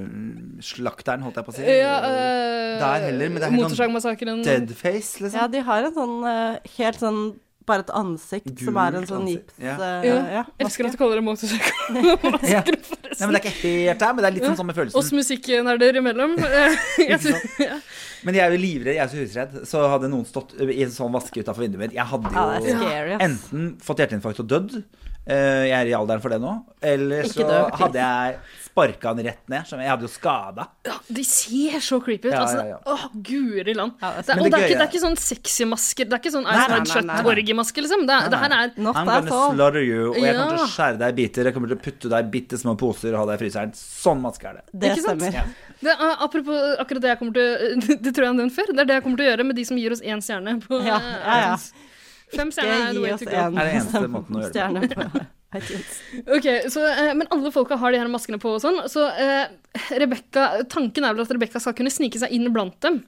Speaker 2: Motorpsycho-slakteren, holdt jeg på å si.
Speaker 1: Ja, eh,
Speaker 2: Der heller, men det er helt sånn
Speaker 1: Motorsagmassakren.
Speaker 2: deadface,
Speaker 3: Ja,
Speaker 2: liksom.
Speaker 3: de har en sånn eh, helt sånn Bare et ansikt som er en
Speaker 2: Gult
Speaker 3: sånn
Speaker 2: ansikt.
Speaker 3: gips...
Speaker 2: Ja.
Speaker 3: eh,
Speaker 1: Ja.
Speaker 3: ja,
Speaker 1: Elsker
Speaker 3: maske.
Speaker 1: at du kaller det motorsagmassakren,
Speaker 2: Ja. Nei, men
Speaker 1: forresten.
Speaker 2: det er ikke helt der, men det er litt sånn samme følelsen.
Speaker 1: Oss musikknerder imellom. Eh, jeg
Speaker 2: Ikke
Speaker 1: tror-
Speaker 2: sant? Men jeg er jo livredd, jeg er så husredd. Så hadde noen stått i en sånn vaske utafor vinduet mitt. Jeg hadde
Speaker 3: Ja, det
Speaker 2: jo
Speaker 3: er scary, ass.
Speaker 2: enten fått hjerteinfarkt og dødd, eh, jeg er i alderen for det nå, eller
Speaker 3: Ikke
Speaker 2: så
Speaker 3: dø, please.
Speaker 2: hadde jeg sparka han rett ned. skjønner du. Jeg hadde jo skada.
Speaker 1: Ja, de ser så creepy ut.
Speaker 2: Ja,
Speaker 1: altså,
Speaker 2: ja, ja.
Speaker 1: Åh, guri land.
Speaker 3: Ja, det er
Speaker 1: det er, og det er,
Speaker 2: Men det
Speaker 1: ikke,
Speaker 2: gøye-
Speaker 1: det er ikke sånn sexy masker. Det er ikke sånn
Speaker 2: nei,
Speaker 1: Ice White
Speaker 3: nei, nei, nei.
Speaker 1: Shut-orgiemaske, liksom. Det, er, det her er
Speaker 3: Not
Speaker 2: I'm
Speaker 3: that
Speaker 2: gonna
Speaker 3: all.
Speaker 2: slaughter you, og jeg kommer til
Speaker 1: Ja.
Speaker 2: å skjære deg i biter. Jeg kommer til å putte deg i bitte små poser og ha deg i fryseren. Sånn maske er det.
Speaker 3: Det
Speaker 1: Ikke sant?
Speaker 3: stemmer.
Speaker 1: Det er apropos akkurat det jeg kommer til Det tror jeg jeg har nevnt før. Det er det jeg kommer til å gjøre med de som gir oss én stjerne. På,
Speaker 3: Ja, ja, ja.
Speaker 1: Fem
Speaker 3: Ikke
Speaker 1: stjerner er the
Speaker 3: gi
Speaker 1: way
Speaker 3: oss
Speaker 1: to go.
Speaker 3: en sånn
Speaker 2: Er det eneste måten å gjøre det på.
Speaker 3: stjerne på iTunes.
Speaker 1: Ok, så, eh, men alle folka har de her maskene på og sånn. Så eh, Rebecca, tanken er vel at Rebekka skal kunne snike seg inn blant dem.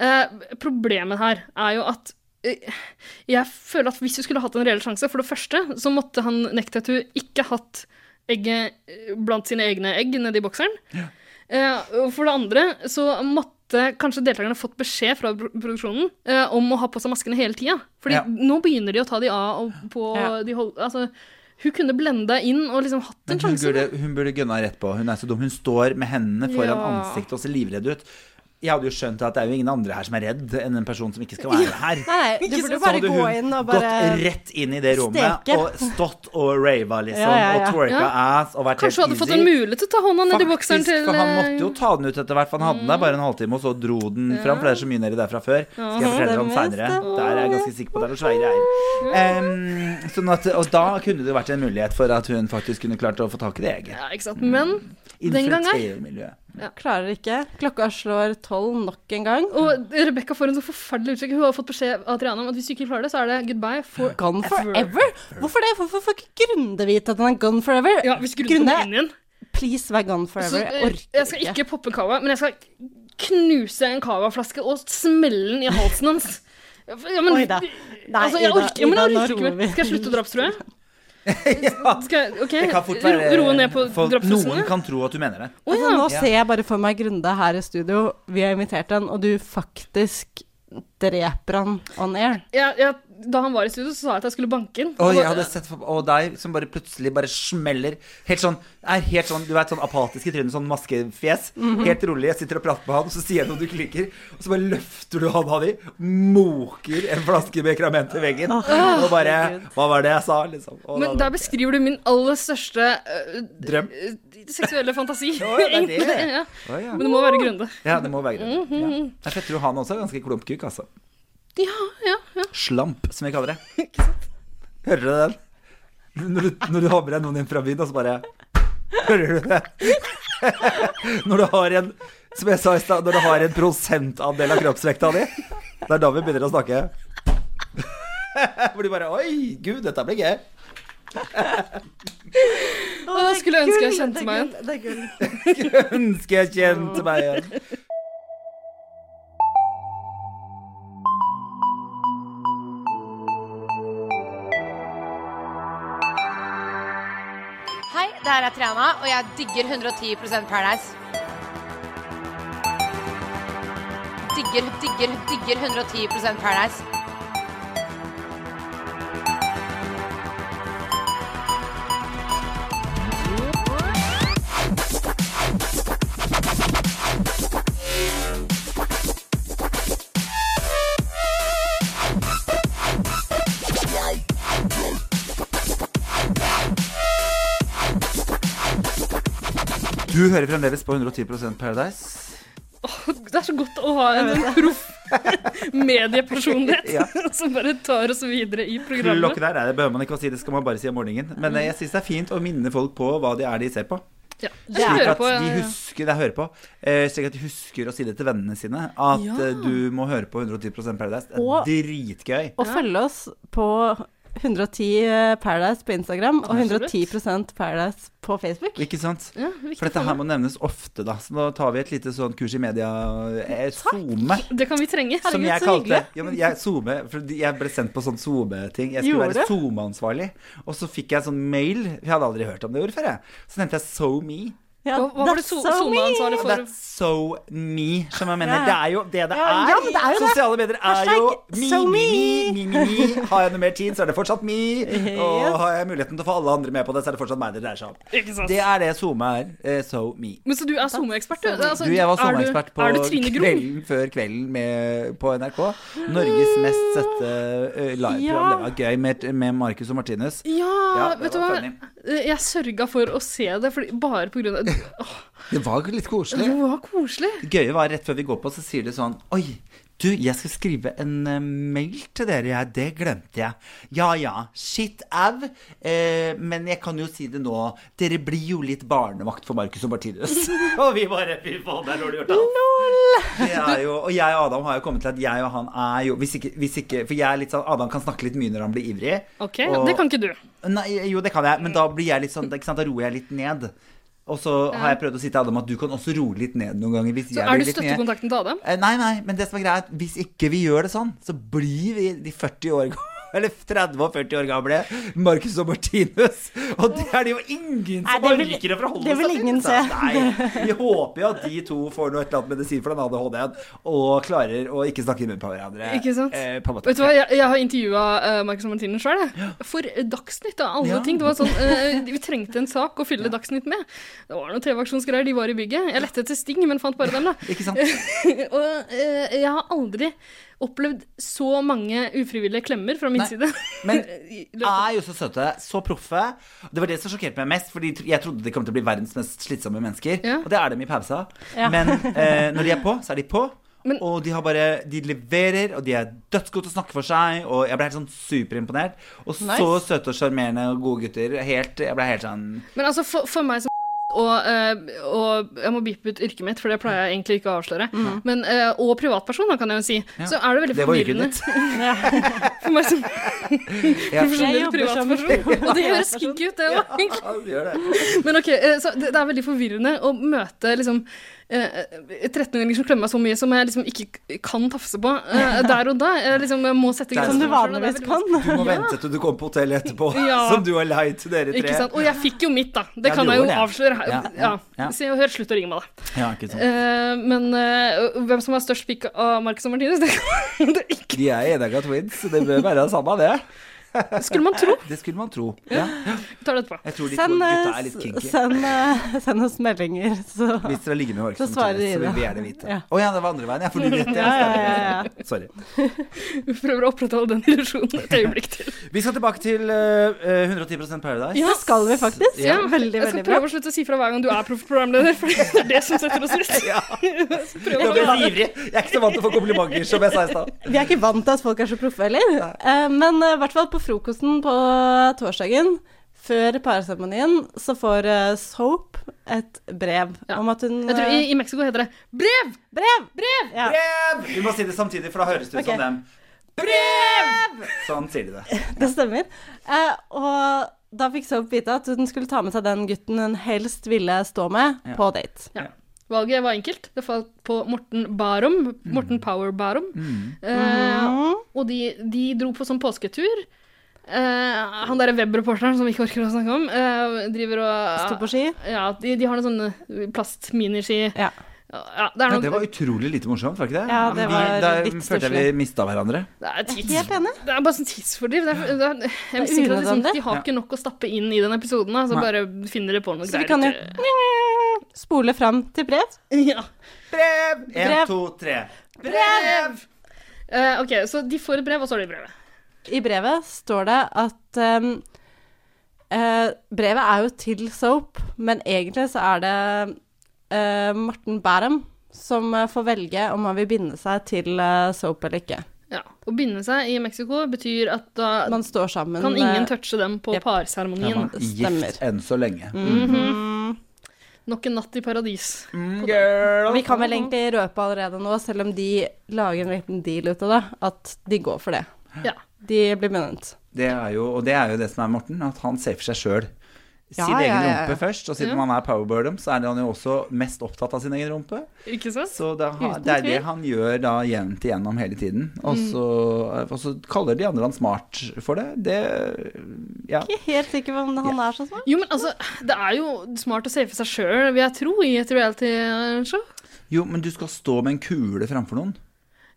Speaker 1: Eh, problemet her er jo at eh, jeg føler at hvis du skulle hatt en reell sjanse, for det første så måtte han Nektatu ikke hatt egget eh, blant sine egne egg nedi bokseren. Eh, og for det andre så måtte kanskje deltakerne fått beskjed fra pro- produksjonen eh, om å ha på seg maskene hele tida. Fordi
Speaker 2: Ja.
Speaker 1: nå begynner de å ta de av og på
Speaker 3: Ja.
Speaker 1: de hold, altså, Hun kunne blenda inn og liksom hatt en
Speaker 2: Men hun
Speaker 1: sjanse.
Speaker 2: burde, hun burde gønna rett på. Hun er så dum. Hun står med hendene foran
Speaker 1: Ja.
Speaker 2: ansiktet og ser livredd ut. Jeg hadde jo skjønt at det er jo ingen andre her som er redd enn en person som ikke skal være her.
Speaker 3: Nei, du burde bare
Speaker 2: så hadde
Speaker 3: gå
Speaker 2: hun
Speaker 3: inn og
Speaker 2: gått
Speaker 3: bare
Speaker 2: rett inn i det rommet
Speaker 3: steke.
Speaker 2: og stått og rava, liksom,
Speaker 3: Ja, ja, ja.
Speaker 2: og twerka ass og vært
Speaker 1: Kanskje hun hadde
Speaker 2: helt
Speaker 1: fått en mulighet til å ta hånda ned i bokseren
Speaker 2: Faktisk,
Speaker 1: til
Speaker 2: for han
Speaker 1: eh, Mm.
Speaker 2: måtte jo ta den ut etter hvert, for han hadde den der bare en halvtime, og så dro den fram, for det er så mye nedi der fra før. Skal jeg fortelle dere om seinere. Der er jeg ganske sikker på at det er noe sveiere her. Em, sånn at, og da kunne det jo vært en mulighet for at hun faktisk kunne klart å få tak i det eget.
Speaker 1: ja, ikke sant? Men den gangen
Speaker 2: Infiltrermiljøet.
Speaker 3: Klarer ikke. Klokka slår tolv nok en gang.
Speaker 1: Og Rebekka får en så forferdelig uttrykk. Hun har fått beskjed av Triana om at hvis du ikke klarer det, så er det goodbye for
Speaker 3: Gone forever? Hvorfor det? Hvorfor får ikke Grunde vite at den er gone forever?
Speaker 1: Ja, hvis Grunde kommer inn igjen.
Speaker 3: please vær gone
Speaker 1: Så,
Speaker 3: forever.
Speaker 1: eh,
Speaker 3: Jeg orker
Speaker 1: jeg skal ikke poppe cava, men jeg skal knuse en cavaflaske og smelle den i halsen hans. Ja, men,
Speaker 3: Oi da. Nei,
Speaker 1: altså, jeg
Speaker 3: Ida,
Speaker 1: orker, ja, men
Speaker 3: Ida,
Speaker 1: jeg
Speaker 3: nå
Speaker 1: orker ikke
Speaker 3: roer vi.
Speaker 1: mer. Skal jeg slutte å drapstrue?
Speaker 2: ja.
Speaker 1: Skal jeg, ok,
Speaker 2: Det kan fort være
Speaker 1: ro- roe ned på
Speaker 2: for Noen
Speaker 1: drapstrusselene?
Speaker 2: kan tro at du mener det.
Speaker 1: Å
Speaker 3: Altså, nå
Speaker 1: ja.
Speaker 2: Ja.
Speaker 3: ser jeg bare for meg Grunde her i studio. Vi har invitert han, og du faktisk dreper han on air.
Speaker 1: ja, ja! Da han var i studio, så sa jeg at jeg skulle banke inn.
Speaker 2: Og jeg hadde sett for, og deg som bare plutselig bare smeller Helt sånn, er helt sånn Du vet, sånn apatisk i trynet, sånn maskefjes. Helt rolig. Jeg sitter og prater med han, så sier jeg noe du ikke liker. Og så bare løfter du hånda di, moker en flaske med krament til veggen. Og bare Hva var det jeg sa? Liksom. Og
Speaker 1: Men
Speaker 2: da-
Speaker 1: der beskriver du min aller største øh,
Speaker 2: Drøm.
Speaker 1: øh, seksuelle fantasi.
Speaker 2: Å, ja, det er det.
Speaker 1: Egentlig, ja.
Speaker 2: Å, ja.
Speaker 1: Men
Speaker 2: Mhm.
Speaker 1: det må være Grunde.
Speaker 2: ja, det må være det. Ja. Jeg tror han også er ganske klumpkuk, altså.
Speaker 1: Ja, ja.
Speaker 2: Slamp, som vi kaller det. Hører du den? Når du, når du har med deg noen inn fra byen, og så bare Hører du det? Når du har en Som jeg sa i stad, når du har en prosentandel av kroppsvekta di, det er da vi begynner å snakke. Hvor de bare Oi, gud, dette blir gøy.
Speaker 1: Å, skulle ønske jeg kjente meg igjen.
Speaker 3: Det er gull.
Speaker 2: Skulle ønske jeg kjente meg igjen.
Speaker 5: Hei, det her er Triana, og jeg digger 110 Paradise. Digger, digger, digger 110 Paradise.
Speaker 2: Du hører fremdeles på 110 Paradise.
Speaker 1: Det er så godt å ha en proff mediepersonlighet
Speaker 2: Ja.
Speaker 1: som bare tar oss videre i
Speaker 2: Klokk
Speaker 1: programmet.
Speaker 2: der, nei, det behøver man ikke å si, det skal man bare si om morgenen. Men eh, jeg syns det er fint å minne folk på hva de er de ser på.
Speaker 1: Ja,
Speaker 2: Slik
Speaker 1: jeg hører
Speaker 2: at
Speaker 1: på, ja,
Speaker 2: de
Speaker 1: ja.
Speaker 2: husker, det er hører på eh, Slik at de husker å si det til vennene sine. At
Speaker 1: Ja.
Speaker 2: eh, du må høre på 110 Paradise. Det er
Speaker 3: Og-
Speaker 2: dritgøy.
Speaker 3: Og følge oss på 110 eh, Paradise på Instagram og
Speaker 1: Absolutt.
Speaker 3: 110 Paradise på Facebook.
Speaker 2: Ikke sant?
Speaker 1: Ja, viktig
Speaker 2: For dette
Speaker 1: å
Speaker 2: her
Speaker 1: få
Speaker 2: må nevnes ofte, da. Så nå tar vi et lite sånn kurs i media eh, SoMe.
Speaker 1: med. Det kan vi trenge.
Speaker 2: Som jeg
Speaker 3: så
Speaker 2: kalte ja, men jeg, SoMe, for jeg ble sendt på sånn SoMe-ting. Jeg skulle
Speaker 3: Gjorde
Speaker 2: være
Speaker 3: du?
Speaker 2: SoMe-ansvarlig. Og så fikk jeg sånn mail. Jeg hadde aldri hørt om det ordet før, jeg. Så nevnte jeg SoMe.
Speaker 3: Ja,
Speaker 1: Hva, hva var det
Speaker 3: that's
Speaker 1: so
Speaker 3: so mean.
Speaker 1: SoMe-ansvarlig
Speaker 2: Og
Speaker 1: for?
Speaker 2: that's so me, som jeg mener.
Speaker 3: Ja.
Speaker 2: Det er jo det det er.
Speaker 3: Ja, ja, men det er jo det.
Speaker 2: Sosiale medier er
Speaker 3: Hashtag
Speaker 2: jo me,
Speaker 3: so
Speaker 2: me,
Speaker 3: me.
Speaker 2: me, me, me, me. Har jeg noe mer tid, så er det fortsatt me.
Speaker 3: Yes.
Speaker 2: Og har jeg muligheten til å få alle andre med på det, så er det fortsatt meg det dreier seg om.
Speaker 1: Ikke sant?
Speaker 2: Det er det SoMe er. eh, So me.
Speaker 1: Men så du er SoMe-ekspert, du? Altså,
Speaker 2: Du, jeg
Speaker 1: er
Speaker 2: var
Speaker 1: du-
Speaker 2: SoMe-ekspert på
Speaker 1: Er du Trine Grom?
Speaker 2: Kvelden før Kvelden med, på NRK. Norges mest sette eh, liveprogram.
Speaker 3: Ja.
Speaker 2: Det var gøy med, med Marcus og Martinus.
Speaker 1: Ja,
Speaker 2: Ja, det
Speaker 1: vet du
Speaker 2: var
Speaker 1: hva.
Speaker 2: funny.
Speaker 1: Jeg sørga for å se det, fordi, bare på grunn av Åh,
Speaker 2: Det var litt koselig.
Speaker 1: Det var koselig.
Speaker 2: Det gøye var rett før vi går på, så sier de sånn Oi, du, jeg skal skrive en eh, mail til dere, jeg. Det glemte jeg. Ja ja, shit au. Eh, men jeg kan jo si det nå. Dere blir jo litt barnevakt for Marcus og Martinus. og vi bare Fy faen, det er dårlig gjort, da. Det er jo, og jeg og Adam har jo kommet til at jeg og han er jo Hvis ikke, hvis ikke For jeg er litt sånn Adam kan snakke litt mye når han blir ivrig.
Speaker 1: Ok,
Speaker 2: og-
Speaker 1: Det kan ikke du.
Speaker 2: Nei, jo, det kan jeg, men
Speaker 1: Mm.
Speaker 2: da blir jeg litt sånn ikke sant? Da roer jeg litt ned. Og så har jeg prøvd å si til Adam at du kan også roe litt ned noen ganger. Hvis
Speaker 1: Så
Speaker 2: jeg
Speaker 1: er
Speaker 2: blir
Speaker 1: du
Speaker 2: litt ned.
Speaker 1: støttekontakten til Adam?
Speaker 2: Eh, Nei, nei, men det som er greit, hvis ikke vi gjør det sånn, så blir vi de 40 år gamle eller 30 og 40 år gamle Marcus og Martinus. Og det er det jo ingen som
Speaker 3: Nei, det vil-
Speaker 2: orker å forholde
Speaker 3: det vil
Speaker 2: seg
Speaker 3: ingen
Speaker 2: da. Nei, vi håper jo at de to får noe et eller annet medisin for den ADHD-en og klarer å ikke snakke i munnen på hverandre.
Speaker 1: Ikke sant?
Speaker 2: Eh, på en måte.
Speaker 1: Vet du hva, Jeg, jeg har intervjua Marcus og Martinus sjøl. For eh, Dagsnytt av alle
Speaker 2: Ja.
Speaker 1: ting. Det var sånn, eh, Vi trengte en sak å fylle Dagsnytt med. Det var noen TV-aksjonsgreier, de var i bygget. Jeg lette etter Sting, men fant bare dem, da.
Speaker 2: Ikke sant?
Speaker 1: og eh, jeg har aldri opplevd så mange ufrivillige klemmer fra min
Speaker 2: Nei,
Speaker 1: side.
Speaker 2: men
Speaker 1: I løpet av-
Speaker 2: er jo så søte, så proffe. Det var det som sjokkerte meg mest, Fordi jeg trodde de kom til å bli verdens mest slitsomme mennesker.
Speaker 1: Ja.
Speaker 2: Og det er dem i pausa.
Speaker 3: Ja.
Speaker 2: Men eh, når de er på, så er de på.
Speaker 1: Men-
Speaker 2: og de har bare De leverer, og de er dødsgode til å snakke for seg. Og jeg ble helt sånn superimponert. Og så
Speaker 3: Nice.
Speaker 2: søte og sjarmerende og gode gutter. Helt, jeg ble helt sånn
Speaker 1: Men altså, for, for meg som og, eh, og jeg må beepe ut yrket mitt, for det pleier jeg egentlig ikke å avsløre. Men, eh, og privatperson, da, kan jeg jo si. Så er det veldig
Speaker 2: Mm. Det var yrket
Speaker 1: forvirrende
Speaker 2: ditt.
Speaker 1: for meg som
Speaker 3: Jeg
Speaker 1: profesjonell
Speaker 3: jobber som
Speaker 1: privatperson. Og det høres skinky ut, det òg.
Speaker 2: Ja, det gjør det.
Speaker 1: Men ok, eh, så det, det er veldig forvirrende å møte liksom eh, 13-åringer som klemmer meg så mye som jeg liksom ikke kan tafse på eh, der og da. Jeg liksom jeg må sette
Speaker 2: Det er
Speaker 1: grenser
Speaker 2: som du
Speaker 1: for meg selv, og det er
Speaker 3: vanligvis
Speaker 1: veldig
Speaker 3: kan.
Speaker 1: vanskelig.
Speaker 2: Du må vente til du kommer på hotellet etterpå,
Speaker 1: Ja.
Speaker 2: som du har leid til dere tre.
Speaker 1: Ikke sant? Og jeg fikk jo mitt, da. Det
Speaker 2: Ja,
Speaker 1: kan
Speaker 2: du
Speaker 1: jeg jo
Speaker 2: gjorde det.
Speaker 1: avsløre. her.
Speaker 2: Ja,
Speaker 1: Ja,
Speaker 2: ja, ja.
Speaker 1: Se og hør, slutt å ringe meg, da.
Speaker 2: Ja, ikke sant.
Speaker 1: Eh, men eh, hvem som har størst pikk av Marcus og Martinus, det kan det ikke
Speaker 2: De er enegga twins, så det bør være det samme, det.
Speaker 1: skulle man tro.
Speaker 2: Det skulle man tro. Ja.
Speaker 1: Vi tar det etterpå.
Speaker 2: Jeg tror de to
Speaker 3: Send,
Speaker 2: gutta er
Speaker 3: eh,
Speaker 2: litt kinky.
Speaker 3: send, eh, send oss meldinger, så
Speaker 2: Hvis dere har liggende med
Speaker 3: Så
Speaker 2: Markus
Speaker 3: svarer
Speaker 2: samtidig, så
Speaker 3: de
Speaker 2: vil vi
Speaker 3: det.
Speaker 2: gjerne vite. Å ja.
Speaker 3: Ja.
Speaker 2: det var andre veien. Jeg får rett.
Speaker 3: ja, ja,
Speaker 2: Jeg.
Speaker 3: ja, ja.
Speaker 2: Sorry.
Speaker 1: Vi prøver å opprettholde den illusjonen et øyeblikk til.
Speaker 2: Vi skal tilbake til eh, 110 Paradise.
Speaker 3: Det skal vi faktisk.
Speaker 2: Ja.
Speaker 3: Veldig,
Speaker 1: jeg
Speaker 3: veldig
Speaker 1: skal
Speaker 3: bra.
Speaker 1: prøve å slutte å si fra hver gang du er proff programleder, for det er det som setter oss litt.
Speaker 2: Ja.
Speaker 1: Så prøver vi
Speaker 2: Nå ble
Speaker 1: å-
Speaker 2: jeg ivrig. Jeg er ikke så vant til å få komplimenter, som jeg sa i stad.
Speaker 3: Vi er ikke vant til at folk er så proffe heller. Eh, Men eh, i hvert fall på frokosten på torsdagen, før parseremonien, så får eh, Soap et brev
Speaker 1: Ja.
Speaker 3: om at hun
Speaker 1: Jeg tror i,
Speaker 3: eh,
Speaker 1: I Mexico heter det 'brev'!
Speaker 3: Brev! Ja.
Speaker 2: Brev! Vi må si det samtidig, for da høres det ut
Speaker 3: Ok.
Speaker 2: som dem. Brev! Sånn sier de det.
Speaker 3: Det stemmer. Eh, og da fikk Soap vite at hun skulle ta med seg den gutten hun helst ville stå med,
Speaker 2: Ja.
Speaker 3: på date.
Speaker 1: Valget var enkelt. Det falt på Morten Barum.
Speaker 2: Mm.
Speaker 1: Morten Power Barum. Eh,
Speaker 3: Mhm.
Speaker 1: og de, de dro på sånn påsketur. Eh, han derre webreporteren som vi ikke orker å snakke om, eh, driver og
Speaker 3: Sto på ski.
Speaker 1: Ja, de, de har noen sånne plastminiski
Speaker 3: Ja.
Speaker 1: ja, Det er
Speaker 2: Ja,
Speaker 1: noe
Speaker 2: det var utrolig lite morsomt, var ikke det?
Speaker 3: Ja, det var
Speaker 2: der
Speaker 3: litt
Speaker 2: følte jeg vi mista hverandre.
Speaker 1: Det er, tids,
Speaker 3: Helt
Speaker 1: det
Speaker 3: enig.
Speaker 1: er bare sånn tidsfordriv. Det er, det er, jeg er sikker på at liksom,
Speaker 3: unødvendig.
Speaker 1: de har ikke nok å stappe inn i den episoden, da, så
Speaker 2: Nei.
Speaker 1: bare finner de på noe
Speaker 3: Så vi
Speaker 1: greier.
Speaker 3: kan jo
Speaker 1: til-
Speaker 3: spole fram til brev.
Speaker 1: ja.
Speaker 2: Brev! En,
Speaker 3: Brev.
Speaker 2: to, tre.
Speaker 1: Brev! Eh, ok, så de får et brev, og så har de brevet.
Speaker 3: I brevet står det at ehm, eh, Brevet er jo til Soap, men egentlig så er det eh, Morten Bærum som eh, får velge om han vil binde seg til eh, Soap eller ikke.
Speaker 1: Ja. Å binde seg i Mexico betyr at da
Speaker 3: Man står sammen
Speaker 1: kan ingen
Speaker 3: eh,
Speaker 1: touche dem på
Speaker 3: Jep.
Speaker 2: Ja,
Speaker 1: parseremonien.
Speaker 2: man er gift enn så lenge.
Speaker 3: Mm.
Speaker 1: Nok en natt i paradis.
Speaker 2: Mm, girl.
Speaker 3: Vi kan vel egentlig røpe allerede nå, selv om de lager en liten deal ut av det, at de går for det.
Speaker 1: Ja.
Speaker 3: De blir bundet.
Speaker 2: Det er jo, og det er jo det som er Morten, at han ser for seg sjøl. Sin
Speaker 3: Ja, ja,
Speaker 2: egen
Speaker 3: ja, ja.
Speaker 2: rumpe først, og siden
Speaker 1: Ja.
Speaker 2: han er powerbirdom, så er han jo også mest opptatt av sin egen rumpe.
Speaker 1: Ikke sant?
Speaker 2: Så det, har,
Speaker 3: Uten
Speaker 2: det er det
Speaker 3: tvil. Mm.
Speaker 2: han gjør da jevnt igjennom hele tiden. Og så, og så kaller de andre han smart for det. Det Ja.
Speaker 3: Ikke helt sikker på om han er så smart.
Speaker 1: Jo, men altså, det er jo smart å safe seg sjøl, vil jeg tro, i et reality-show.
Speaker 2: Jo, men du skal stå med en kule framfor noen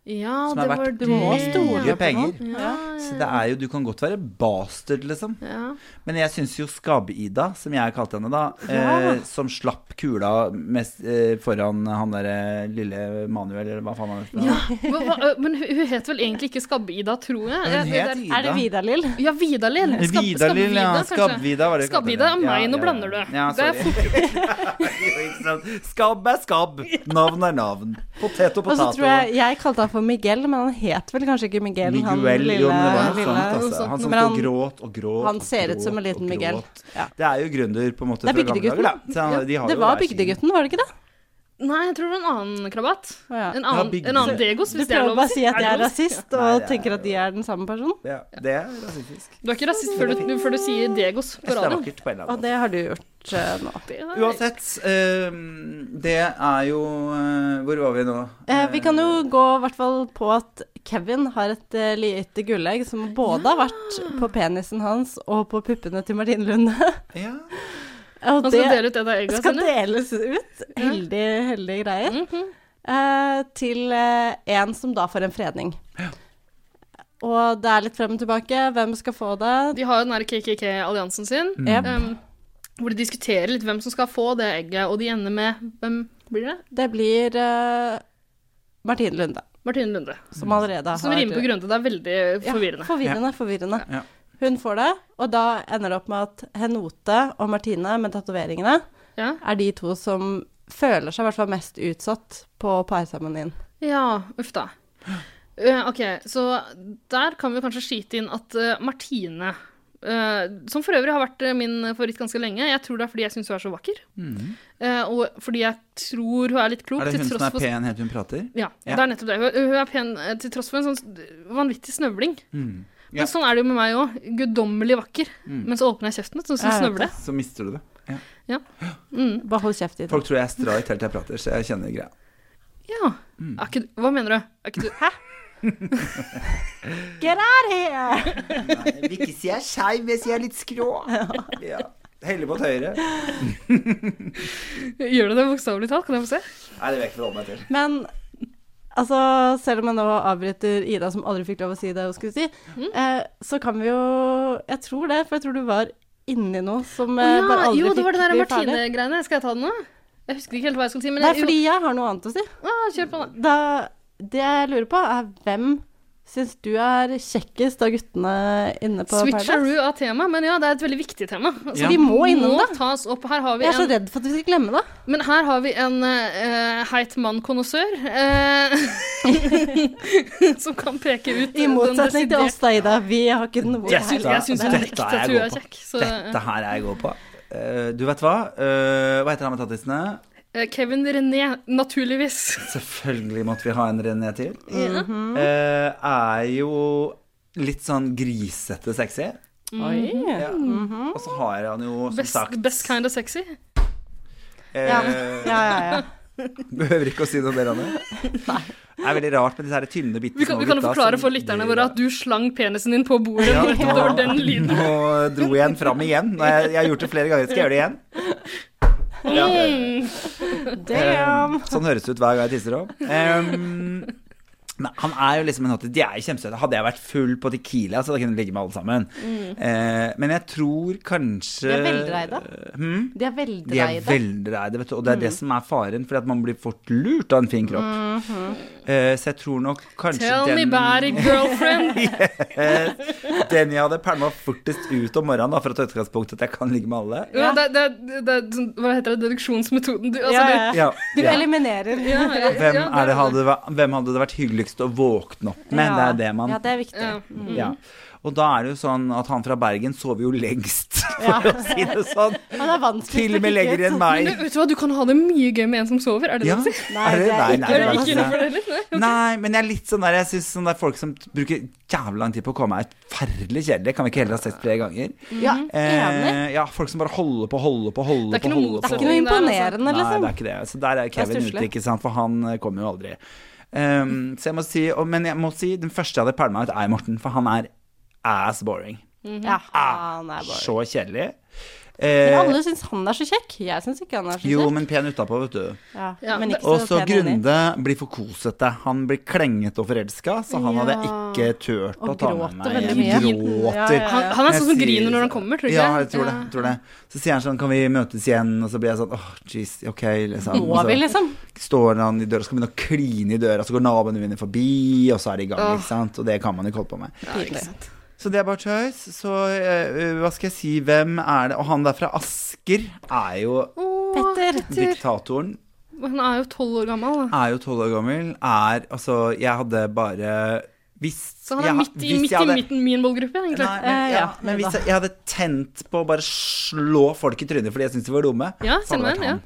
Speaker 1: Ja,
Speaker 2: som
Speaker 1: det
Speaker 2: er
Speaker 1: var
Speaker 2: verdt
Speaker 1: det.
Speaker 2: mye
Speaker 1: ja.
Speaker 3: på
Speaker 2: penger.
Speaker 1: Ja,
Speaker 2: Så det er jo Du kan godt være bastard, liksom.
Speaker 1: ja.
Speaker 2: Men jeg syns jo Skabbe-Ida, som jeg kalte henne da, eh, som slapp kula mest, eh, foran han derre lille Manuel, eller hva faen han heter.
Speaker 1: Ja, hva, hva, ø, men hun, hun het vel egentlig ikke Skabbe-Ida, tror jeg.
Speaker 2: Hun
Speaker 1: Det
Speaker 2: het
Speaker 1: der-
Speaker 2: Ida.
Speaker 3: Er det Vidar-Lill?
Speaker 1: Ja, Vidalil. Skab-
Speaker 2: Vidalil, ja.
Speaker 1: kanskje.
Speaker 2: Skabb-Vida var det
Speaker 1: Skabb-Ida er meg, nå blander du.
Speaker 2: Ja,
Speaker 1: Det er
Speaker 2: sorry. skabb er skabb. Navn er navn. Potet og
Speaker 3: Og så
Speaker 2: potato.
Speaker 3: tror jeg jeg kalte han for Miguel, men han het vel kanskje ikke Miguel. han
Speaker 2: Miguel, jo, men det var noe
Speaker 3: lille-
Speaker 2: sånt, altså.
Speaker 3: noe
Speaker 2: Han som
Speaker 3: men
Speaker 2: står og gråt og gråt
Speaker 3: han
Speaker 2: og
Speaker 3: ser ut som en
Speaker 2: gråt
Speaker 3: liten
Speaker 2: og
Speaker 3: Miguel.
Speaker 2: gråt.
Speaker 3: Ja.
Speaker 2: Det er jo gründer, på en måte,
Speaker 3: Det
Speaker 2: fra
Speaker 3: er
Speaker 2: gamle dager, da.
Speaker 3: Bygdegutten.
Speaker 2: Så han- de har
Speaker 3: Det
Speaker 2: jo
Speaker 3: var
Speaker 2: hver sin-
Speaker 3: Bygdegutten, var det ikke det?
Speaker 1: Nei, jeg tror det var en annen krabat.
Speaker 3: Å ja.
Speaker 1: En
Speaker 2: Ja,
Speaker 1: annen,
Speaker 2: Big
Speaker 1: en annen
Speaker 2: Dick.
Speaker 1: Degos,
Speaker 3: Du
Speaker 1: hvis det er
Speaker 3: prøver
Speaker 1: lov
Speaker 3: bare å
Speaker 1: å
Speaker 3: si at jeg er
Speaker 1: det lov å si?
Speaker 3: rasist,
Speaker 2: Nei,
Speaker 3: og
Speaker 2: det er-
Speaker 3: tenker at de er den samme personen.
Speaker 2: Ja, det er rasistisk.
Speaker 1: Du er ikke rasist før du, før du sier Degos på
Speaker 2: Jeg synes Det er
Speaker 1: radioen.
Speaker 2: vakkert på en eller annen måte.
Speaker 3: Og det har du gjort eh, nå.
Speaker 1: Det er-
Speaker 2: Uansett, eh, det er jo eh, Hvor var vi nå?
Speaker 3: Eh, vi kan jo gå i hvert fall på at Kevin har et eh, lite gullegg som både har vært på penisen hans og på puppene til Martine Lunde.
Speaker 2: Eh, Ja.
Speaker 3: Og
Speaker 1: Han skal
Speaker 3: det
Speaker 1: dele ut et av egga
Speaker 3: skal
Speaker 1: sine.
Speaker 3: deles ut. Heldig, heldige greier.
Speaker 1: Mhm.
Speaker 3: eh, til eh, en som da får en fredning. Og det er litt frem og tilbake. Hvem skal få det?
Speaker 1: De har jo den der KKK-alliansen sin,
Speaker 3: Jep,
Speaker 1: em, hvor de diskuterer litt hvem som skal få det egget, og de ender med Hvem blir det?
Speaker 3: Det blir eh, Martine Lunde,
Speaker 1: Martine Lunde.
Speaker 2: Mm.
Speaker 3: som allerede har
Speaker 1: Som rimer på grønte. Det er veldig forvirrende.
Speaker 3: Ja, forvirrende, forvirrende.
Speaker 2: Ja.
Speaker 3: Hun får det, og da ender det opp med at Henote og Martine med tatoveringene
Speaker 1: Ja.
Speaker 3: er de to som føler seg i hvert fall mest utsatt på parseremonien.
Speaker 1: Ja, uff da. Eh, ok, så der kan vi kanskje skyte inn at eh, Martine eh, som for øvrig har vært eh, min favoritt ganske lenge. Jeg tror det er fordi jeg syns hun er så vakker. Eh, og fordi jeg tror hun er litt klok.
Speaker 2: mm. Er det
Speaker 1: til
Speaker 2: hun som
Speaker 1: tross
Speaker 2: er
Speaker 1: for-
Speaker 2: pen helt til hun prater?
Speaker 1: Ja,
Speaker 2: Ja.
Speaker 1: det er nettopp det. Hun, hun er pen eh, til tross for en sånn vanvittig snøvling.
Speaker 2: Mm. Ja. Mm.
Speaker 1: Men sånn er det jo med meg òg. Guddommelig vakker. Men så åpner jeg kjeften, sånn som
Speaker 3: Jeg vet
Speaker 1: snøvle.
Speaker 2: Så mister du det.
Speaker 1: Ja. Mm.
Speaker 3: Bare hold kjeft i det.
Speaker 2: Folk tror jeg er straight helt til jeg prater, så jeg kjenner greia.
Speaker 1: Ja.
Speaker 2: Mm.
Speaker 1: Er ikke, hva mener du? Er ikke du Hæ?
Speaker 3: Get out here!
Speaker 2: Jeg vil ikke si jeg er skeiv, men jeg sier jeg er litt skrå. Ja. Heller mot høyre. Nei,
Speaker 1: Gjør du det bokstavelig talt? Kan jeg få se?
Speaker 2: det vil jeg ikke forholde meg til.
Speaker 3: Men altså, selv om jeg nå avbryter Ida, som aldri fikk lov å si det hun skulle si,
Speaker 1: Mm.
Speaker 3: eh, så kan vi jo Jeg tror det, for jeg tror du var inni noe som eh,
Speaker 1: Å
Speaker 3: bare
Speaker 1: ja,
Speaker 3: aldri
Speaker 1: jo, det
Speaker 3: fikk
Speaker 1: var det der
Speaker 3: bli ferdig.
Speaker 1: Martine-greiene. Skal jeg ta den nå? Jeg husker ikke helt hva jeg skulle si, men
Speaker 3: Nei,
Speaker 1: jeg,
Speaker 3: fordi jeg har noe annet å si.
Speaker 1: jo, ah, kjør på, da.
Speaker 3: Da, det jeg lurer på, er hvem syns du er kjekkest av guttene inne på Paradise?
Speaker 1: Switcheroo av tema, men ja, det er et veldig viktig tema. Så
Speaker 3: Vi må innom det.
Speaker 1: tas opp. Her har vi
Speaker 3: Jeg er så
Speaker 1: en,
Speaker 3: redd for at vi skal glemme det.
Speaker 1: men her har vi en eh, heit mann-konnoissør eh, som kan peke ut
Speaker 3: I motsetning til oss da, Ida. Vi har ikke noe
Speaker 2: Jeg syns-
Speaker 3: her.
Speaker 1: Jeg syns
Speaker 2: Dette er jeg
Speaker 1: direkte at du
Speaker 2: god
Speaker 1: er
Speaker 2: på.
Speaker 1: kjekk. Så,
Speaker 2: Dette her er jeg god på. Eh, du vet hva? Eh, hva heter han med tattisene?
Speaker 1: eh, Kevin René, naturligvis.
Speaker 2: Selvfølgelig måtte vi ha en René til. Eh, er jo litt sånn grisete sexy.
Speaker 3: Oi.
Speaker 2: Ja. Og så har han jo, som
Speaker 1: Mm, Best,
Speaker 2: sagt
Speaker 1: best kind of sexy.
Speaker 2: eh,
Speaker 3: Ja, ja, ja. ja.
Speaker 2: Behøver ikke å si noe mer om det. Det er veldig rart med disse her tynne, bitte
Speaker 1: Vi kan, vi kan jo forklare for lytterne våre at du slang penisen din på bordet.
Speaker 2: Ja,
Speaker 1: når det var den lyden.
Speaker 2: Nå dro jeg den fram igjen. Nå har jeg, jeg har gjort det flere ganger. Skal jeg gjøre det igjen?
Speaker 1: Mm.
Speaker 3: Damn.
Speaker 2: Eh, Sånn høres det ut hver gang jeg tisser opp. Em, nei, han er jo liksom en hottie. De er jo kjempesøte. Hadde jeg vært full på Tequila, så da kunne jeg ligge med alle sammen.
Speaker 1: Mm.
Speaker 2: Eh, men jeg tror kanskje
Speaker 3: De er veldreide.
Speaker 2: Hmm?
Speaker 3: De er
Speaker 2: De er
Speaker 3: veldreide.
Speaker 2: veldreide, vet du. Og det er det som er faren, fordi at man blir fort lurt av en fin kropp. Eh, så jeg tror nok kanskje
Speaker 1: Tell me
Speaker 2: den eh,
Speaker 1: about it, girlfriend.
Speaker 2: Den jeg hadde pælma fortest ut om morgenen, da, for å ta utgangspunkt i at jeg kan ligge med alle.
Speaker 1: Ja, det, det, det, er sånn- hva heter det, deduksjonsmetoden? Du, altså,
Speaker 3: Ja,
Speaker 1: du,
Speaker 3: ja.
Speaker 2: Ja,
Speaker 3: Du
Speaker 2: ja.
Speaker 3: eliminerer.
Speaker 1: ja, ja,
Speaker 2: Hvem,
Speaker 1: ja,
Speaker 2: er det hadde, væ- hvem hadde det vært hyggeligst å våkne opp med? Det er det man
Speaker 3: Ja, det er
Speaker 1: Ja.
Speaker 3: viktig.
Speaker 2: Ja. Og da er det jo sånn at han fra Bergen sover jo lengst, for å si det sånn.
Speaker 3: Han er vanskelig
Speaker 2: Til og med lenger
Speaker 1: Men
Speaker 2: enn meg.
Speaker 1: du, vet du hva, du kan ha det mye gøy med en som sover, er det
Speaker 2: Ja.
Speaker 1: sånn- det du sier?
Speaker 3: Nei,
Speaker 2: Er det-
Speaker 3: det er
Speaker 2: nei, nei,
Speaker 3: ikke-
Speaker 1: Er det
Speaker 2: det er altså-
Speaker 1: ikke
Speaker 2: ikke
Speaker 1: innenfor det liksom? heller? Nei.
Speaker 2: Nei, men jeg er litt sånn der Jeg syns sånn der folk som t- bruker jævlig lang tid på å komme, er forferdelig kjedelig. Kan vi ikke heller ha sett flere ganger?
Speaker 3: Mhm. Ja, enig.
Speaker 2: Eh, ja, folk som bare holder på, holder på,
Speaker 1: Det
Speaker 2: holder
Speaker 1: er ikke
Speaker 2: på.
Speaker 1: noe
Speaker 2: holder
Speaker 3: Det er
Speaker 2: på.
Speaker 3: ikke noe imponerende,
Speaker 2: Nei,
Speaker 3: liksom.
Speaker 2: det er ikke det. Så der er Kevin
Speaker 3: stusslig.
Speaker 2: ute, ikke sant? for han eh, kommer jo aldri. Ehm, så jeg må si, og, men jeg må si den første jeg hadde pælma ut, er Morten, for han er ass boring.
Speaker 3: Ja, han er bare
Speaker 2: Ah, Så kjedelig.
Speaker 3: Men
Speaker 2: Eh,
Speaker 3: alle syns han er så kjekk. Jeg syns ikke han er så kjekk.
Speaker 2: jo, men pen utapå, vet du.
Speaker 3: ja.
Speaker 1: Ja,
Speaker 3: men
Speaker 1: det-
Speaker 3: ikke
Speaker 2: Og så
Speaker 3: pen inni.
Speaker 2: Grunde blir for kosete. Han blir klengete og forelska, så han hadde jeg ikke turt å
Speaker 3: Og
Speaker 2: ta med
Speaker 3: gråter
Speaker 2: meg
Speaker 3: veldig
Speaker 2: hjem.
Speaker 1: mye.
Speaker 3: Ja,
Speaker 2: Gråter.
Speaker 3: ja,
Speaker 1: Han, han er
Speaker 2: Jeg
Speaker 1: sånn som
Speaker 2: sier-
Speaker 1: griner når han kommer, tror du ikke?
Speaker 2: Ja, jeg tror det. Jeg tror det. Så sier han sånn, kan vi møtes igjen? Og så blir jeg sånn, åh, jeez, ok, liksom.
Speaker 3: Må vi,
Speaker 2: Og
Speaker 3: liksom?
Speaker 2: så står han i døra, skal begynne å kline i døra, så går naboene mine forbi, og så er de i gang,
Speaker 1: Åh.
Speaker 2: ikke sant? Og det kan man ikke holde på med.
Speaker 1: Ja, ikke sant.
Speaker 2: Så det er bare choice. Så eh, hva skal jeg si, hvem er det? Og han der fra Asker er jo
Speaker 1: Åh,
Speaker 3: Petter.
Speaker 2: diktatoren.
Speaker 1: han er jo tolv år gammel, da.
Speaker 2: er jo tolv år gammel, er Altså, jeg hadde bare Hvis
Speaker 1: Så han er
Speaker 2: jeg-
Speaker 1: midt i,
Speaker 2: hvis
Speaker 1: midt
Speaker 2: jeg
Speaker 1: i
Speaker 2: hadde-
Speaker 1: midten min målgruppe, egentlig.
Speaker 2: Nei, men,
Speaker 3: Eh,
Speaker 2: ja,
Speaker 3: ja,
Speaker 2: men hvis
Speaker 3: da.
Speaker 2: jeg, jeg hadde tent på å bare slå folk i trynet fordi jeg syntes de var dumme,
Speaker 1: Ja,
Speaker 2: så hadde
Speaker 1: kjenner
Speaker 2: det vært
Speaker 1: meg,
Speaker 2: han.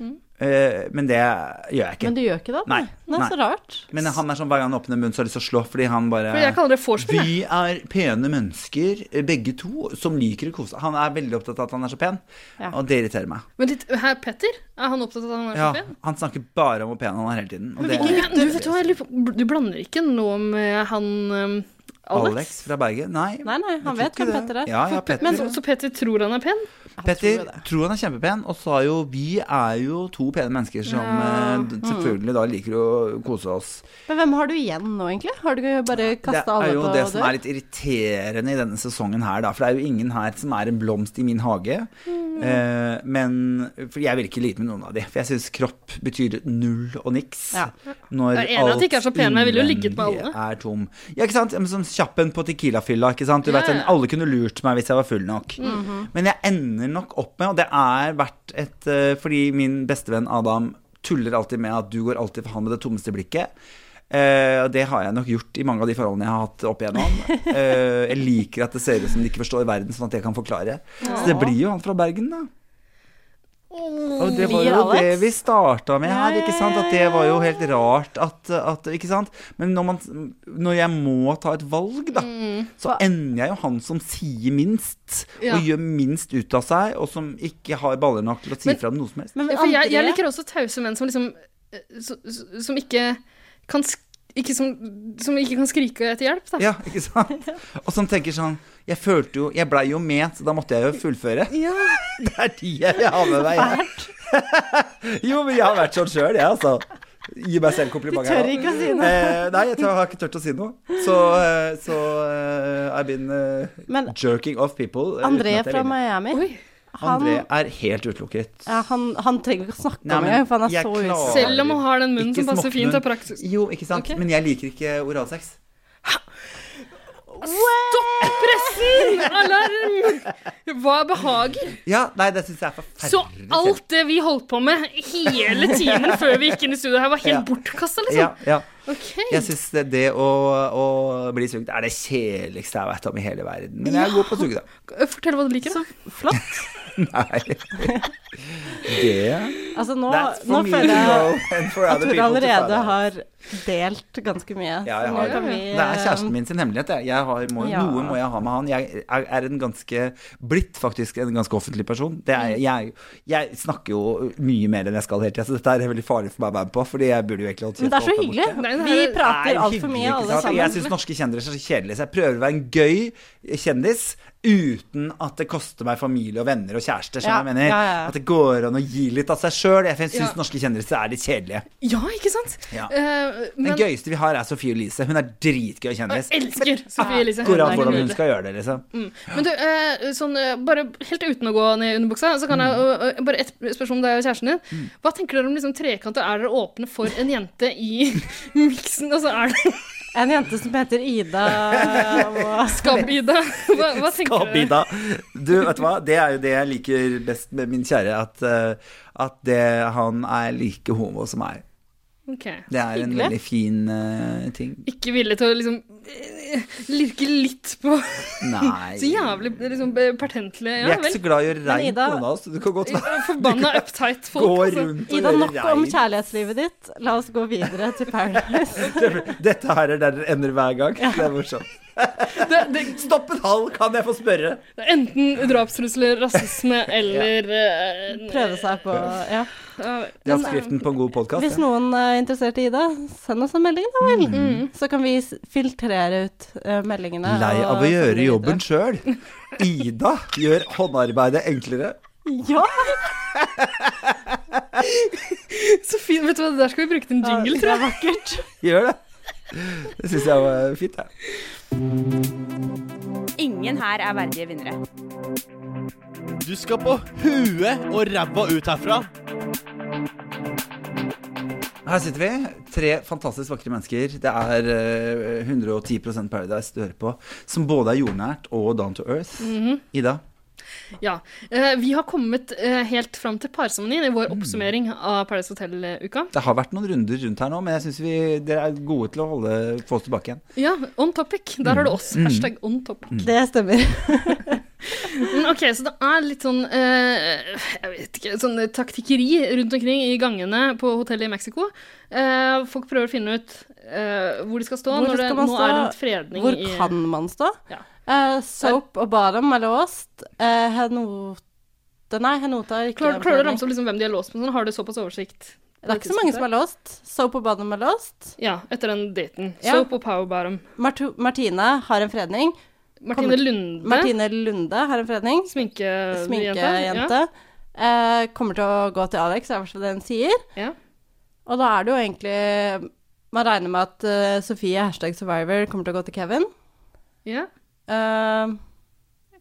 Speaker 1: Mm.
Speaker 2: Eh, men det gjør jeg ikke.
Speaker 3: Men du
Speaker 2: Men,
Speaker 3: gjør ikke det?
Speaker 2: Nei, nei.
Speaker 3: så rart.
Speaker 2: han er sånn hver gang han åpner munnen, så har jeg lyst til å slå fordi han bare
Speaker 1: For jeg kaller det vorspiel. jeg.
Speaker 2: vi er pene mennesker, eh, begge to, som liker å kose Han er veldig opptatt av at han er så pen,
Speaker 3: Ja.
Speaker 2: og det irriterer meg.
Speaker 1: Men litt, her, Petter, er han opptatt av at han er
Speaker 2: Ja,
Speaker 1: så pen?
Speaker 2: han snakker bare om hvor pen han er hele tiden. Og det,
Speaker 1: Men Du, vet du, hva, jeg lurer på- du blander ikke nå med han um, Alex?
Speaker 2: Alex fra Bergen? Nei,
Speaker 3: Nei, nei, han
Speaker 2: Jeg
Speaker 3: vet
Speaker 2: tror
Speaker 3: hvem
Speaker 2: ikke
Speaker 3: Petter
Speaker 2: det.
Speaker 3: er.
Speaker 2: Ja, ja, Petter.
Speaker 1: Men så, så Petter tror han er pen?
Speaker 2: Petter tror han er kjempepen, og sa jo vi er jo to pene mennesker som
Speaker 1: Ja. Mm.
Speaker 2: eh, d- selvfølgelig da liker å kose oss.
Speaker 3: Men hvem har du igjen nå, egentlig? Har du bare
Speaker 2: Det
Speaker 3: kasta
Speaker 2: er
Speaker 3: alle
Speaker 2: jo
Speaker 3: på
Speaker 2: det som er litt irriterende i denne sesongen her, da. For det er jo ingen her som er en blomst i min hage.
Speaker 1: Mm.
Speaker 2: Eh, men For jeg vil ikke lide med noen av de. For jeg syns kropp betyr null og niks.
Speaker 3: Ja.
Speaker 2: Når
Speaker 1: Jeg er enig i at de ikke er så pene, men jeg ville jo ligget med
Speaker 2: innvendig
Speaker 1: alle.
Speaker 2: Er tom. Ja, ikke sant? Ja, men Som kjappen på Tequila-fylla. ikke sant? Du
Speaker 1: Ja, Mhm.
Speaker 2: vet, den,
Speaker 1: ja.
Speaker 2: Alle kunne lurt meg hvis jeg var full nok. Men jeg ender nok opp med, og det er verdt et eh, Fordi min bestevenn Adam tuller alltid med at du går alltid for han med det tommeste blikket. Eh, Og det har jeg nok gjort i mange av de forholdene jeg har hatt opp igjennom. Eh, jeg liker at det ser ut som de ikke forstår verden, sånn at jeg kan forklare. Så det blir jo han fra Bergen, da.
Speaker 1: Mm,
Speaker 2: Og det var
Speaker 3: Rir
Speaker 2: jo
Speaker 3: Alex?
Speaker 2: det vi starta med
Speaker 3: Ja,
Speaker 2: her, ikke sant? At det var jo helt rart at, at Ikke sant? Men når, man, når jeg må ta et valg, da, så ender jeg jo han som sier minst,
Speaker 1: Ja.
Speaker 2: og gjør minst ut av seg, og som ikke har baller nok til å si
Speaker 1: Men-
Speaker 2: fra om noe som helst.
Speaker 1: Ja, for jeg, jeg liker også tause menn som liksom eh, så- så- Som ikke kan sk- ikke som, som ikke kan skrike etter hjelp, da.
Speaker 2: Ja, ikke sant? Og som tenker sånn Jeg følte jo Jeg blei jo med, så da måtte jeg jo fullføre. Det er de jeg vil ha med meg. Jo, men jeg har vært sånn sjøl, jeg, altså. Gi meg selv
Speaker 3: Du
Speaker 2: kompliment. her
Speaker 3: tør
Speaker 2: nå.
Speaker 3: ikke å si noe.
Speaker 2: Eh, nei, jeg, tror jeg har ikke tørt å si noe. Så, eh, så eh, I've been eh,
Speaker 3: Men
Speaker 2: jerking off people. eh,
Speaker 3: André
Speaker 2: uten at jeg
Speaker 3: fra
Speaker 2: ville.
Speaker 3: Miami,
Speaker 1: Oi.
Speaker 3: han,
Speaker 2: André er helt utlukket.
Speaker 3: ja, han, han trenger ikke å snakke
Speaker 2: Nei,
Speaker 3: om
Speaker 2: men
Speaker 3: det, for han er
Speaker 2: jeg
Speaker 3: så
Speaker 2: klarer-
Speaker 3: utsatt.
Speaker 1: Selv om man har den munnen
Speaker 2: Ikke
Speaker 1: som passer fint
Speaker 2: småttmunn.
Speaker 1: og praktisk.
Speaker 2: Jo, ikke sant.
Speaker 1: Ok.
Speaker 2: Men jeg liker ikke oralsex.
Speaker 1: Stopp pressen! Alarm! Hva behager?
Speaker 2: Ja, nei, det syns jeg er forferdelig.
Speaker 1: Så alt det vi holdt på med hele timen før vi gikk inn i studio her, var
Speaker 2: Ja.
Speaker 1: helt bortkasta,
Speaker 2: Ja,
Speaker 1: liksom?
Speaker 2: ja.
Speaker 1: Ok.
Speaker 2: Jeg syns det, det å, å bli sugd er det kjedeligste jeg vet om i hele verden. Men jeg er god på å suge, da.
Speaker 1: Eh, Fortell hva du liker, da.
Speaker 3: Flott.
Speaker 2: Nei. Det
Speaker 3: Altså, nå,
Speaker 2: That's
Speaker 3: nå
Speaker 2: for me to
Speaker 3: føler jeg
Speaker 2: know and for
Speaker 3: at
Speaker 2: other people
Speaker 3: hun
Speaker 2: to
Speaker 3: allerede
Speaker 2: find out.
Speaker 3: har delt ganske mye.
Speaker 2: Ja,
Speaker 3: så
Speaker 2: jeg
Speaker 3: nå
Speaker 2: har
Speaker 3: kan
Speaker 2: det.
Speaker 3: vi,
Speaker 2: Det er kjæresten min sin hemmelighet. Jeg. Jeg har, må,
Speaker 3: Ja.
Speaker 2: Noe må jeg ha med han. Jeg er, er en ganske blitt faktisk en ganske offentlig person. Det er, jeg, jeg snakker jo mye mer enn jeg skal hele tida, så dette er veldig farlig for meg å være med på. Fordi jeg burde jo egentlig holdt
Speaker 3: Men det er så hyggelig.
Speaker 1: Nei, det her
Speaker 3: Vi
Speaker 1: er-
Speaker 2: Det er
Speaker 3: prater
Speaker 2: hyggelig,
Speaker 3: altfor mye,
Speaker 2: ikke
Speaker 3: alle
Speaker 2: sant? Jeg
Speaker 3: sammen.
Speaker 2: syns norske kjendiser er så kjedelige, så jeg prøver å være en gøy kjendis uten at det koster meg familie og venner og kjærester, som
Speaker 3: Ja,
Speaker 2: jeg mener.
Speaker 3: ja, ja.
Speaker 2: At det går an å gi litt av seg sjøl. Jeg syns
Speaker 1: Ja.
Speaker 2: norske kjendiser er litt kjedelige.
Speaker 1: Ja, ikke sant?
Speaker 2: Ja.
Speaker 1: Eh, men
Speaker 2: Den gøyeste vi har, er Sophie Elise. Hun er dritgøy
Speaker 1: jeg
Speaker 2: kjendis.
Speaker 1: elsker Sophie Elise.
Speaker 2: Akkurat
Speaker 1: er
Speaker 2: Ah, hvordan
Speaker 1: nydelig.
Speaker 2: hun skal gjøre det, liksom.
Speaker 1: Men du, eh, sånn, eh, bare helt uten å gå ned i underbuksa, så kan jeg
Speaker 2: Mm.
Speaker 1: eh, eh, bare et spørsmål om deg og kjæresten din. Hva tenker dere om liksom, trekanter? Er dere åpne for en jente i miksen? Altså, er det
Speaker 3: En jente som heter Ida og
Speaker 1: skabb-Ida? Hva, hva tenker dere?
Speaker 2: Kabida. Du, vet du hva? Det er jo det jeg liker best med min kjære, at, eh, at det, han er like homo som meg.
Speaker 1: Ok.
Speaker 2: Det er en
Speaker 3: Hyggelig.
Speaker 2: veldig fin eh, ting.
Speaker 1: Ikke villig til å liksom eh, lirke litt på
Speaker 2: Nei.
Speaker 1: så jævlig liksom, eh, pertentlig
Speaker 2: Vi
Speaker 1: Ja
Speaker 2: er ikke
Speaker 1: vel. Eh,
Speaker 2: så glad i å gjøre
Speaker 3: Men
Speaker 2: reint
Speaker 3: Ida-
Speaker 2: unna oss. Du kan godt være-
Speaker 1: Forbanna uptight folk.
Speaker 2: gå
Speaker 1: altså.
Speaker 2: rundt og
Speaker 3: Ida, nok
Speaker 2: gjøre
Speaker 3: om
Speaker 2: reint.
Speaker 3: kjærlighetslivet ditt. La oss gå videre til Paradise.
Speaker 2: Dette her er der det ender hver gang. Det er morsomt.
Speaker 1: Det, det,
Speaker 2: Stopp en halv, kan jeg få spørre?
Speaker 1: det er enten drapstrusler, rasisme eller eh,
Speaker 3: Prøve seg på Ja.
Speaker 1: eh,
Speaker 2: Det er oppskriften på en god podkast.
Speaker 3: Hvis noen er interessert i Ida, send oss en melding, da vel.
Speaker 2: Mm.
Speaker 1: Mm.
Speaker 3: Så kan vi s- filtrere ut eh, meldingene.
Speaker 2: Lei
Speaker 3: og
Speaker 2: av å
Speaker 3: sende
Speaker 2: gjøre
Speaker 3: det
Speaker 2: jobben sjøl. Ida gjør håndarbeidet enklere.
Speaker 3: videre. Ja!
Speaker 1: Så fint. Vet du hva, det der skal vi bruke til en jingle,
Speaker 3: det
Speaker 1: tror jeg.
Speaker 3: er vakkert.
Speaker 2: Gjør det. Det syns jeg var fint, jeg.
Speaker 4: Ingen her er verdige vinnere.
Speaker 10: Du skal på huet og ræva ut herfra.
Speaker 2: Her sitter vi, tre fantastisk vakre mennesker. Det er eh, 110 Paradise du hører på, som både er jordnært og down to earth.
Speaker 4: Mhm.
Speaker 2: Ida,
Speaker 1: Ja. Eh, vi har kommet eh, helt fram til parseremonien i vår
Speaker 3: Mm.
Speaker 1: oppsummering av Paradise Hotel-uka.
Speaker 2: det har vært noen runder rundt her nå, men jeg syns dere er gode til å holde, få oss tilbake igjen.
Speaker 1: Ja, on topic. Der
Speaker 3: Mm.
Speaker 1: har du oss. Hashtag on topic.
Speaker 3: Det stemmer.
Speaker 1: Mm, ok, så det er litt sånn eh, Jeg vet ikke, sånn eh, taktikkeri rundt omkring i gangene på hotellet i Mexico. Eh, folk prøver å finne ut eh, hvor de skal stå
Speaker 3: Hvor
Speaker 1: når det
Speaker 3: skal man
Speaker 1: nå
Speaker 3: stå?
Speaker 1: er en fredning
Speaker 3: Hvor
Speaker 1: i
Speaker 3: kan man stå?
Speaker 1: Mm. Ja.
Speaker 3: Eh, soap og Bottom er låst. Eh, Henote Nei, Henota er ikke
Speaker 1: Klarer, klarer du å
Speaker 3: en forening.
Speaker 1: ramse opp liksom hvem de er låst med? Sånn, har du såpass oversikt?
Speaker 3: Det er ikke så mange som er låst. Soap og Bottom er låst.
Speaker 1: Ja, etter den daten.
Speaker 3: Ja.
Speaker 1: Soap og Power Bottom.
Speaker 3: Martu- Martine har en fredning.
Speaker 1: Martine Lunde.
Speaker 3: Martine Lunde har en fredning.
Speaker 1: Sminkejente.
Speaker 3: Sminkejente. Eh, kommer til å gå til Alex, er i hvert fall det hun sier.
Speaker 1: Ja. Ja.
Speaker 3: Og da er det jo egentlig Man regner med at eh, Sofie hashtag survivor kommer til å gå til Kevin.
Speaker 1: Ja.
Speaker 3: Eh,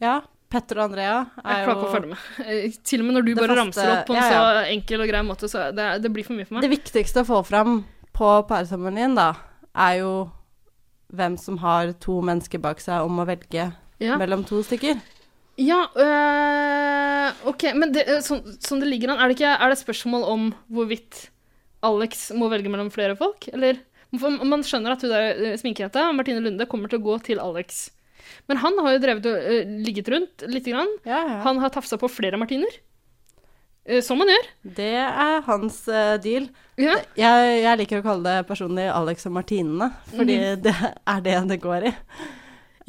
Speaker 3: ja. Petter og Andrea
Speaker 1: Jeg
Speaker 3: er
Speaker 1: klarer ikke å
Speaker 3: jo
Speaker 1: følge med. Eh, Til og med når du
Speaker 3: Det
Speaker 1: bare
Speaker 3: faste-
Speaker 1: ramser opp på en
Speaker 3: ja, ja.
Speaker 1: så enkel og grei måte, så det, er- det blir for mye for meg.
Speaker 3: Det viktigste å få fram på parseremonien, da, er jo hvem som har to mennesker bak seg om å velge
Speaker 1: Ja,
Speaker 3: mellom to stykker.
Speaker 1: ja øh, OK. Men det, øh, sånn, sånn det ligger an, er det, ikke, er det spørsmål om hvorvidt Alex må velge mellom flere folk, eller? For man skjønner at hun der øh, sminkejenta, Martine Lunde, kommer til å gå til Alex. Men han har jo drevet og øh, ligget rundt lite grann.
Speaker 3: Ja, ja.
Speaker 1: Han har tafsa på flere martiner. Øh, Som man gjør.
Speaker 3: Det er hans eh, deal. Jeg, jeg liker å kalle det personlig Alex og Martinene, fordi
Speaker 1: Mhm.
Speaker 3: det er det det går i.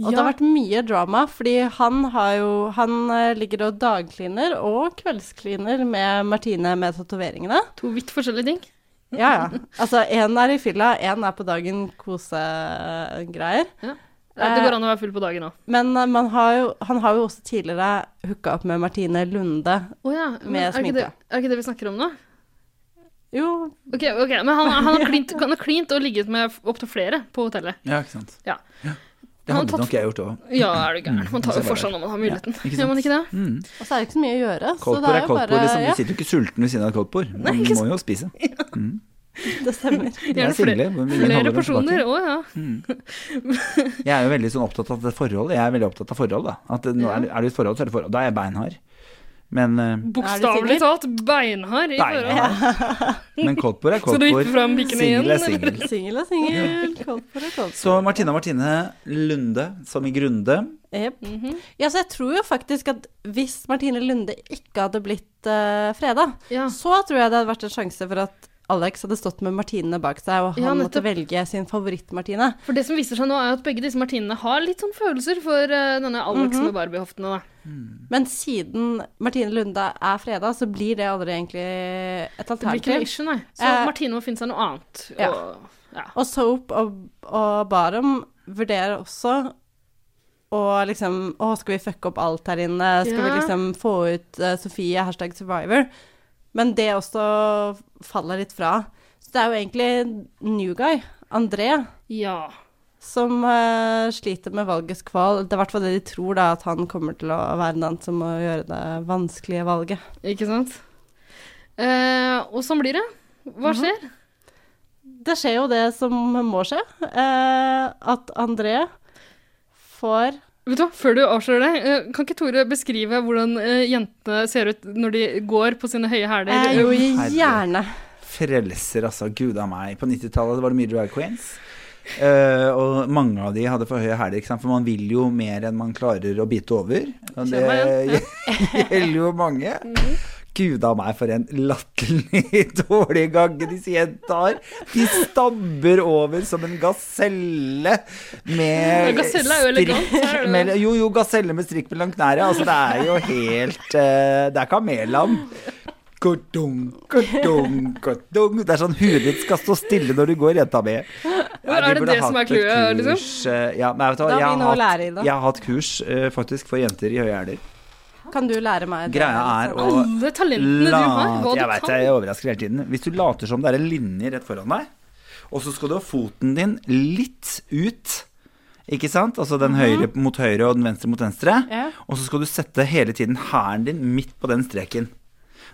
Speaker 3: Og det
Speaker 1: Ja.
Speaker 3: har vært mye drama, fordi han har jo Han eh, ligger og dagkliner og kveldskliner med Martine med tatoveringene.
Speaker 1: To vidt forskjellige ting.
Speaker 3: Ja, ja. Altså, én er i fylla, én er på dagen kosegreier.
Speaker 1: Ja, det går an å være full på dagen òg.
Speaker 3: Men eh, man har jo, han har jo også tidligere hooka opp med Martine Lunde.
Speaker 1: Å ja, men
Speaker 3: Med
Speaker 1: er ikke, det,
Speaker 3: sminke.
Speaker 1: er ikke det vi snakker om nå?
Speaker 3: Jo.
Speaker 1: Ok, ok, Men han, han, har klint, han har klint og ligget med opptil flere på hotellet.
Speaker 2: Ja, ikke sant.
Speaker 1: Ja.
Speaker 2: Det
Speaker 1: Han
Speaker 2: hadde
Speaker 1: tatt-
Speaker 2: nok jeg gjort òg.
Speaker 1: Ja, er du gæren. Man tar jo
Speaker 2: Mm.
Speaker 1: for seg når man har muligheten.
Speaker 2: Ja, ikke sant?
Speaker 1: Gjør man ikke det?
Speaker 2: Mm.
Speaker 3: Og så er det ikke så mye å gjøre. Så det
Speaker 2: Koldtbord
Speaker 3: er
Speaker 2: er
Speaker 3: jo
Speaker 2: koldtbord,
Speaker 3: bare
Speaker 2: liksom.
Speaker 3: ja,
Speaker 2: Du sitter jo ikke sulten ved siden av et koldtbord.
Speaker 1: Nei,
Speaker 2: Man
Speaker 1: ikke
Speaker 2: må jo spise. Mm.
Speaker 3: Det stemmer.
Speaker 2: Det er single. men ingen holder
Speaker 1: Flere
Speaker 2: dem
Speaker 1: personer,
Speaker 2: tilbake. Mm.
Speaker 1: å ja.
Speaker 2: Jeg er jo veldig sånn opptatt av det forholdet. Jeg er veldig opptatt av forhold, da. At eh, nå er, er du i et forhold, så er det forhold. Da er jeg beinhard. Men, eh,
Speaker 1: Bokstavelig talt beinhard i forhold.
Speaker 2: beinhard. Men koldtbord er
Speaker 1: Så du gikk
Speaker 2: koldtbord.
Speaker 1: fram pikkene igjen?
Speaker 2: Singel er
Speaker 1: eller?
Speaker 2: singel.
Speaker 3: Singel er singel, koldtbord er koldtbord.
Speaker 2: Så Martina Martine Lunde, som i Grunde.
Speaker 3: Jep.
Speaker 1: Mhm.
Speaker 3: Ja, så jeg tror jo faktisk at hvis Martine Lunde ikke hadde blitt uh, freda,
Speaker 1: Ja.
Speaker 3: så tror jeg det hadde vært en sjanse for at Alex hadde stått med Martine bak seg, og han
Speaker 1: Ja,
Speaker 3: måtte
Speaker 1: nettopp.
Speaker 3: velge sin favoritt-Martine.
Speaker 1: For det som viser seg nå, er jo at begge disse Martinene har litt sånn følelser for eh, denne Alex
Speaker 3: Mhm.
Speaker 1: med Barbie-hoftene, da.
Speaker 3: Men siden Martine Lunde er freda, så blir det aldri egentlig
Speaker 1: Det blir
Speaker 3: et
Speaker 1: ikke noe
Speaker 3: alternativ.
Speaker 1: issue, nei. Så
Speaker 3: Eh,
Speaker 1: Martine må finne seg noe annet.
Speaker 3: ja.
Speaker 1: Og, ja.
Speaker 3: Og Soap og, og Barum vurderer også å liksom Å, skal vi fucke opp alt her inne? Skal vi
Speaker 1: Ja.
Speaker 3: liksom få ut eh, Sofie, hashtag survivor? Men det også faller litt fra. Så det er jo egentlig new guy, André,
Speaker 1: ja.
Speaker 3: som eh, sliter med valgets kval. Det er i hvert fall det de tror, da, at han kommer til å være den som må gjøre det vanskelige valget.
Speaker 1: Ikke sant? Eh, og sånn blir det. Hva
Speaker 3: Mhm.
Speaker 1: skjer?
Speaker 3: Det skjer jo det som må skje. Eh, at André får
Speaker 1: Vet du hva, Før du avslører det, eh, kan ikke Tore beskrive hvordan eh, jentene ser ut når de går på sine høye hæler?
Speaker 3: eh, Jo, gjerne.
Speaker 2: Frelser, altså. Gud av meg. På 90-tallet var det mye drag queens. Eh, og mange av de hadde for høye hæler, ikke sant? for man vil jo mer enn man klarer å bite over. Og det
Speaker 1: Kjenner meg
Speaker 2: gjelder jo mange.
Speaker 1: Mhm.
Speaker 2: Gud av meg, for en latterlig dårlig gange disse jentene har. De stabber over som en gaselle
Speaker 1: Ja,
Speaker 2: med
Speaker 1: gaselle er jo elegant, her er det jo-
Speaker 2: med, Jo, jo, gaselle med strikk mellom knærne. Altså, det er jo helt eh, Det er kamellam. Kodung, kodung, kodung. Det er sånn huet ditt skal stå stille når du går, jenta mi. Nei,
Speaker 1: er
Speaker 2: vi
Speaker 1: det
Speaker 2: burde
Speaker 1: det som
Speaker 2: hatt
Speaker 1: er clouet,
Speaker 2: et
Speaker 1: liksom?
Speaker 2: kurs, eh, Ja, nei, vet du hva.
Speaker 3: Da
Speaker 2: Jeg
Speaker 3: har vi noe
Speaker 2: har,
Speaker 3: å lære i
Speaker 2: hatt,
Speaker 3: det.
Speaker 2: jeg har hatt kurs eh, faktisk for jenter i høye hæler.
Speaker 3: Kan du lære meg det?
Speaker 2: Greia er å
Speaker 1: Eh, Alle talentene du har, hva
Speaker 2: late Jeg
Speaker 1: du
Speaker 2: vet
Speaker 1: kan.
Speaker 2: jeg overrasker hele tiden. Hvis du later som det er en linje rett foran deg, og så skal du ha foten din litt ut, ikke sant? Altså den høyre mot høyre og den venstre mot venstre.
Speaker 3: Ja.
Speaker 2: Og så skal du sette hele tiden hæren din midt på den streken.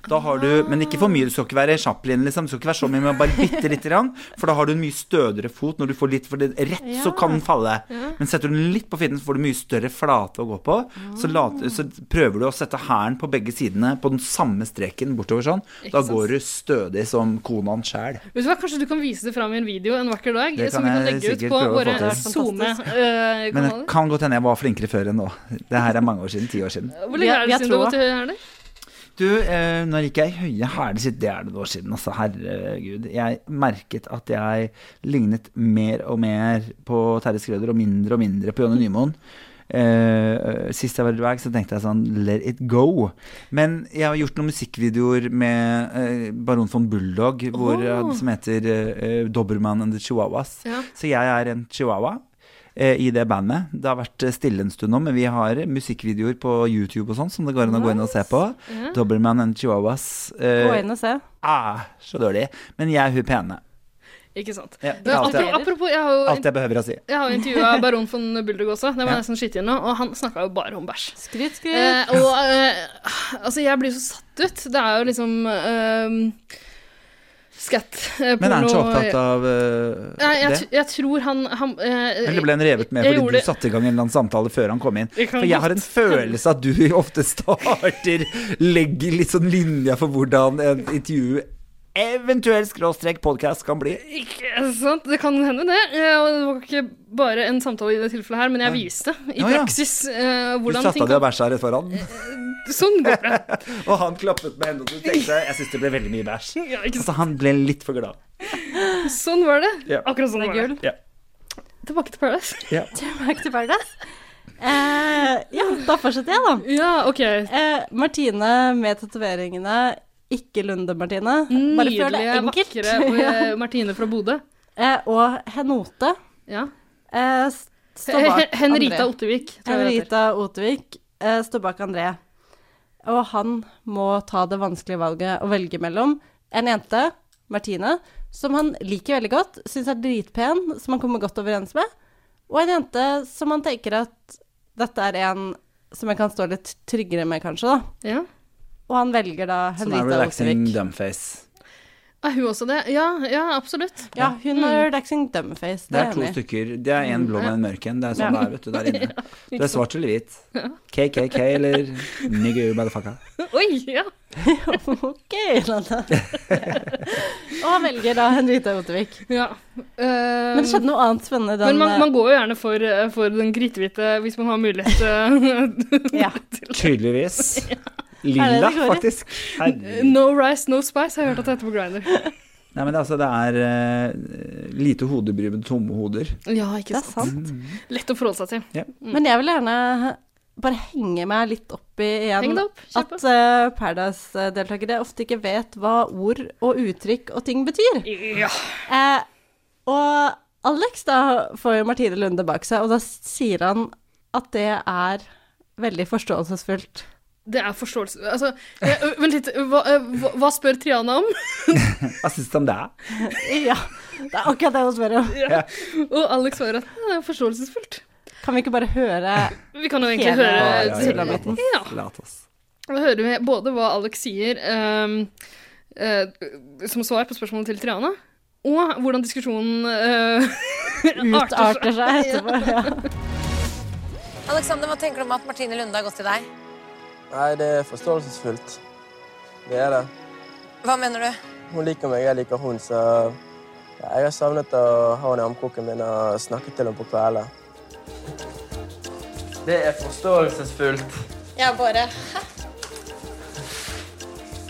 Speaker 2: Da har du, men ikke for mye. Du skal ikke være Chaplin, liksom. Du skal ikke være så mye, men bare bitte lite grann. For da har du en mye stødigere fot når du får litt for det, rett, så kan den falle. Men setter du den litt på fitten, så får du mye større flate å gå på. Så, late, så prøver du å sette hæren på begge sidene på den samme streken bortover sånn. Da
Speaker 1: sant?
Speaker 2: går du stødig som konan sjæl.
Speaker 1: Vet du hva, Kanskje du kan vise det fram i en video en vakker dag?
Speaker 2: Det
Speaker 1: som vi
Speaker 2: kan
Speaker 1: kan
Speaker 2: jeg
Speaker 1: legge ut
Speaker 2: sikkert
Speaker 1: på
Speaker 2: prøve å få
Speaker 1: våre Eh,
Speaker 2: til. Men det
Speaker 1: SoMe-kanaler.
Speaker 2: kan godt hende jeg var flinkere før enn nå. Det her er mange år siden. Ti år siden.
Speaker 1: Hvor
Speaker 3: Vi
Speaker 1: lenge
Speaker 3: har-
Speaker 1: er
Speaker 3: vi
Speaker 1: det
Speaker 3: har
Speaker 1: siden du har
Speaker 3: troa.
Speaker 1: gått i høye hæler?
Speaker 2: Du, eh, når gikk jeg i høye hæler sist? Det er det noen år siden, altså. Herregud. Jeg merket at jeg lignet mer og mer på Terje Skrøder, og mindre og mindre på Jonny Nymoen. Eh, sist jeg var i drag, så tenkte jeg sånn let it go. Men jeg har gjort noen musikkvideoer med eh, Baron von Bulldog hvor,
Speaker 1: Åh.
Speaker 2: eh, som heter eh, Dobberman and the Chihuahuas.
Speaker 1: Ja.
Speaker 2: Så jeg er en chihuahua eh, i det bandet. Det har vært eh, stille en stund nå, men vi har musikkvideoer på YouTube og sånn som det går an å gå inn og se på. Dobbelman and Chihuahuas
Speaker 3: Gå
Speaker 2: eh,
Speaker 3: inn og se.
Speaker 2: er så dårlig. Men jeg er hun pene.
Speaker 1: Ikke sant.
Speaker 2: Ja,
Speaker 1: Men altså,
Speaker 2: det er alt, jeg,
Speaker 1: apropos, apropos, jeg har jo
Speaker 2: alt jeg behøver å si.
Speaker 1: jeg har jo intervjua baron von Bulldog også, det må jeg nesten skyte inn nå, og han snakka jo bare om bæsj.
Speaker 3: Skryt, skryt.
Speaker 1: Eh, og eh, altså, jeg blir så satt ut. Det er jo liksom eh, skatt eh,
Speaker 2: Men er han så
Speaker 1: porno-
Speaker 2: opptatt av eh,
Speaker 1: Nei, jeg,
Speaker 2: det?
Speaker 1: tr- jeg tror han, han eh,
Speaker 2: Eller ble han revet med
Speaker 1: jeg
Speaker 2: fordi
Speaker 1: gjorde-
Speaker 2: du satte i gang en eller annen samtale før han kom inn?
Speaker 1: Jeg kan
Speaker 2: For jeg har en følelse at du ofte starter Legger litt sånn linja for hvordan et intervju eventuelt skråstrek podkast kan bli.
Speaker 1: Ikke sant? Det kan hende, det. Eh, Og det var ikke bare en samtale i det tilfellet her, men jeg viste i
Speaker 2: Ja, ja.
Speaker 1: praksis eh,
Speaker 2: Du
Speaker 1: hvordan
Speaker 2: satte
Speaker 1: ting
Speaker 2: deg
Speaker 1: kan
Speaker 2: og bæsja rett foran,
Speaker 1: Sånn går det.
Speaker 2: og han klappet med hendene og du tenkte jeg syns det ble veldig mye bæsj.
Speaker 1: Ja, ikke sant?
Speaker 2: Så han ble litt for glad.
Speaker 1: Sånn var det.
Speaker 2: Ja.
Speaker 1: Akkurat sånn
Speaker 3: Det er
Speaker 1: var det.
Speaker 3: gull.
Speaker 2: Ja.
Speaker 1: Tilbake til Paradise.
Speaker 2: Ja.
Speaker 3: Tilbake til Paradise. Eh, ja, da fortsetter jeg, da.
Speaker 1: Ja, OK.
Speaker 3: Eh, Martine med tatoveringene. Ikke Lunde-Martine. Bare føl det
Speaker 1: Nydelige,
Speaker 3: enkelt.
Speaker 1: vakre og, eh, Martine fra Bodø.
Speaker 3: Eh, og Henote
Speaker 1: Ja.
Speaker 3: eh, s- står
Speaker 1: He-
Speaker 3: bak
Speaker 1: he- Henrita
Speaker 3: André.
Speaker 1: Ottevik. tror jeg det heter.
Speaker 3: Henrita Otevik eh, står bak André. Og han må ta det vanskelige valget å velge mellom en jente, Martine, som han liker veldig godt, syns er dritpen, som han kommer godt overens med, og en jente som han tenker at dette er en som jeg kan stå litt tryggere med, kanskje, da.
Speaker 1: Ja.
Speaker 3: Og han velger da
Speaker 2: Sånn er
Speaker 3: Henrita
Speaker 2: relaxing
Speaker 3: Otevik.
Speaker 2: dumbface.
Speaker 1: Er hun også det? Ja, ja absolutt.
Speaker 3: Ja, hun
Speaker 1: Mm.
Speaker 3: er relaxing dumbface,
Speaker 2: Det
Speaker 3: det
Speaker 2: er
Speaker 3: er
Speaker 2: to
Speaker 3: jeg enig Mm. i.
Speaker 2: stykker. Det er en blå og en mørk en. Det er sånn det er, vet du, der inne. Det er svart eller hvit. KKK eller nigger motherfucker.
Speaker 1: Oi, ja.
Speaker 3: OK, Landa. og han velger da Henrita Otevik.
Speaker 1: ja. Eh,
Speaker 3: Men det skjedde noe annet spennende
Speaker 1: men
Speaker 3: den
Speaker 1: man, man går jo gjerne for, eh, for den kritthvite hvis man har mulighet. eh,
Speaker 3: Ja.
Speaker 2: Tydeligvis.
Speaker 3: Er
Speaker 2: Lilla,
Speaker 3: det det går i?
Speaker 2: faktisk. Herregud.
Speaker 1: no rice, no spice, har jeg hørt at det heter på Grinder.
Speaker 2: Nei, men det, er altså, det er eh, lite hodebry med tomme hoder.
Speaker 1: Ja, ikke
Speaker 3: Det er sant.
Speaker 1: Lett å forholde seg til.
Speaker 3: Men jeg vil gjerne bare henge meg litt opp i igjen
Speaker 1: Heng det opp, kjør
Speaker 3: at
Speaker 1: på.
Speaker 3: eh, Paradise-deltakere ofte ikke vet hva ord og uttrykk og ting betyr.
Speaker 1: Ja.
Speaker 3: Eh, og Alex da får jo Martine Lunde bak seg, og da sier han at det er veldig forståelsesfullt.
Speaker 1: Det er forståelse Altså, eh, ø, vent litt. Hva, eh, hva, hva spør Triana om?
Speaker 2: Hva syns du om det?
Speaker 3: Eh, Ja, det er akkurat det hun spør om.
Speaker 1: Og Alex svarer at det er forståelsesfullt.
Speaker 3: Kan vi ikke bare høre
Speaker 1: Vi kan jo egentlig
Speaker 3: Hele-
Speaker 2: Ja,
Speaker 1: høre
Speaker 2: ja,
Speaker 3: Silla
Speaker 2: ja,
Speaker 3: Bitten.
Speaker 1: Ja.
Speaker 2: Lat oss.
Speaker 1: Da hører vi både hva Alex sier ehm, eh, som svar på spørsmålet til Triana, og hvordan diskusjonen eh, arter seg.
Speaker 3: utarter seg etterpå? Ja.
Speaker 5: Alexander, hva tenker du om at Martine Lunde har gått til deg?
Speaker 11: Nei, det er forståelsesfullt. Det er det.
Speaker 5: Hva mener du?
Speaker 11: Hun liker meg, jeg liker hun, så ja, jeg har savnet å ha henne i armkroken min og snakke til henne på kveldene. Det er forståelsesfullt.
Speaker 7: Jeg bare Hæ?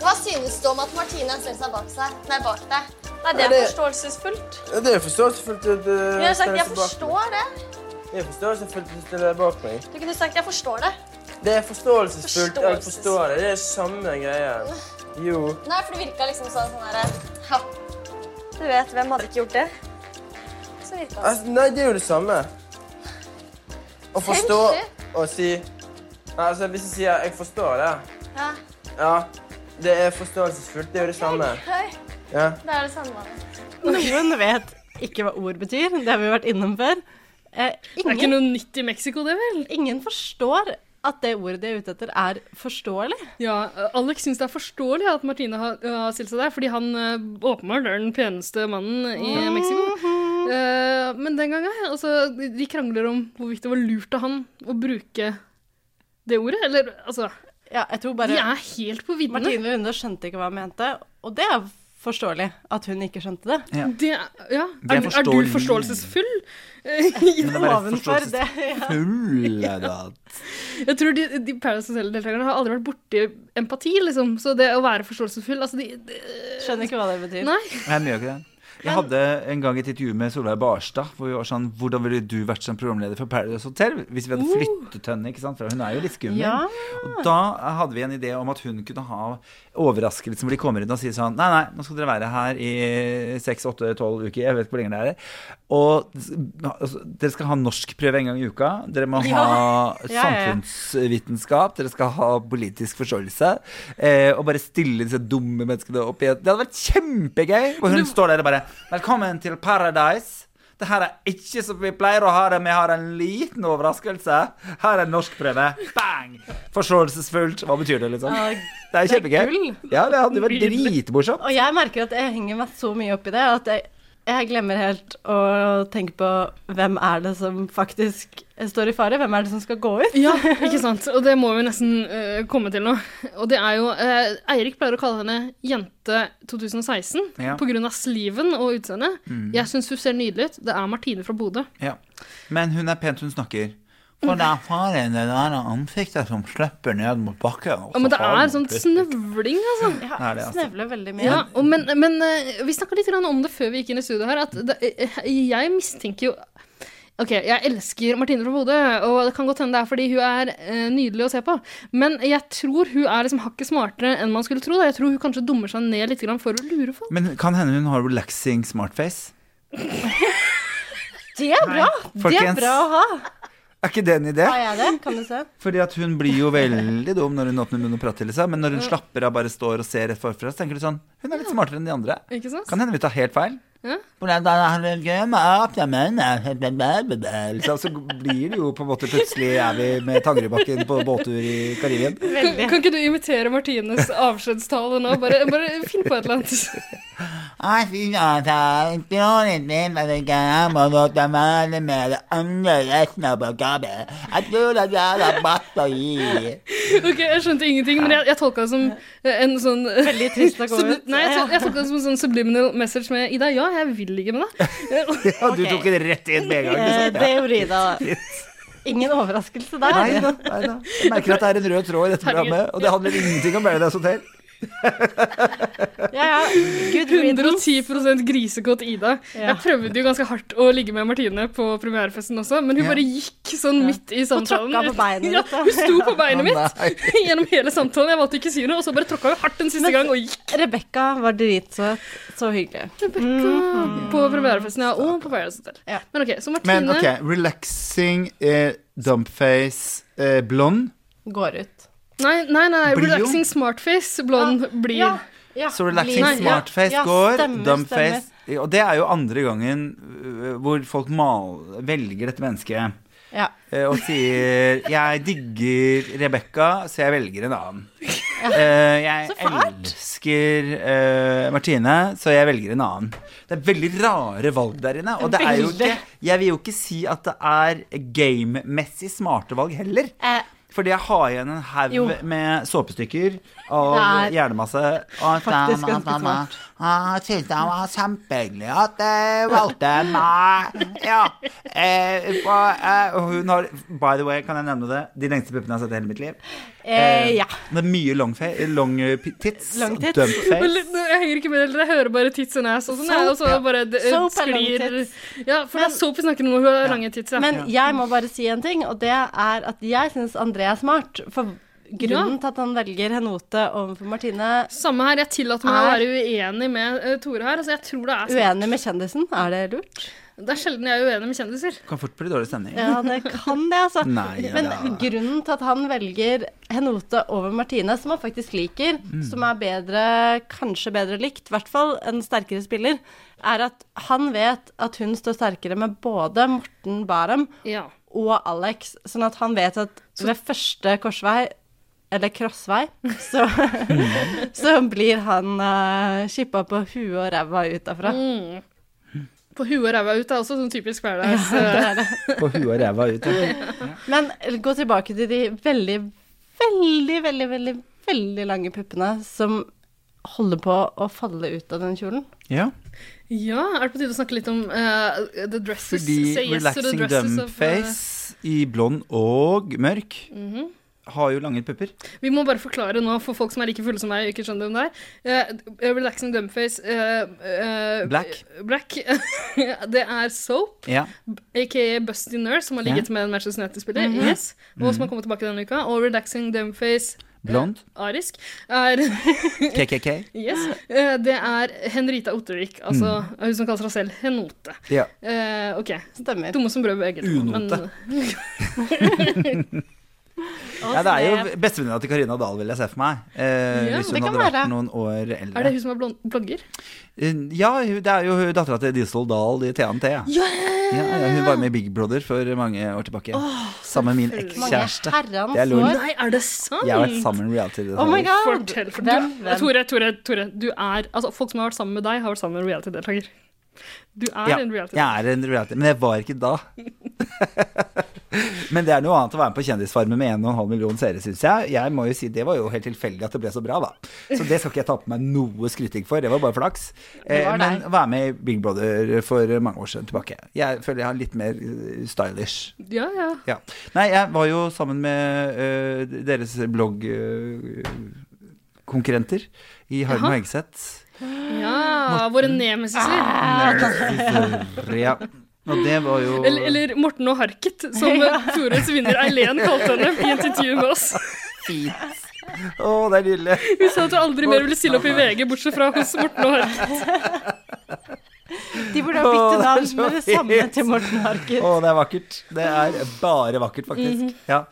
Speaker 7: Hva synes du om at Martine har stilt seg bak seg? Nei, bak deg. Nei, det er forståelsesfullt.
Speaker 11: Det er forståelsesfullt. Det, det,
Speaker 7: Jeg har sagt jeg forstår det.
Speaker 11: Det er forståelsesfullt å stille deg bak meg.
Speaker 7: Du kunne sagt jeg forstår det.
Speaker 11: Det er forståelsesfullt. Jeg
Speaker 7: Forståelses-
Speaker 11: forstår det. Det er samme greia. Jo.
Speaker 7: Nei, for det virka liksom sånn sånn herre Ja. Du vet, hvem hadde ikke gjort det? Så virka det.
Speaker 11: Altså, nei, det er jo det samme. Å forstå og si Nei, altså, Hvis jeg sier 'jeg forstår det'
Speaker 7: Ja.
Speaker 11: Ja, det er forståelsesfullt. Det er jo det samme.
Speaker 7: Hei.
Speaker 11: Ja.
Speaker 7: Det er det samme.
Speaker 3: Noen vet ikke hva ord betyr, det har vi vært innom før. Eh,
Speaker 1: Det er ikke
Speaker 3: ingen,
Speaker 1: noe nytt i Mexico, det vel?
Speaker 3: ingen forstår at det ordet de er ute etter, er forståelig.
Speaker 1: Ja, eh, Alex syns det er forståelig at Martine har, har stilt seg der, fordi han eh, åpenbart er den peneste mannen i Mexico. Eh, men den gangen, altså de- De krangler om hvorvidt det var lurt av han å bruke det ordet. Eller altså
Speaker 3: Ja, jeg tror
Speaker 1: De
Speaker 3: bare
Speaker 1: er helt på viddene.
Speaker 3: Martine Lunde skjønte ikke hva hun mente, og det er forståelig at hun ikke skjønte det.
Speaker 1: Det, ja.
Speaker 2: Det
Speaker 1: Er,
Speaker 2: er
Speaker 1: du- er du
Speaker 2: forståelig.
Speaker 1: forståelsesfull?
Speaker 2: Men det er bare
Speaker 3: Ovenfor det, ja.
Speaker 2: forståelsesfull, da.
Speaker 1: Jeg tror de, de Paradise Hotel-deltakerne har aldri vært borti empati, liksom. Så det å være forståelsesfull altså de, de,
Speaker 3: Skjønner ikke hva det betyr.
Speaker 1: Nei.
Speaker 2: Jeg gjør ikke det. Jeg hadde en gang et intervju med Solveig Barstad. Hvor vi var sånn, Hvordan ville du vært som programleder for Paradise Hotel hvis vi hadde flyttet henne? ikke sant? For hun er jo litt skummel.
Speaker 3: Ja.
Speaker 2: Og da hadde vi en idé om at hun kunne ha overraskelsen hvor de kommer inn og sier sånn Nei, nei, nå skal dere være her i seks, åtte, tolv uker. Jeg vet ikke hvor lenge det er. Og altså, dere skal ha norskprøve en gang i uka. Dere må ha
Speaker 3: Ja, ja, ja.
Speaker 2: samfunnsvitenskap. Dere skal ha politisk forståelse. Eh, og bare stille disse dumme menneskene opp igjen. Det hadde vært kjempegøy! Og hun står der og bare Velkommen til Paradise. Det her er ikke som vi pleier å ha det. Vi har en liten overraskelse. Her er norskprøve. Bang! Forståelsesfullt. Hva betyr det, liksom?
Speaker 3: Ja,
Speaker 2: Det er
Speaker 3: det er
Speaker 2: kjempegøy.
Speaker 3: gull.
Speaker 2: Ja, det hadde vært
Speaker 1: Nydelig.
Speaker 2: dritmorsomt.
Speaker 3: Og jeg merker at jeg henger meg så mye opp i det at jeg, Jeg glemmer helt å tenke på hvem er det som faktisk står i fare, hvem er det som skal gå ut?
Speaker 1: Ja, ikke sant. Og det må vi nesten eh, komme til nå. Og det er jo eh, Eirik pleier å kalle henne Jente 2016
Speaker 2: Ja.
Speaker 1: pga. sliven og utseendet.
Speaker 2: Mm.
Speaker 1: Jeg syns hun ser nydelig ut. Det er Martine fra Bodø.
Speaker 2: Ja. Men hun er pent, hun snakker. For det er faren i det der ansiktet som slipper ned mot bakken. og
Speaker 1: Ja, men
Speaker 2: så
Speaker 1: det
Speaker 2: har hun
Speaker 1: er sånn
Speaker 2: plutselig-
Speaker 1: snøvling, altså.
Speaker 2: Det er det, altså.
Speaker 3: Snevler veldig mye.
Speaker 1: Ja, og men, men eh, vi snakka litt grann om det før vi gikk inn i studio her, at det, eh, jeg mistenker jo Ok, jeg elsker Martine fra Bodø, og det kan godt hende det er fordi hun er eh, nydelig å se på. Men jeg tror hun er liksom hakket smartere enn man skulle tro. Da. Jeg tror hun kanskje dummer seg ned litt grann for å lure folk.
Speaker 2: Men kan hende hun har relaxing smartface.
Speaker 3: Det er bra! Det
Speaker 2: Folkens.
Speaker 3: er bra å ha.
Speaker 2: Er ikke det en idé?
Speaker 3: Har jeg det? Kan du se?
Speaker 2: Fordi at hun blir jo veldig dum når hun åpner munnen og prater til seg, men når hun
Speaker 1: Ja.
Speaker 2: slapper av, bare står og ser rett forfra, så tenker du sånn Hun er litt smartere enn de andre.
Speaker 1: Ikke sant?
Speaker 2: Kan henne vi tar helt feil.
Speaker 1: Ja.
Speaker 2: Hvordan er det gøy med at jeg mener- Så Liksom, så blir det jo på en måte plutselig er vi med Tangerudbakken på båttur i Karibien.
Speaker 1: Kan, kan ikke du imitere Martines avskjedstale nå? Bare, bare finn på et eller annet.
Speaker 2: Jeg synes at jeg tror min jeg må låte være med det andre resten av programmet. Jeg tror at jeg har masse å gi.
Speaker 1: Ok, Jeg skjønte ingenting, men jeg, jeg tolka det som eh, en sånn
Speaker 3: Veldig trist å gå
Speaker 1: Subli-
Speaker 3: ut.
Speaker 1: Nei, jeg, tol- jeg tolka det som en sånn subliminal message med Ida. Ja, jeg vil ligge med deg.
Speaker 2: Ja, du tok det rett inn med en gang.
Speaker 3: Eh,
Speaker 2: ikke
Speaker 3: det
Speaker 2: sant?
Speaker 3: gjorde Ida. Ingen overraskelse der.
Speaker 2: Nei da, nei da. Jeg merker at det er en rød tråd i dette programmet, og det handler ingenting om Paradise Hotel.
Speaker 3: Ja, ja. Good riddance.
Speaker 1: 110 grisekåt Ida.
Speaker 3: Ja.
Speaker 1: Jeg prøvde jo ganske hardt å ligge med Martine på premierefesten også, men hun
Speaker 2: Ja.
Speaker 1: bare gikk sånn midt i
Speaker 3: Hun
Speaker 1: samtalen.
Speaker 3: tråkka på beinet
Speaker 1: Ja,
Speaker 3: ditt, da.
Speaker 1: hun sto på
Speaker 2: Å,
Speaker 1: beinet mitt
Speaker 2: nei.
Speaker 1: gjennom hele samtalen. Jeg valgte ikke å si noe, og så bare tråkka hun hardt en siste
Speaker 3: Men-
Speaker 1: gang og gikk.
Speaker 3: Rebekka var dritsøt. Så hyggelig.
Speaker 1: Rebecca På premierefesten, ja. Og på Paradise Hotel.
Speaker 3: Ja.
Speaker 1: Men ok, så Martine
Speaker 2: Men ok, relaxing, eh, dumpface, eh, blond.
Speaker 3: Går ut.
Speaker 1: Nei, nei, nei,
Speaker 2: Blir jo.
Speaker 1: relaxing smartface, blond, blir.
Speaker 3: Ja, ja.
Speaker 2: Så relaxing
Speaker 1: Nei, ja.
Speaker 2: smartface
Speaker 3: Ja,
Speaker 2: går,
Speaker 3: stemmer,
Speaker 2: dumpface
Speaker 3: stemmer.
Speaker 2: Og det er jo andre gangen øh, hvor folk mal, velger dette mennesket
Speaker 3: Ja.
Speaker 2: eh, og sier 'Jeg digger Rebekka, så jeg velger en annen'. Eh, jeg elsker eh, Martine, så jeg velger en annen. Det er veldig rare valg der inne. Og det er jo ikke,
Speaker 3: Veldig.
Speaker 2: jeg vil jo ikke si at det er gamemessig smarte valg heller.
Speaker 3: Eh,
Speaker 2: Fordi jeg har igjen en
Speaker 3: Jo.
Speaker 2: haug med såpestykker av
Speaker 3: Det er
Speaker 2: hjernemasse. Og
Speaker 3: faktisk
Speaker 2: da-
Speaker 3: ganske
Speaker 2: da- da-
Speaker 3: smart.
Speaker 2: Jeg Ah, synes det var kjempehyggelig at jeg valgte meg. Ja. Eh, og, eh, og hun har By the way, kan jeg nevne det? De lengste puppene jeg har sett i hele mitt liv.
Speaker 3: eh, ja.
Speaker 2: Det er mye long, fa- long eh, pi- tits.
Speaker 3: Long
Speaker 2: og
Speaker 3: tits.
Speaker 2: dump face.
Speaker 1: Men litt- Jeg henger ikke med dere, jeg hører bare tits and ass og sånn. jeg, Og så
Speaker 3: Soap, ja.
Speaker 1: bare det,
Speaker 3: Soap er
Speaker 1: sklir
Speaker 3: lang
Speaker 1: Ja, for det er soap vi snakker om, og hun har lange tits, ja.
Speaker 3: Men jeg må bare si en ting, og det er at jeg syns André er smart. For grunnen til at han velger Henote overfor Martine
Speaker 1: Samme her, jeg tillater meg å
Speaker 3: Er-
Speaker 1: være uenig med eh, Tore her. Altså, jeg tror det er smart.
Speaker 3: uenig med kjendisen, er det lurt?
Speaker 1: Det er sjelden jeg er uenig med kjendiser.
Speaker 2: Kan fort bli dårlig stemning.
Speaker 3: Ja, det kan det, altså.
Speaker 2: Nei, ja.
Speaker 3: Men grunnen til at han velger Henote over Martine, som han faktisk liker,
Speaker 2: Mm.
Speaker 3: som er bedre, kanskje bedre likt, i hvert fall en sterkere spiller, er at han vet at hun står sterkere med både Morten Barum
Speaker 1: Ja.
Speaker 3: og Alex, sånn at han vet at ved første korsvei, eller krossvei, så, så blir han uh, shippa på huet og ræva ut derfra.
Speaker 1: Mm. På huet og ræva ut er også sånn typisk hverdags.
Speaker 3: Det er det.
Speaker 2: På huet og ræva ut. ja.
Speaker 3: Men gå tilbake til de veldig, veldig, veldig, veldig, veldig lange puppene som holder på å falle ut av den kjolen.
Speaker 2: Ja.
Speaker 1: Ja, er det på tide å snakke litt om eh, the dresses?
Speaker 2: Fordi
Speaker 1: Say yes to the
Speaker 2: relaxing
Speaker 1: dresses of, eh,
Speaker 2: dumpface i blond og mørk
Speaker 1: mhm.
Speaker 2: har jo lange pupper.
Speaker 1: Vi må bare forklare nå for folk som er like fulle som meg og ikke skjønner hvem det er. Eh, relaxing dumpface eh, eh,
Speaker 2: Black.
Speaker 1: Black. det er Soap,
Speaker 2: Ja.
Speaker 1: aka Busty Nurse, som har ligget med en Manchester United-spiller, yes, og som har kommet tilbake denne uka. Og Relaxing Dumpface
Speaker 2: Mhm. Blond.
Speaker 1: Arisk er
Speaker 2: KKK.
Speaker 1: Yes. eh, det er Henrita Ottervik, altså hun som kaller seg selv Henote.
Speaker 2: Mm. Ja.
Speaker 1: Eh, OK.
Speaker 3: Stemmer.
Speaker 1: Dumme som brød ved eget navn, men-
Speaker 2: Unote. Ja, det er jo bestevenninna til Karina Dahl, vil jeg se for meg. Eh,
Speaker 1: Ja,
Speaker 2: hvis
Speaker 3: det
Speaker 2: hun
Speaker 3: kan
Speaker 2: hadde vært
Speaker 3: være.
Speaker 2: noen år
Speaker 1: Er det
Speaker 2: eldre.
Speaker 1: hun som er blond- blogger?
Speaker 2: Eh, Ja, hun- det er jo dattera til Diesel Dahl i TNT. Ja. Ja, ja, hun var med i Big Brother for mange år tilbake. sammen med min
Speaker 3: Mange
Speaker 2: ekskjæreste. Det er
Speaker 3: herrens
Speaker 2: lol.
Speaker 3: år.
Speaker 1: Nei, er det sant?
Speaker 2: Jeg har vært sammen med reality
Speaker 3: Oh my
Speaker 2: deltaker.
Speaker 3: god!
Speaker 1: Fortell, for
Speaker 3: Hvem?
Speaker 1: eh, du, Tore, Tore, Tore, du er Altså, folk som har vært sammen med deg, har vært sammen med en reality-deltaker. Du er
Speaker 2: Ja,
Speaker 1: en reality.
Speaker 2: jeg er en reality, men jeg var ikke da. men det er noe annet å være med på Kjendisfarmen med 1,5 million seere, syns jeg. Jeg må jo si Det var jo helt tilfeldig at det ble så bra, da. Så det skal ikke jeg ta på meg noe skryting for, det var bare flaks.
Speaker 12: Det
Speaker 2: Eh,
Speaker 12: var
Speaker 2: men å være med i Big Brother for mange år siden tilbake. Jeg føler jeg har litt mer eh, stylish.
Speaker 1: Ja, ja.
Speaker 2: Ja. Nei, jeg var jo sammen med eh, deres bloggkonkurrenter konkurrenter i Harm
Speaker 1: Jaha.
Speaker 2: og Hegseth.
Speaker 1: Ja, våre nemesiser.
Speaker 2: Ah. Ja. Og det var jo
Speaker 1: Eller, eller Morten og Harket, som ja. Fjordets vinner Eileen kalte henne i et intervju med oss.
Speaker 2: Fint. Å, det er nydelig.
Speaker 1: Hun sa at hun aldri mer ville stille opp i VG, bortsett fra hos Morten og Harket.
Speaker 3: De burde ha
Speaker 2: Å,
Speaker 3: byttet
Speaker 2: det er
Speaker 3: navn
Speaker 2: så
Speaker 3: med det samme
Speaker 2: fint.
Speaker 3: til Morten Harket.
Speaker 2: Å, det er vakkert. Det er bare vakkert, faktisk.
Speaker 3: Mhm.
Speaker 2: Ja.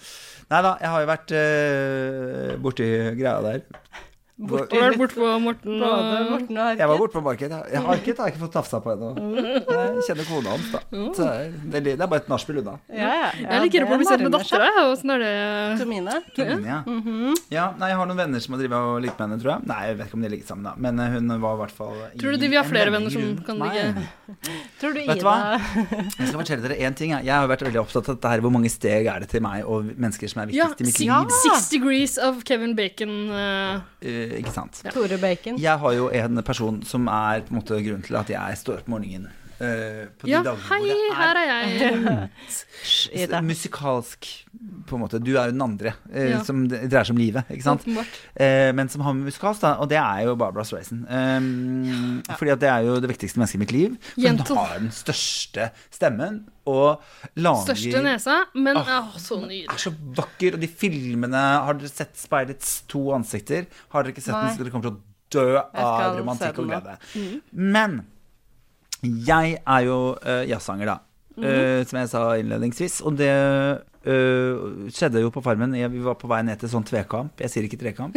Speaker 2: Nei da, jeg har jo vært eh, borti greia der.
Speaker 1: Borti. Har vært bortpå Morten og- Både Morten og Harket.
Speaker 2: Jeg var bortpå Market. Ja. Harket har jeg ikke fått tafsa på ennå. Jeg kjenner kona hans, da.
Speaker 1: Mm.
Speaker 2: Så det er- det er bare et nachspiel unna.
Speaker 1: jeg er litt gira på å bli kjent med dattera. Åssen sånn er det
Speaker 3: Tomine.
Speaker 2: Tomine, ja.
Speaker 1: Mhm.
Speaker 2: Ja, nei, jeg har noen venner som har drevet og ligget med henne, tror jeg. Nei, jeg vet ikke om de ligger sammen, da. Men eh, hun var i hvert fall i
Speaker 1: Tror du de vi har
Speaker 2: en
Speaker 1: flere venner som
Speaker 2: vennegruppe.
Speaker 1: kan
Speaker 2: Nei.
Speaker 1: ligge
Speaker 3: Tror du
Speaker 2: Vet du hva? Jeg skal fortelle dere en ting. Jeg, jeg har vært veldig opptatt av dette her, hvor mange steg er det til meg og mennesker som er
Speaker 1: Ja,
Speaker 2: viktigst i mitt
Speaker 1: si-
Speaker 2: liv.
Speaker 1: Six Degrees of Kevin Bacon. eh,
Speaker 2: Eh, ikke sant.
Speaker 3: Tore Bacon.
Speaker 2: Jeg har jo en person som er på en måte grunnen til at jeg står opp om morgenen. eh, på de
Speaker 1: ja,
Speaker 2: dagene
Speaker 1: hei,
Speaker 2: hvor det
Speaker 1: her er jeg.
Speaker 2: er musikalsk, på en måte. Du er jo den andre, eh,
Speaker 1: Ja.
Speaker 2: som det dreier seg om livet, ikke sant?
Speaker 1: Åpenbart.
Speaker 2: Eh, men som har med musikalsk, da, og det er jo Barbara Streisand. Um, Fordi at det er jo det viktigste mennesket i mitt liv. For
Speaker 1: Jento.
Speaker 2: hun har den største stemmen, og lager
Speaker 1: Største nesa, men
Speaker 2: Ah.
Speaker 1: ah, så nydelig.
Speaker 2: er så vakker, og de filmene Har dere sett Speilets to ansikter? Har dere ikke sett
Speaker 1: Nei.
Speaker 2: den, så dere kommer til å dø av romantikk og glede.
Speaker 12: Mm.
Speaker 2: Men jeg er jo uh, jazzsanger, da.
Speaker 12: Mhm.
Speaker 2: eh, som jeg sa innledningsvis. Og det eh, skjedde jo på Farmen. Jeg, vi var på vei ned til sånn tvekamp. Jeg sier ikke trekamp.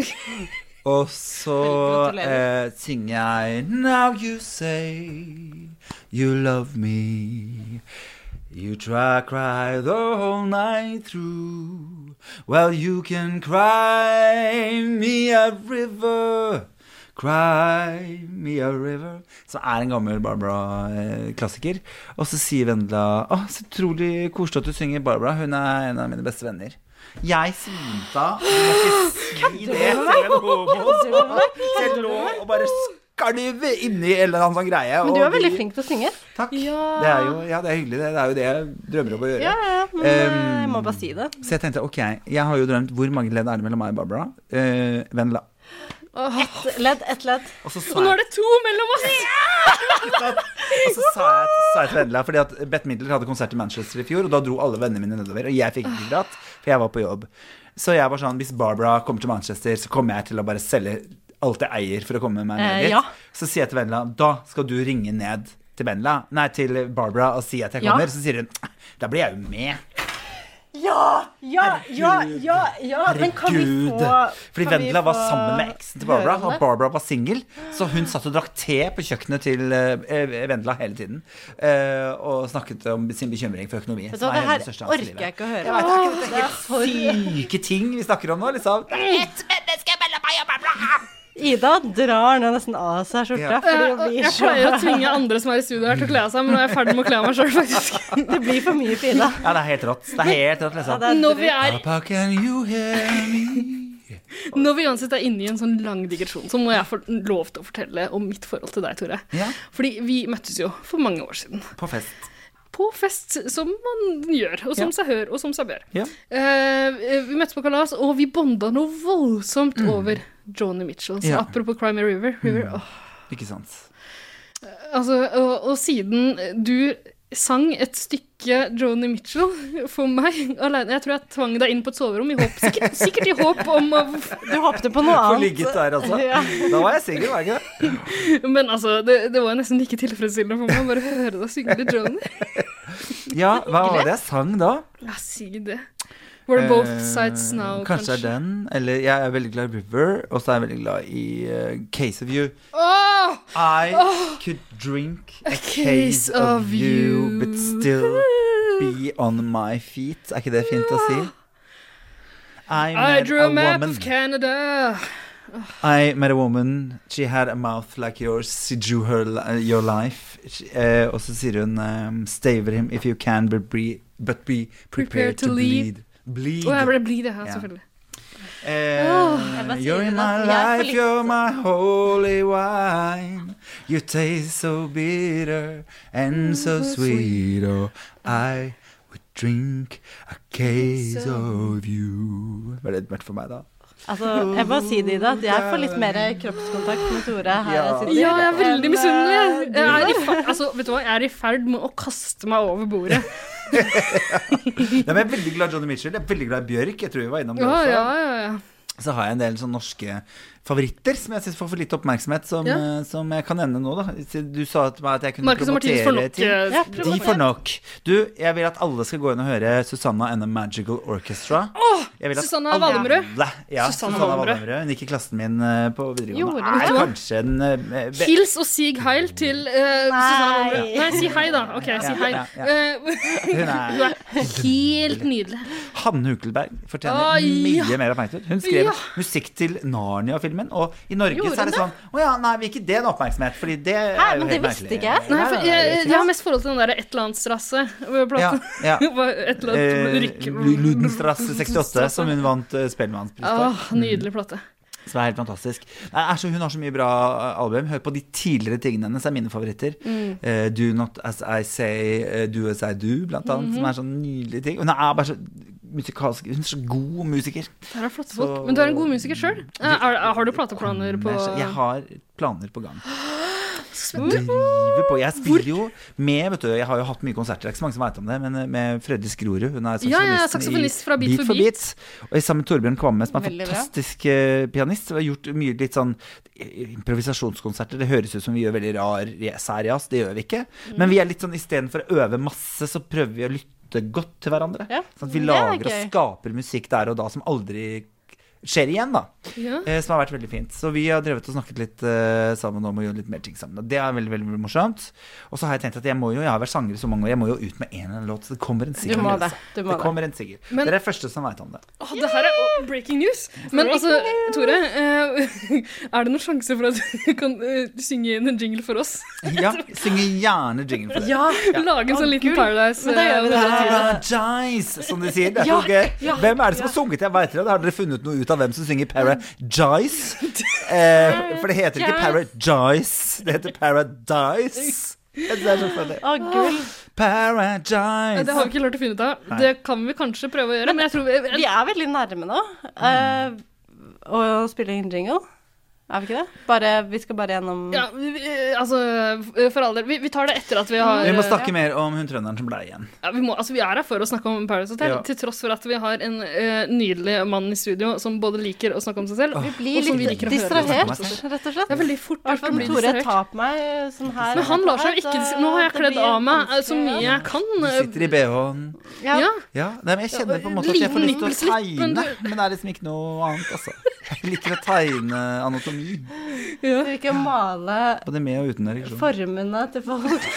Speaker 2: Og så
Speaker 12: gratulerer.
Speaker 2: eh, synger jeg Now you say you love me. You try cry the whole night through. Well, you can cry me a river. Cry me a river Som er en gammel Barbara-klassiker. Og så sier Vendela Å, så utrolig koselig at du synger Barbara. Hun er en av mine beste venner. Jeg svimte av. Du må ikke si det til en homo. Så jeg lå og bare skalv inni en eller annen sånn greie.
Speaker 3: Men du
Speaker 2: og
Speaker 3: er veldig
Speaker 2: de-
Speaker 3: flink til å synge.
Speaker 2: Takk.
Speaker 3: Ja.
Speaker 2: Det er jo, ja, det er hyggelig, det. Det er jo det jeg drømmer om å gjøre.
Speaker 3: Ja, ja, men
Speaker 2: Ehm,
Speaker 3: eh, jeg må bare si det.
Speaker 2: Så jeg tenkte ok, jeg har jo drømt Hvor mange ledd er det mellom meg og Barbara? Eh, Vendela.
Speaker 3: Ett ledd, ett ledd.
Speaker 2: Og så sa
Speaker 1: Og nå er
Speaker 2: jeg-
Speaker 1: det to mellom oss!
Speaker 2: Og så sa jeg, sa jeg til Vendela, fordi at Bette Midler hadde konsert i Manchester i fjor, og da dro alle vennene mine nedover, og jeg fikk ikke dratt, for jeg var på jobb. Så jeg var sånn, hvis Barbara kommer til Manchester, så kommer jeg til å bare selge alt jeg eier for å komme meg ned
Speaker 12: Eh,
Speaker 2: dit.
Speaker 12: ja.
Speaker 2: Så sier jeg til Vendela, da skal du ringe ned til Vendela, nei, til Barbara og si at jeg
Speaker 3: Ja.
Speaker 2: kommer. Så sier hun, da blir jeg jo med.
Speaker 3: Ja, ja, ja, ja, ja. Men kan vi
Speaker 2: Herregud.
Speaker 3: få
Speaker 2: Fordi
Speaker 3: kan vi
Speaker 2: Vendela var
Speaker 3: få
Speaker 2: sammen med eksen til
Speaker 3: høre
Speaker 2: Barbara,
Speaker 3: om
Speaker 2: og
Speaker 3: det?
Speaker 2: Barbara var singel, så hun satt og drakk te på kjøkkenet til eh, Vendela hele tiden. eh, og snakket om sin bekymring for økonomi.
Speaker 3: Vet du
Speaker 2: som
Speaker 3: hva,
Speaker 2: er
Speaker 3: det
Speaker 2: hennes største
Speaker 3: her
Speaker 2: angst i
Speaker 3: orker jeg
Speaker 2: livet.
Speaker 3: ikke å høre.
Speaker 2: Jeg vet ikke, det er helt
Speaker 3: for-
Speaker 2: Syke ting vi snakker om nå, liksom. Ett menneske mellom meg og Barbara!
Speaker 3: Ida drar nå nesten av seg skjorta.
Speaker 2: Ja.
Speaker 3: Fordi hun
Speaker 1: Eh,
Speaker 3: blir
Speaker 1: Jeg
Speaker 3: så
Speaker 1: pleier å tvinge andre som er i studio her, til å kle av seg, men nå er jeg ferdig med å kle av meg sjøl, faktisk.
Speaker 3: Det blir for mye for Ida.
Speaker 2: Ja, det er helt rått. Det er helt rått, liksom.
Speaker 1: Ja, det er Når vi dritt. er-
Speaker 2: Papa, can you hear me?
Speaker 1: Når vi uansett er inne i en sånn lang digresjon, så må jeg få lov til å fortelle om mitt forhold til deg, Tore.
Speaker 2: Ja.
Speaker 1: Fordi vi møttes jo for mange år siden.
Speaker 2: På fest.
Speaker 1: På fest, som man gjør, og som
Speaker 2: Ja.
Speaker 1: seg hør, og som seg bør.
Speaker 2: Ja.
Speaker 1: Eh, vi møttes på kalas, og vi bonda noe voldsomt over Joni Mitchell. Så
Speaker 2: Mm. Ja. Mm.
Speaker 1: apropos Crime River, River åh,
Speaker 2: Ikke sant.
Speaker 1: Altså, og, og siden du sang et stykke Joni Mitchell for meg alene Jeg tror jeg tvang deg inn på et soverom, i håp, sikkert, sikkert i håp om å
Speaker 3: Du håpte på
Speaker 2: Få ligget der, altså.
Speaker 1: Ja.
Speaker 2: Da var jeg singel, var jeg ikke det?
Speaker 1: Men altså, det, det var jo nesten like tilfredsstillende for meg å bare høre deg synge litt Joni.
Speaker 2: Ja, hva var det jeg sang da?
Speaker 1: Ja, si det. Var det Both
Speaker 2: Eh,
Speaker 1: Sides Now,
Speaker 2: Kanskje det er den. Eller jeg er veldig glad i River, og så er jeg veldig glad i eh, Case of You.
Speaker 1: Åh!
Speaker 2: I
Speaker 1: Åh!
Speaker 2: could drink a
Speaker 1: A
Speaker 2: case,
Speaker 1: case
Speaker 2: of,
Speaker 1: of
Speaker 2: you,
Speaker 1: you.
Speaker 2: but still be on my feet. Er ikke det fint å si? I
Speaker 1: I
Speaker 2: met
Speaker 1: drew a,
Speaker 2: a
Speaker 1: map
Speaker 2: woman.
Speaker 1: of Canada.
Speaker 2: I met a woman, she had a mouth like yours, she drew her, li- your life. She- eh, og så sier hun um, Stay with him if you can, but be, but be prepared to, bleed. Bleed.
Speaker 1: Å, jeg ble blid, jeg, ja,
Speaker 2: Ja.
Speaker 1: selvfølgelig.
Speaker 2: Eh,
Speaker 1: Åh.
Speaker 2: you're in my life, you're my holy wine. You taste so bitter
Speaker 1: Mm,
Speaker 2: and so sweet, oh, I would drink a case of you. Var det mørkt for meg, da?
Speaker 3: Altså, jeg må si det, Ida, at jeg får litt mer kroppskontakt med Tore her jeg sitter.
Speaker 1: Ja, jeg er veldig
Speaker 3: enn,
Speaker 1: misunnelig.
Speaker 3: eh,
Speaker 1: Jeg er, i
Speaker 3: du.
Speaker 1: ferd, altså, vet du hva? jeg er i ferd med å kaste meg over bordet.
Speaker 2: Nei, men jeg er veldig glad i Johnny Mitchell. Jeg er veldig glad i Bjørk. Jeg tror vi var innom det
Speaker 1: Ja,
Speaker 2: også.
Speaker 1: ja, ja, ja.
Speaker 2: Så har jeg en del sånn norske favoritter som jeg syns får for lite oppmerksomhet, som,
Speaker 1: Ja.
Speaker 2: eh, som jeg kan nevne nå, da. Siden Du sa til meg at jeg kunne
Speaker 1: Marcus og Martinus får
Speaker 2: promotere
Speaker 1: nok,
Speaker 2: ting.
Speaker 1: eh, Ja,
Speaker 2: De
Speaker 1: promoter.
Speaker 2: får nok. Du, jeg vil at alle skal gå inn og høre Susanna and the Magical Orchestra.
Speaker 1: Åh,
Speaker 2: Jeg vil at
Speaker 1: Susanna
Speaker 2: alle-
Speaker 1: Valmrud.
Speaker 2: Ja,
Speaker 1: Susanna
Speaker 2: Susanna
Speaker 1: Valmrud.
Speaker 2: Valmrud. Hun gikk i klassen min eh, på
Speaker 1: Gjorde
Speaker 2: videregående.
Speaker 1: hun
Speaker 2: Er
Speaker 1: det?
Speaker 2: kanskje den eh, be-
Speaker 1: Hils og sig heil til eh, Susanne Womre. Nei, si hei, da. Ok, si
Speaker 2: Ja,
Speaker 1: hei.
Speaker 2: ja, ja.
Speaker 1: Eh,
Speaker 2: Hun er-
Speaker 1: du er helt nydelig.
Speaker 2: Hanne Hukelberg fortjener
Speaker 1: Å, ja.
Speaker 2: mye mer oppmerksomhet. Hun skrev
Speaker 1: Ja.
Speaker 2: musikk til Narnia-filmen, og i Norge
Speaker 1: Gjorde
Speaker 2: så er det
Speaker 1: hun
Speaker 2: sånn Å ja, nei, vi gir ikke det en oppmerksomhet, fordi det
Speaker 1: Hæ,
Speaker 2: er jo
Speaker 1: men det
Speaker 2: helt
Speaker 1: visste
Speaker 2: merkelig.
Speaker 1: ikke jeg. Nei, for jeg, jeg har mest forhold til den der et eller annet strasse. Ja,
Speaker 2: Ja.
Speaker 1: Et eller annet
Speaker 2: Eh,
Speaker 1: rykke...
Speaker 2: Lu- Ludenstrasse 68, som hun vant eh, Spellemannspris for.
Speaker 1: Åh, nydelig plate.
Speaker 2: Som er helt fantastisk. Nei, er så, hun har så mye bra eh, album. Hør på de tidligere tingene hennes, er mine favoritter.
Speaker 1: Mm.
Speaker 2: Eh, do Not As I Say, eh, Do As I Do, blant annet.
Speaker 1: Mhm.
Speaker 2: Som er sånn nydelige ting. Hun er bare så musikalsk Hun er så god musiker.
Speaker 1: Der er flotte
Speaker 2: Så-
Speaker 1: folk. Men du er en god musiker sjøl. Har du plateplaner på
Speaker 2: Men jeg skjø- Jeg har planer på gang. Driver på. Jeg spiller jo med vet du, Jeg har jo hatt mye konserter, det er ikke så mange som vet om det, men eh, med Freddy Skrorud. Hun er
Speaker 1: Ja, ja,
Speaker 2: saksofonisten
Speaker 1: saksofonist
Speaker 2: i
Speaker 1: fra Beat for Beat.
Speaker 2: Og jeg sammen med Torbjørn Kvamme, som er
Speaker 1: Veldig bra.
Speaker 2: fantastisk eh, pianist. Vi har gjort mye litt sånn improvisasjonskonserter. Det høres ut som vi gjør veldig rar særjazz, det gjør vi ikke. Men vi er litt sånn istedenfor å øve masse, så prøver vi å lytte godt til hverandre. Sånn at
Speaker 1: Det
Speaker 2: vi
Speaker 1: er
Speaker 2: lager og
Speaker 1: gøy.
Speaker 2: skaper musikk der og da som aldri skjer igjen, da.
Speaker 1: Ja.
Speaker 2: Eh, som har vært veldig fint. Så vi har drevet og snakket litt eh, sammen om å gjøre litt mer ting sammen. Og det er veldig, veldig morsomt. Og så har jeg tenkt at jeg må jo, jeg har vært sanger i så mange år, jeg må jo ut med en eller annen låt. Så det kommer en singel.
Speaker 1: Du må
Speaker 2: altså.
Speaker 1: det, du må det.
Speaker 2: kommer en singel.
Speaker 1: Men-
Speaker 2: Dere er første som veit om det.
Speaker 1: Åh, det her er oh, breaking news! Men altså, Tore, eh, er det noen sjanse for at du kan eh, synge inn en jingle for oss?
Speaker 2: Ja, synger gjerne jingle for dere.
Speaker 1: Lage en sånn liten Paradise.
Speaker 3: Men da gjør vi det.
Speaker 2: Paradise, som de sier. Det er
Speaker 3: Ja,
Speaker 2: så gøy.
Speaker 3: ja,
Speaker 2: hvem er det som har sunget? Jeg vet ikke, Har dere funnet noe ut av hvem som synger Paradise? Eh, for det heter ikke Paradise, det heter Paradise. Jeg synes Det er så funny.
Speaker 3: Å, gull.
Speaker 2: Paradise.
Speaker 1: eh, Det har vi ikke klart å finne ut av.
Speaker 2: Nei.
Speaker 1: Det kan vi kanskje prøve å gjøre. Men jeg tror vi,
Speaker 3: Vi er veldig nærme nå eh, å spille inn jingle. Er vi ikke det? Bare, vi skal bare gjennom
Speaker 1: ja, vi, vi- altså, for all del. Vi, vi tar det etter at vi har eh,
Speaker 2: Vi må snakke mer om hun trønderen som ble igjen.
Speaker 1: Ja, vi, må, altså, vi er her for å snakke om Paradise Hotel,
Speaker 2: Ja.
Speaker 1: til tross for at vi har en eh, nydelig mann i studio som både liker å snakke om seg selv,
Speaker 3: Vi blir
Speaker 1: og som vi
Speaker 3: litt
Speaker 1: liker å høre.
Speaker 3: distrahert, rett og slett.
Speaker 1: Det er veldig fort
Speaker 3: I hvert fall
Speaker 1: å bli
Speaker 3: Tore
Speaker 1: distrahert.
Speaker 3: tar på meg eh, sånn her.
Speaker 1: Men han lar seg jo ikke
Speaker 3: Så
Speaker 1: dis- Nå har jeg
Speaker 3: det
Speaker 1: kledd
Speaker 3: blir
Speaker 1: av meg eh, så
Speaker 3: vanskelig.
Speaker 1: mye jeg kan.
Speaker 2: Sitter i BH-en.
Speaker 1: Ja.
Speaker 2: Ja, nei, men jeg kjenner på en måte at jeg får lyst til å
Speaker 1: Liten nippelslipp, men
Speaker 2: tegne, men det er liksom ikke noe annet, altså. Jeg liker å tegne anatomi.
Speaker 3: Du vil ikke male
Speaker 2: Både med og uten ereksjon.
Speaker 3: formene til folk.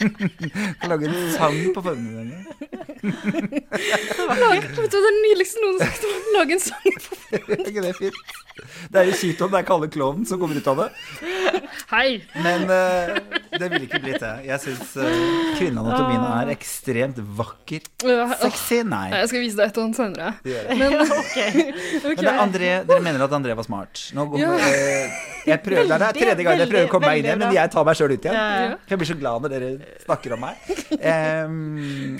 Speaker 2: Jeg lager en sang på formene dine.
Speaker 1: Lag, vet du, hva, det er nydeligst noen som sagt om å lage en sang.
Speaker 2: Er ikke det fint? Det er jo kjipt om det er Kalle Klovnen som kommer ut av det,
Speaker 1: Hei!
Speaker 2: men eh, det ville ikke blitt det. Jeg syns kvinneanatomien
Speaker 1: Ah.
Speaker 2: er ekstremt vakker.
Speaker 1: Ja, åh.
Speaker 2: Sexy? Nei.
Speaker 1: Jeg skal vise deg et og annet senere.
Speaker 2: Det gjør jeg.
Speaker 1: Men, Ok.
Speaker 2: Men det er André, dere mener at André var smart. Nå går,
Speaker 1: Ja.
Speaker 2: eh, jeg prøver, det er
Speaker 1: Veldig,
Speaker 2: tredje gang jeg prøver å komme meg inn igjen,
Speaker 1: veldig bra.
Speaker 2: men jeg tar meg sjøl ut igjen.
Speaker 1: Ja, ja.
Speaker 3: Eh,
Speaker 2: For jeg blir så glad når dere snakker om meg. Em,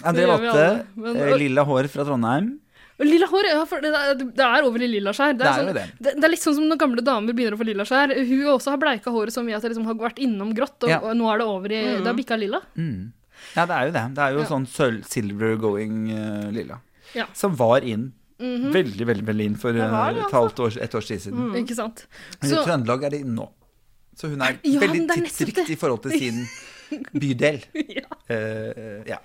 Speaker 2: André
Speaker 1: Det gjør vi
Speaker 2: valgte
Speaker 1: alle, men-
Speaker 2: eh, lilla hår fra Trondheim.
Speaker 1: Og Lilla hår, ja, for det er, det er over i lilla skjær.
Speaker 2: Det er
Speaker 1: sånn,
Speaker 2: jo det.
Speaker 1: Det, det er litt sånn som når gamle damer begynner å få lilla skjær. Hun også har bleika håret så mye at det liksom har vært innom grått, og,
Speaker 2: Ja.
Speaker 1: og nå er det over i
Speaker 2: Mm.
Speaker 1: Det har bikka lilla.
Speaker 2: Mm. Ja, det er jo det. Det er jo
Speaker 1: Ja.
Speaker 2: sånn sølv, silver going eh, lilla.
Speaker 1: Ja.
Speaker 2: Som var inn.
Speaker 1: Mhm.
Speaker 2: Veldig, veldig veldig inn for eh,
Speaker 1: var det,
Speaker 2: et halvt år, et års tid siden.
Speaker 3: Mm.
Speaker 1: Ikke sant?
Speaker 2: Men
Speaker 1: Så-
Speaker 2: I Trøndelag er det inn nå. Så hun er
Speaker 1: Ja, men
Speaker 2: veldig
Speaker 1: det er nettopp
Speaker 2: tidsriktig i forhold til sin bydel.
Speaker 1: Ja.
Speaker 2: Eh, ja.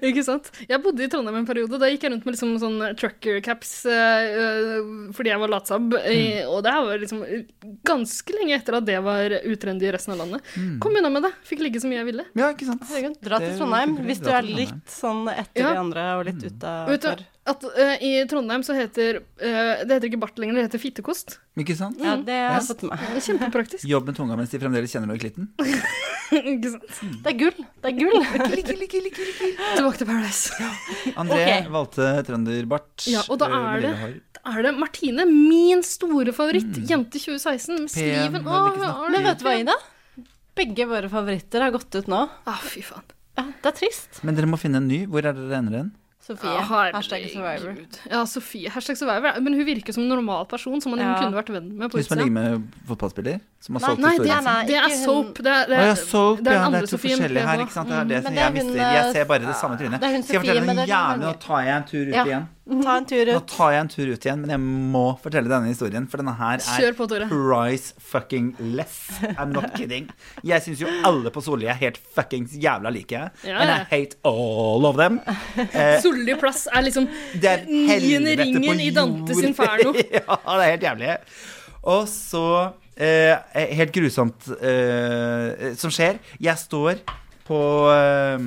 Speaker 1: Ikke sant? Jeg bodde i Trondheim en periode. Da gikk jeg rundt med liksom sånn trucker caps eh, eh, fordi jeg var latsabb. eh,
Speaker 2: Mm.
Speaker 1: Og det her var liksom ganske lenge etter at det var utrendy i resten av landet.
Speaker 3: Mm.
Speaker 1: Kom unna med det. Fikk ligge så mye jeg ville.
Speaker 2: Ja, ikke sant?
Speaker 1: Herregud.
Speaker 3: Dra til Trondheim hvis du
Speaker 1: Dra
Speaker 3: er
Speaker 1: til Trondheim. Mm.
Speaker 3: litt sånn etter
Speaker 1: Ja.
Speaker 3: de andre og litt utafor.
Speaker 1: Vet du at eh, i Trondheim så heter eh, Det heter ikke bart lenger, det heter fittekost.
Speaker 2: Ikke sant?
Speaker 1: Ja, det har jeg
Speaker 2: Ja.
Speaker 1: fått med meg. Kjempepraktisk.
Speaker 2: Jobb med tunga mens de fremdeles kjenner noe i klitten.
Speaker 1: ikke sant?
Speaker 3: Det er gull. Det er gull.
Speaker 1: Tilbake til Paradise.
Speaker 2: André valgte trønderbart.
Speaker 1: Ja, og da
Speaker 2: eh,
Speaker 1: er
Speaker 2: lille
Speaker 1: det,
Speaker 2: hår.
Speaker 1: da er det Martine, min store favoritt, jente 2016, med
Speaker 2: Mm. men
Speaker 1: Steven
Speaker 2: vil
Speaker 1: Åh,
Speaker 2: ikke snakke.
Speaker 3: Men vet du hva, Ida? Begge våre favoritter har gått ut nå.
Speaker 1: Ah, fy faen.
Speaker 3: Ja, det er trist.
Speaker 2: Men dere må finne en ny. Hvor er det dere ender hen?
Speaker 3: Sofie.
Speaker 1: Ja, herregud.
Speaker 3: hashtag survivor.
Speaker 1: Ja, Sofie. Hashtag survivor. Men hun virker som en normal person som man liksom
Speaker 3: Ja.
Speaker 1: kunne vært venn med på
Speaker 2: Hvis man
Speaker 1: utsida.
Speaker 2: ligger med fotballspiller? Som har
Speaker 1: Nei,
Speaker 2: solgt
Speaker 1: nei, det,
Speaker 2: historien sin?
Speaker 1: det er
Speaker 3: ikke hun-
Speaker 1: soap. Det er, det
Speaker 2: Å
Speaker 1: er,
Speaker 2: ja, soap,
Speaker 1: det er den
Speaker 2: ja, det
Speaker 1: andre
Speaker 2: er to
Speaker 1: Sofien.
Speaker 2: forskjellige her, ikke sant? Det er det som jeg mister. Jeg ser bare det samme trynet.
Speaker 3: det er hun
Speaker 2: Skal jeg
Speaker 3: Sofie
Speaker 2: fortelle
Speaker 3: med
Speaker 2: noe
Speaker 3: det lange-
Speaker 2: jævlig? Nå tar jeg en tur ut
Speaker 3: Ja.
Speaker 2: igjen.
Speaker 3: Ta en tur
Speaker 2: Nå
Speaker 3: ut.
Speaker 2: tar jeg en tur ut igjen, men jeg må fortelle denne historien, for denne her er
Speaker 1: Kjør på, Tore.
Speaker 2: price fucking less. I'm not kidding. Jeg syns jo alle på Solli er helt fuckings jævla like.
Speaker 1: Ja,
Speaker 2: And
Speaker 1: ja.
Speaker 2: I hate all of them. Eh,
Speaker 1: Solli plass er liksom
Speaker 2: det er
Speaker 1: niende
Speaker 2: helvete på
Speaker 1: ringen i Dantes
Speaker 2: jord.
Speaker 1: inferno.
Speaker 2: ja, det er helt jævlig. Og så eh, Helt grusomt eh, som skjer. Jeg står på eh,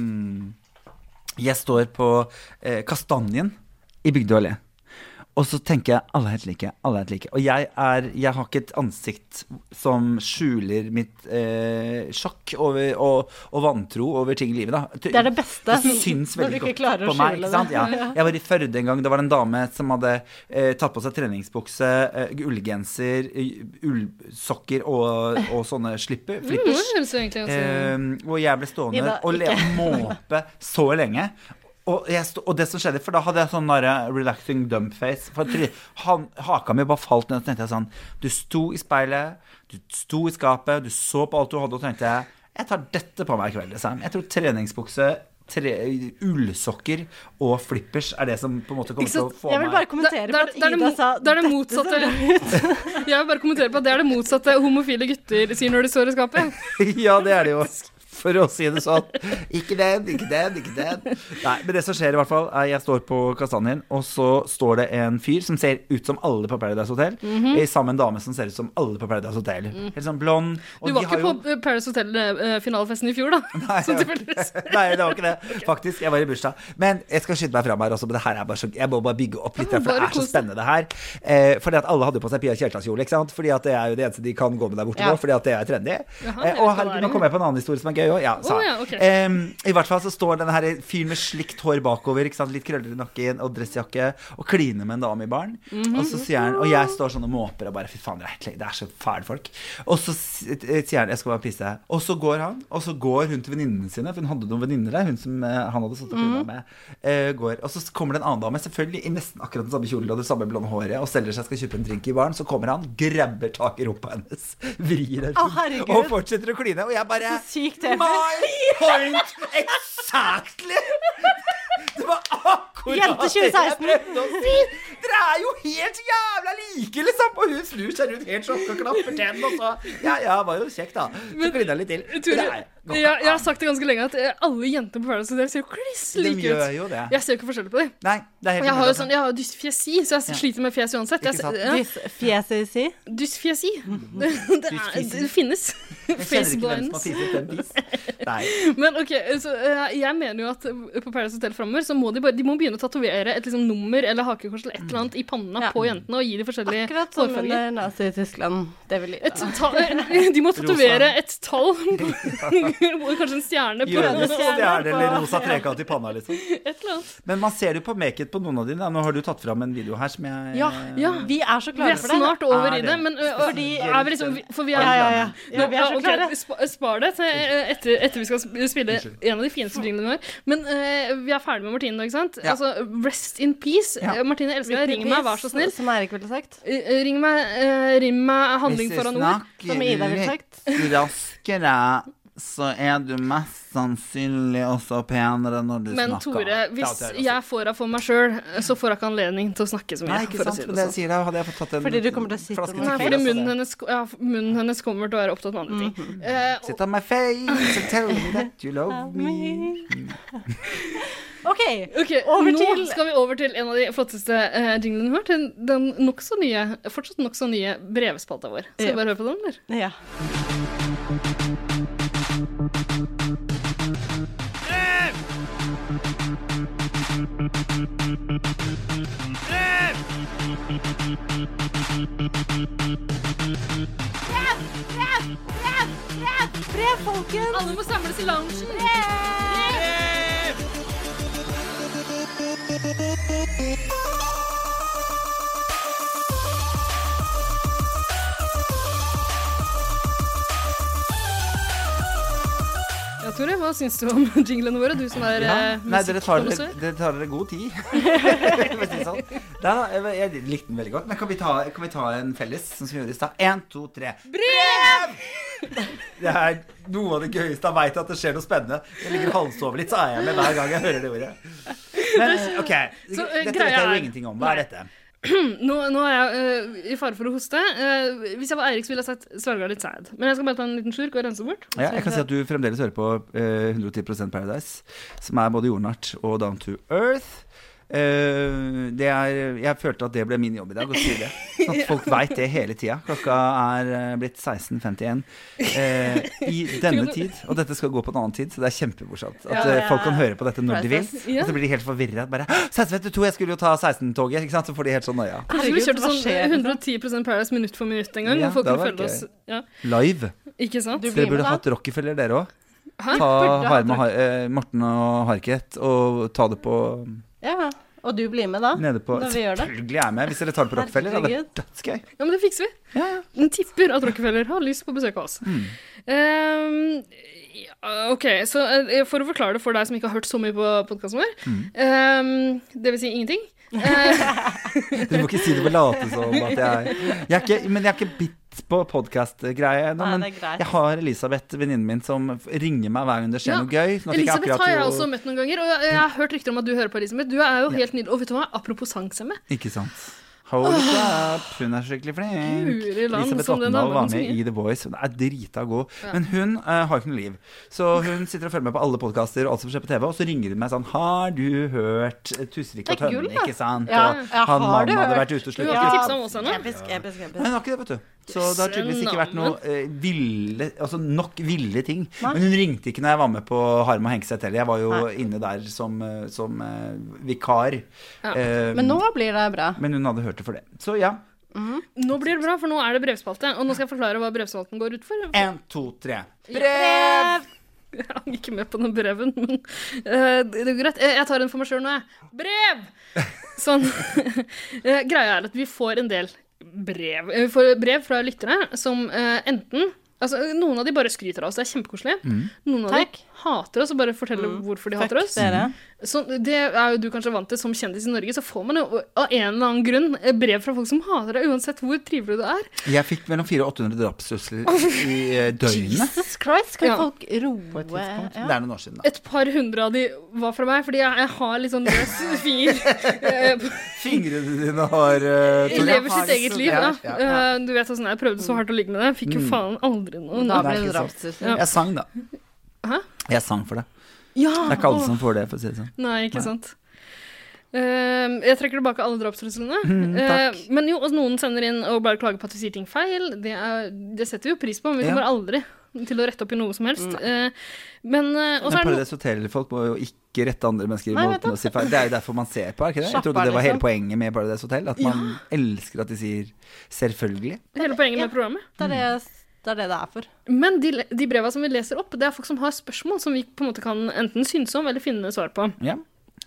Speaker 2: Jeg står på eh, Kastanjen i Bygdøy allé. Og så tenker jeg alle er helt like. alle er helt like. Og jeg, er, jeg har ikke et ansikt som skjuler mitt eh, sjokk over, og, og vantro over ting i livet. Da.
Speaker 3: Det er det beste,
Speaker 2: Det syns
Speaker 3: når du
Speaker 2: veldig
Speaker 3: ikke
Speaker 2: godt
Speaker 3: klarer å
Speaker 2: på meg. Ikke
Speaker 3: skjule det.
Speaker 2: sant? Ja.
Speaker 3: Ja.
Speaker 2: Jeg var i Førde en gang. Det var en dame som hadde eh, tatt på seg treningsbukse, eh, ullgenser, eh, ullsokker og, og sånne slipper,
Speaker 1: Mm,
Speaker 2: flippers.
Speaker 1: det høres jo egentlig ganske
Speaker 2: Eh, og jeg ble stående
Speaker 1: Ida,
Speaker 2: og le
Speaker 1: ikke.
Speaker 2: måpe så lenge. Og, jeg sto, og det som skjedde, for da hadde jeg sånn der, eh, relaxing dump face. For try- han, haka mi bare falt ned, og så tenkte jeg sånn Du sto i speilet, du sto i skapet, du så på alt du hadde, og tenkte jeg Jeg tar dette på meg i kveld, liksom. Jeg tror treningsbukse, tre, ullsokker og flippers er det som på en måte kommer
Speaker 1: Ikke
Speaker 2: til å
Speaker 1: sant?
Speaker 2: få meg
Speaker 3: kommentere
Speaker 1: Da- da er det-
Speaker 3: på at
Speaker 1: da er det
Speaker 3: Ida
Speaker 1: mo-
Speaker 3: sa,
Speaker 1: Da er det
Speaker 3: "Dette
Speaker 1: motsatte.
Speaker 3: ser
Speaker 1: Jeg vil bare kommentere på at det er det motsatte homofile gutter sier når de står i skapet.
Speaker 2: ja, det er det jo. For å si det sånn. Ikke den, ikke den, ikke den. Nei, men det som skjer i hvert fall, er jeg står på kastanjen, og så står det en fyr som ser ut som alle på Paradise Hotel,
Speaker 1: Mhm.
Speaker 2: eh, sammen med en dame som ser ut som alle på Paradise Hotel.
Speaker 1: Mm.
Speaker 2: Helt sånn blond.
Speaker 1: Du var ikke på eh, Paris Hotel-finalefesten i fjor, da? Nei,
Speaker 2: jeg var Nei, det var ikke det. Faktisk, jeg var i bursdag. Men jeg skal skynde meg fram her også, men det her er bare så, jeg må bare bygge opp litt,
Speaker 1: Ja,
Speaker 2: her, for det
Speaker 1: bare
Speaker 2: er så
Speaker 1: kos
Speaker 2: spennende det her. Eh, fordi at alle hadde på seg Pia Kjeltas-kjole, ikke sant? Fordi at det er jo det eneste de kan gå med der borte
Speaker 1: Ja.
Speaker 2: nå, fordi at det er trendy.
Speaker 1: Jaha,
Speaker 2: Eh,
Speaker 1: jeg vet
Speaker 2: og
Speaker 1: hva det
Speaker 2: herregud,
Speaker 1: er.
Speaker 2: nå kom jeg på en annen historie som er gøy òg. Ja, sa
Speaker 1: Å,
Speaker 2: jeg.
Speaker 1: ja, ok.
Speaker 2: Em, I hvert fall så står denne her fyren med slikt hår bakover, ikke sant? litt krøller i nakken og dressjakke, og kliner med en dame i baren.
Speaker 1: Mhm.
Speaker 2: Og så sier han Og jeg står sånn og måper og bare Fy faen, dere er helt- det er så fæle folk. Og så s- eh, sier han Jeg skal bare pisse. Og så går han, og så går hun til venninnene sine, for hun hadde noen venninner der, hun som eh, han hadde satt opp
Speaker 1: Mhm.
Speaker 2: mm. med. eh, går. Og så kommer det en annen dame, selvfølgelig i nesten akkurat den samme kjolen og det samme blonde håret, og selger seg skal kjøpe en drink i baren. Så kommer han, grabber tak i rumpa hennes, vrir den
Speaker 3: Å, herregud.
Speaker 2: og fortsetter å kline. Og jeg bare
Speaker 3: Så sykt episk.
Speaker 2: My point exactly! Det var akkurat
Speaker 3: Jente 2016.
Speaker 2: det jeg prøvde å si! Dere er jo helt jævla like, liksom! Og hun snur seg rundt helt sjokka og klapper tennene, og så Ja, ja, var jo kjekk, da. Så klina jeg litt til.
Speaker 1: Tore,
Speaker 2: Det er- går
Speaker 1: jeg,
Speaker 2: ikke
Speaker 1: jeg
Speaker 2: an.
Speaker 1: har sagt det ganske lenge at eh, alle jenter på Paradise Hotel ser jo kliss like ut.
Speaker 2: De gjør jo det.
Speaker 1: Jeg ser jo ikke forskjell på dem.
Speaker 2: Nei, det er helt
Speaker 1: Og jeg har jo
Speaker 2: umulig, altså.
Speaker 1: sånn, jeg har jo dysfjesi, så jeg sliter med fjes uansett. Jeg,
Speaker 2: Ikke sant?
Speaker 1: Dysfjesi? Dysfjesi. Det, det, er,
Speaker 2: Dysfjesi.
Speaker 1: det finnes.
Speaker 2: Jeg kjenner
Speaker 1: Face
Speaker 2: ikke hvem som
Speaker 1: blindness.
Speaker 2: har fiset den dis. Nei.
Speaker 1: Men ok, så eh, jeg mener jo at eh, på Paradise Hotel framover så må de bare de må begynne å tatovere et liksom nummer eller hakekors eller et eller annet i panna på jentene og gi de forskjellige
Speaker 3: Akkurat som eh, under Nazi-Tyskland. Det vil
Speaker 1: Et ta de må tatovere et tall, på- kanskje en stjerne på
Speaker 2: Jødisk stjerne eller rosa trekant i panna, liksom.
Speaker 1: Et eller annet.
Speaker 2: Men man ser jo på make-it på noen av dine. da. Nå har du tatt fram en video her som jeg
Speaker 1: Ja,
Speaker 3: Vi er så klare
Speaker 1: Vi er
Speaker 3: for det.
Speaker 1: snart over i
Speaker 2: Er
Speaker 1: det,
Speaker 2: det?
Speaker 1: men ø, ø, er vi liksom, for vi er,
Speaker 3: Ja, ja, ja. Ja, vi er så
Speaker 1: Ok,
Speaker 3: klare.
Speaker 1: spa- Spar det til ø, etter, etter vi skal sp- spille
Speaker 3: Unnskyld.
Speaker 1: en av de fineste jinglene våre. Men ø, vi er ferdig med Martine nå, ikke sant?
Speaker 3: Ja.
Speaker 1: Altså, rest in peace. Eh, Martine, jeg elsker deg.
Speaker 3: Rest in
Speaker 1: Ring meg,
Speaker 3: peace,
Speaker 1: vær så snill.
Speaker 3: Som Eirik ville sagt.
Speaker 1: Eh, Ring meg, eh, ring meg handling
Speaker 2: Hvis du
Speaker 1: foran ord.
Speaker 3: Som Ida ville sagt.
Speaker 2: snakker raskere, så er du mest sannsynlig også penere når du
Speaker 1: Men
Speaker 2: snakker.
Speaker 1: Tore, hvis jeg får henne for meg sjøl, så får jeg ikke anledning til å snakke så mye.
Speaker 2: Nei, ikke
Speaker 1: for å
Speaker 2: sant.
Speaker 1: si
Speaker 2: Men det jeg
Speaker 1: sånn.
Speaker 2: sier deg, hadde jeg fått tatt en
Speaker 3: Fordi du kommer til å sitte
Speaker 2: flaske
Speaker 1: Nei,
Speaker 2: tequila,
Speaker 1: fordi
Speaker 2: så
Speaker 1: munnen
Speaker 2: det-
Speaker 1: hennes, ja, munnen hennes kommer til å være opptatt med andre ting.
Speaker 2: Mhm.
Speaker 1: Eh,
Speaker 2: Sit on my face and tell me that you love me.
Speaker 3: OK,
Speaker 1: Ok,
Speaker 3: over
Speaker 1: Nå
Speaker 3: til-
Speaker 1: skal vi over til en av de flotteste eh, jinglene vi har. Til den nok så nye, fortsatt nokså nye brevspalta vår. Skal vi
Speaker 3: Ja.
Speaker 1: bare høre på den, eller?
Speaker 3: Ja.
Speaker 12: Brev! Brev! Brev! Brev! Brev, folkens! Alle må samles i loungen. Brev!
Speaker 1: Ja, Tore, hva syns du om jinglene våre? Du som er
Speaker 2: Ja.
Speaker 1: eh,
Speaker 2: Nei, dere tar dere,
Speaker 1: musikkkonnoisseur.
Speaker 2: dere tar dere god tid. For å si det sånn. Nei, nei, jeg- jeg likte den veldig godt. Men kan vi ta, kan vi ta en felles, sånn som vi gjorde i stad? Én, to, tre.
Speaker 12: Brev!
Speaker 2: Det er noe av det gøyeste jeg veit, at det skjer noe spennende. Jeg ligger og halvsover litt, så er jeg med hver gang jeg hører det ordet. Men OK.
Speaker 1: Så, eh,
Speaker 2: Dette vet
Speaker 1: greia
Speaker 2: jeg jo
Speaker 1: er-
Speaker 2: ingenting om. Hva er dette?
Speaker 1: nå, nå er jeg eh, i fare for å hoste. Eh, hvis jeg var Eirik, så ville jeg sagt svelga litt sæd. Men jeg skal bare ta en liten slurk og rense bort.
Speaker 2: Ja, jeg kan si at du fremdeles hører på eh, 110 Paradise, som er både jordnært og down to earth. Eh, det er, jeg følte at det ble min jobb i dag, å si det. Sånn at folk veit det hele tida. Klokka er eh, blitt 16.51 eh, i denne
Speaker 1: Kunne du-
Speaker 2: tid, og dette skal gå på en annen tid, så det er kjempemorsomt. At
Speaker 1: Ja, det
Speaker 2: eh, folk kan
Speaker 1: er
Speaker 2: høre på dette når de vil.
Speaker 1: Paradise. Ja.
Speaker 2: Og så blir de helt forvirra. Bare «Hå, 16.52, jeg skulle jo ta 16-toget, ikke sant. Så får de helt sånn nøya.
Speaker 1: Kanskje vi
Speaker 3: Herregud,
Speaker 1: kjørte
Speaker 3: hva
Speaker 1: sånn
Speaker 3: skjer?
Speaker 1: 110 Paradise minutt for minutt en gang.
Speaker 2: Ja,
Speaker 1: hvor folk
Speaker 2: det
Speaker 1: kunne
Speaker 2: hadde vært
Speaker 1: følge oss.
Speaker 2: gøy.
Speaker 1: Ja.
Speaker 2: Live.
Speaker 1: Ikke sant?
Speaker 2: Så dere burde hatt Rockefeller, dere òg.
Speaker 1: Hæ?
Speaker 2: Ta
Speaker 1: Burde hatt
Speaker 2: Harme, Har- eh, Morten og Harket og ta det på
Speaker 3: ja. Og du blir
Speaker 1: Ah,
Speaker 3: med da?
Speaker 2: nede på
Speaker 3: Når vi gjør det?
Speaker 2: Selvfølgelig er jeg med, hvis dere tar det på Rockefeller. da.
Speaker 3: Herregud.
Speaker 2: Dødsgøy.
Speaker 1: Ja, men det fikser vi. Den tipper at Rockefeller har lyst på besøk av oss.
Speaker 2: Mm.
Speaker 1: Ehm, ja, ok, så eh, for å forklare det for deg som ikke har hørt så mye på podkasten vår
Speaker 2: Mm.
Speaker 1: ehm, Det vil si ingenting.
Speaker 2: Dere må ikke si det på late som at jeg, jeg er ikke, Men jeg er ikke bitt på podkast-greie ennå.
Speaker 1: Nei,
Speaker 2: Men
Speaker 1: det er greit.
Speaker 2: jeg har Elisabeth, venninnen min, som f- ringer meg hver gang det skjer
Speaker 1: Ja.
Speaker 2: noe gøy. sånn at jeg ikke
Speaker 1: Elisabeth
Speaker 2: akkurat
Speaker 1: har jeg
Speaker 2: jo-
Speaker 1: også møtt noen ganger, og jeg, jeg har hørt rykter om at du hører på Elisabeth. Du er jo
Speaker 2: Ja.
Speaker 1: helt nydelig. Og vet du hva, apropos sangsemme.
Speaker 2: Ikke sant. Ah. Holy crap, hun er skikkelig flink.
Speaker 1: Guri land,
Speaker 2: Elisabeth
Speaker 1: som den
Speaker 2: Vatndal
Speaker 1: damen
Speaker 2: var
Speaker 1: synger.
Speaker 2: med i The Voice. Hun er drita god.
Speaker 1: Ja.
Speaker 2: Men hun eh, har ikke noe liv. Så hun sitter og følger med på alle podkaster og alt som skjer på TV, og så ringer hun meg sånn Har du hørt eh, Tusvik og
Speaker 3: Det er gull,
Speaker 2: Tønne,
Speaker 3: da.
Speaker 2: ikke sant?
Speaker 3: Ja.
Speaker 2: Og
Speaker 3: Ja,
Speaker 2: han
Speaker 3: har du
Speaker 2: mannen hadde
Speaker 3: hørt?
Speaker 2: vært ute og
Speaker 3: Du har
Speaker 2: slukt
Speaker 3: ikke
Speaker 2: Ja.
Speaker 3: tipset om oss ennå? Episk, episk, episk.
Speaker 2: Nei, hun har ikke det, vet du. Så det har tydeligvis ikke vært noe eh, ville, altså nok ville ting.
Speaker 3: Nei.
Speaker 2: Men hun ringte ikke når jeg var med på Harm og Hengseth heller. Jeg var jo
Speaker 3: Nei.
Speaker 2: inne der som, eh, som eh, vikar.
Speaker 1: Ja.
Speaker 2: Eh,
Speaker 3: Men nå blir det bra.
Speaker 2: men hun hadde hørt det for det. Så ja.
Speaker 1: Nå blir det bra, for nå er det brevspalte. Og nå skal jeg forklare hva brevspalten går ut for.
Speaker 2: Én, to, tre.
Speaker 1: Brev! Jeg hang ikke med på den breven, men eh, det det går greit. Eh, Jeg tar en for meg sjøl nå, jeg. Brev! Sånn. Eh, Greia er at vi får en del brev. Eh, Vi får brev fra lyttere som eh, enten Altså, noen av de bare skryter av oss, det er kjempekoselig.
Speaker 12: Mm.
Speaker 1: Noen av
Speaker 3: Takk. Mm.
Speaker 1: de hater oss og bare forteller hvorfor de hater
Speaker 3: Fuck
Speaker 1: oss.
Speaker 3: dere.
Speaker 1: Så det er jo du kanskje vant til som kjendis i Norge, så får man jo av en eller annen grunn eh, brev fra folk som hater deg, uansett hvor trivelig du er.
Speaker 2: Jeg fikk mellom 400 og 800 drapstrusler i eh, døgnet.
Speaker 1: Jesus Christ,
Speaker 3: kan
Speaker 1: folk
Speaker 3: roe
Speaker 2: Det er noen år siden, da.
Speaker 1: Et par hundre av de var fra meg, fordi jeg, jeg har litt sånn løs finger. Eh,
Speaker 2: Fingrene dine har uh,
Speaker 1: Jeg lever sitt eget liv, da. Eh, Du vet åssen jeg prøvde så hardt å ligge med det. Fikk jo
Speaker 2: Mm.
Speaker 1: faen aldri noe.
Speaker 3: Da
Speaker 2: Nei, ikke sant. Jeg sang, da.
Speaker 1: Hæ?
Speaker 2: Jeg sang for det.
Speaker 1: Ja,
Speaker 2: Det er ikke alle
Speaker 1: åh.
Speaker 2: som får det, for å si det sånn.
Speaker 1: Nei, ikke sant. Ehm, jeg trekker tilbake alle drapstruslene.
Speaker 2: Mm, takk.
Speaker 1: Ehm, men jo, og noen sender inn og bare klager på at vi sier ting feil. Det, er, det setter vi jo pris på, men vi
Speaker 2: Ja. Mm.
Speaker 1: kommer aldri til å rette opp i noe som helst. Eh, men eh, og så
Speaker 2: Men
Speaker 1: er det no-
Speaker 2: Paradise Hotel-folk må jo ikke rette andre mennesker i
Speaker 1: Nei,
Speaker 2: måten å si feil. Det er jo derfor man ser på, er ikke det? Jeg
Speaker 1: Slapp
Speaker 2: trodde
Speaker 1: av,
Speaker 2: det var hele
Speaker 1: liksom.
Speaker 2: poenget med Paradise Hotel. At man elsker at de sier 'selvfølgelig'.
Speaker 1: Hele poenget med programmet.
Speaker 3: Det er det, det er det det er for.
Speaker 1: Men de, de breva som vi leser opp, det er folk som har spørsmål som vi på en måte kan enten synse om eller finne svar på.
Speaker 2: Ja.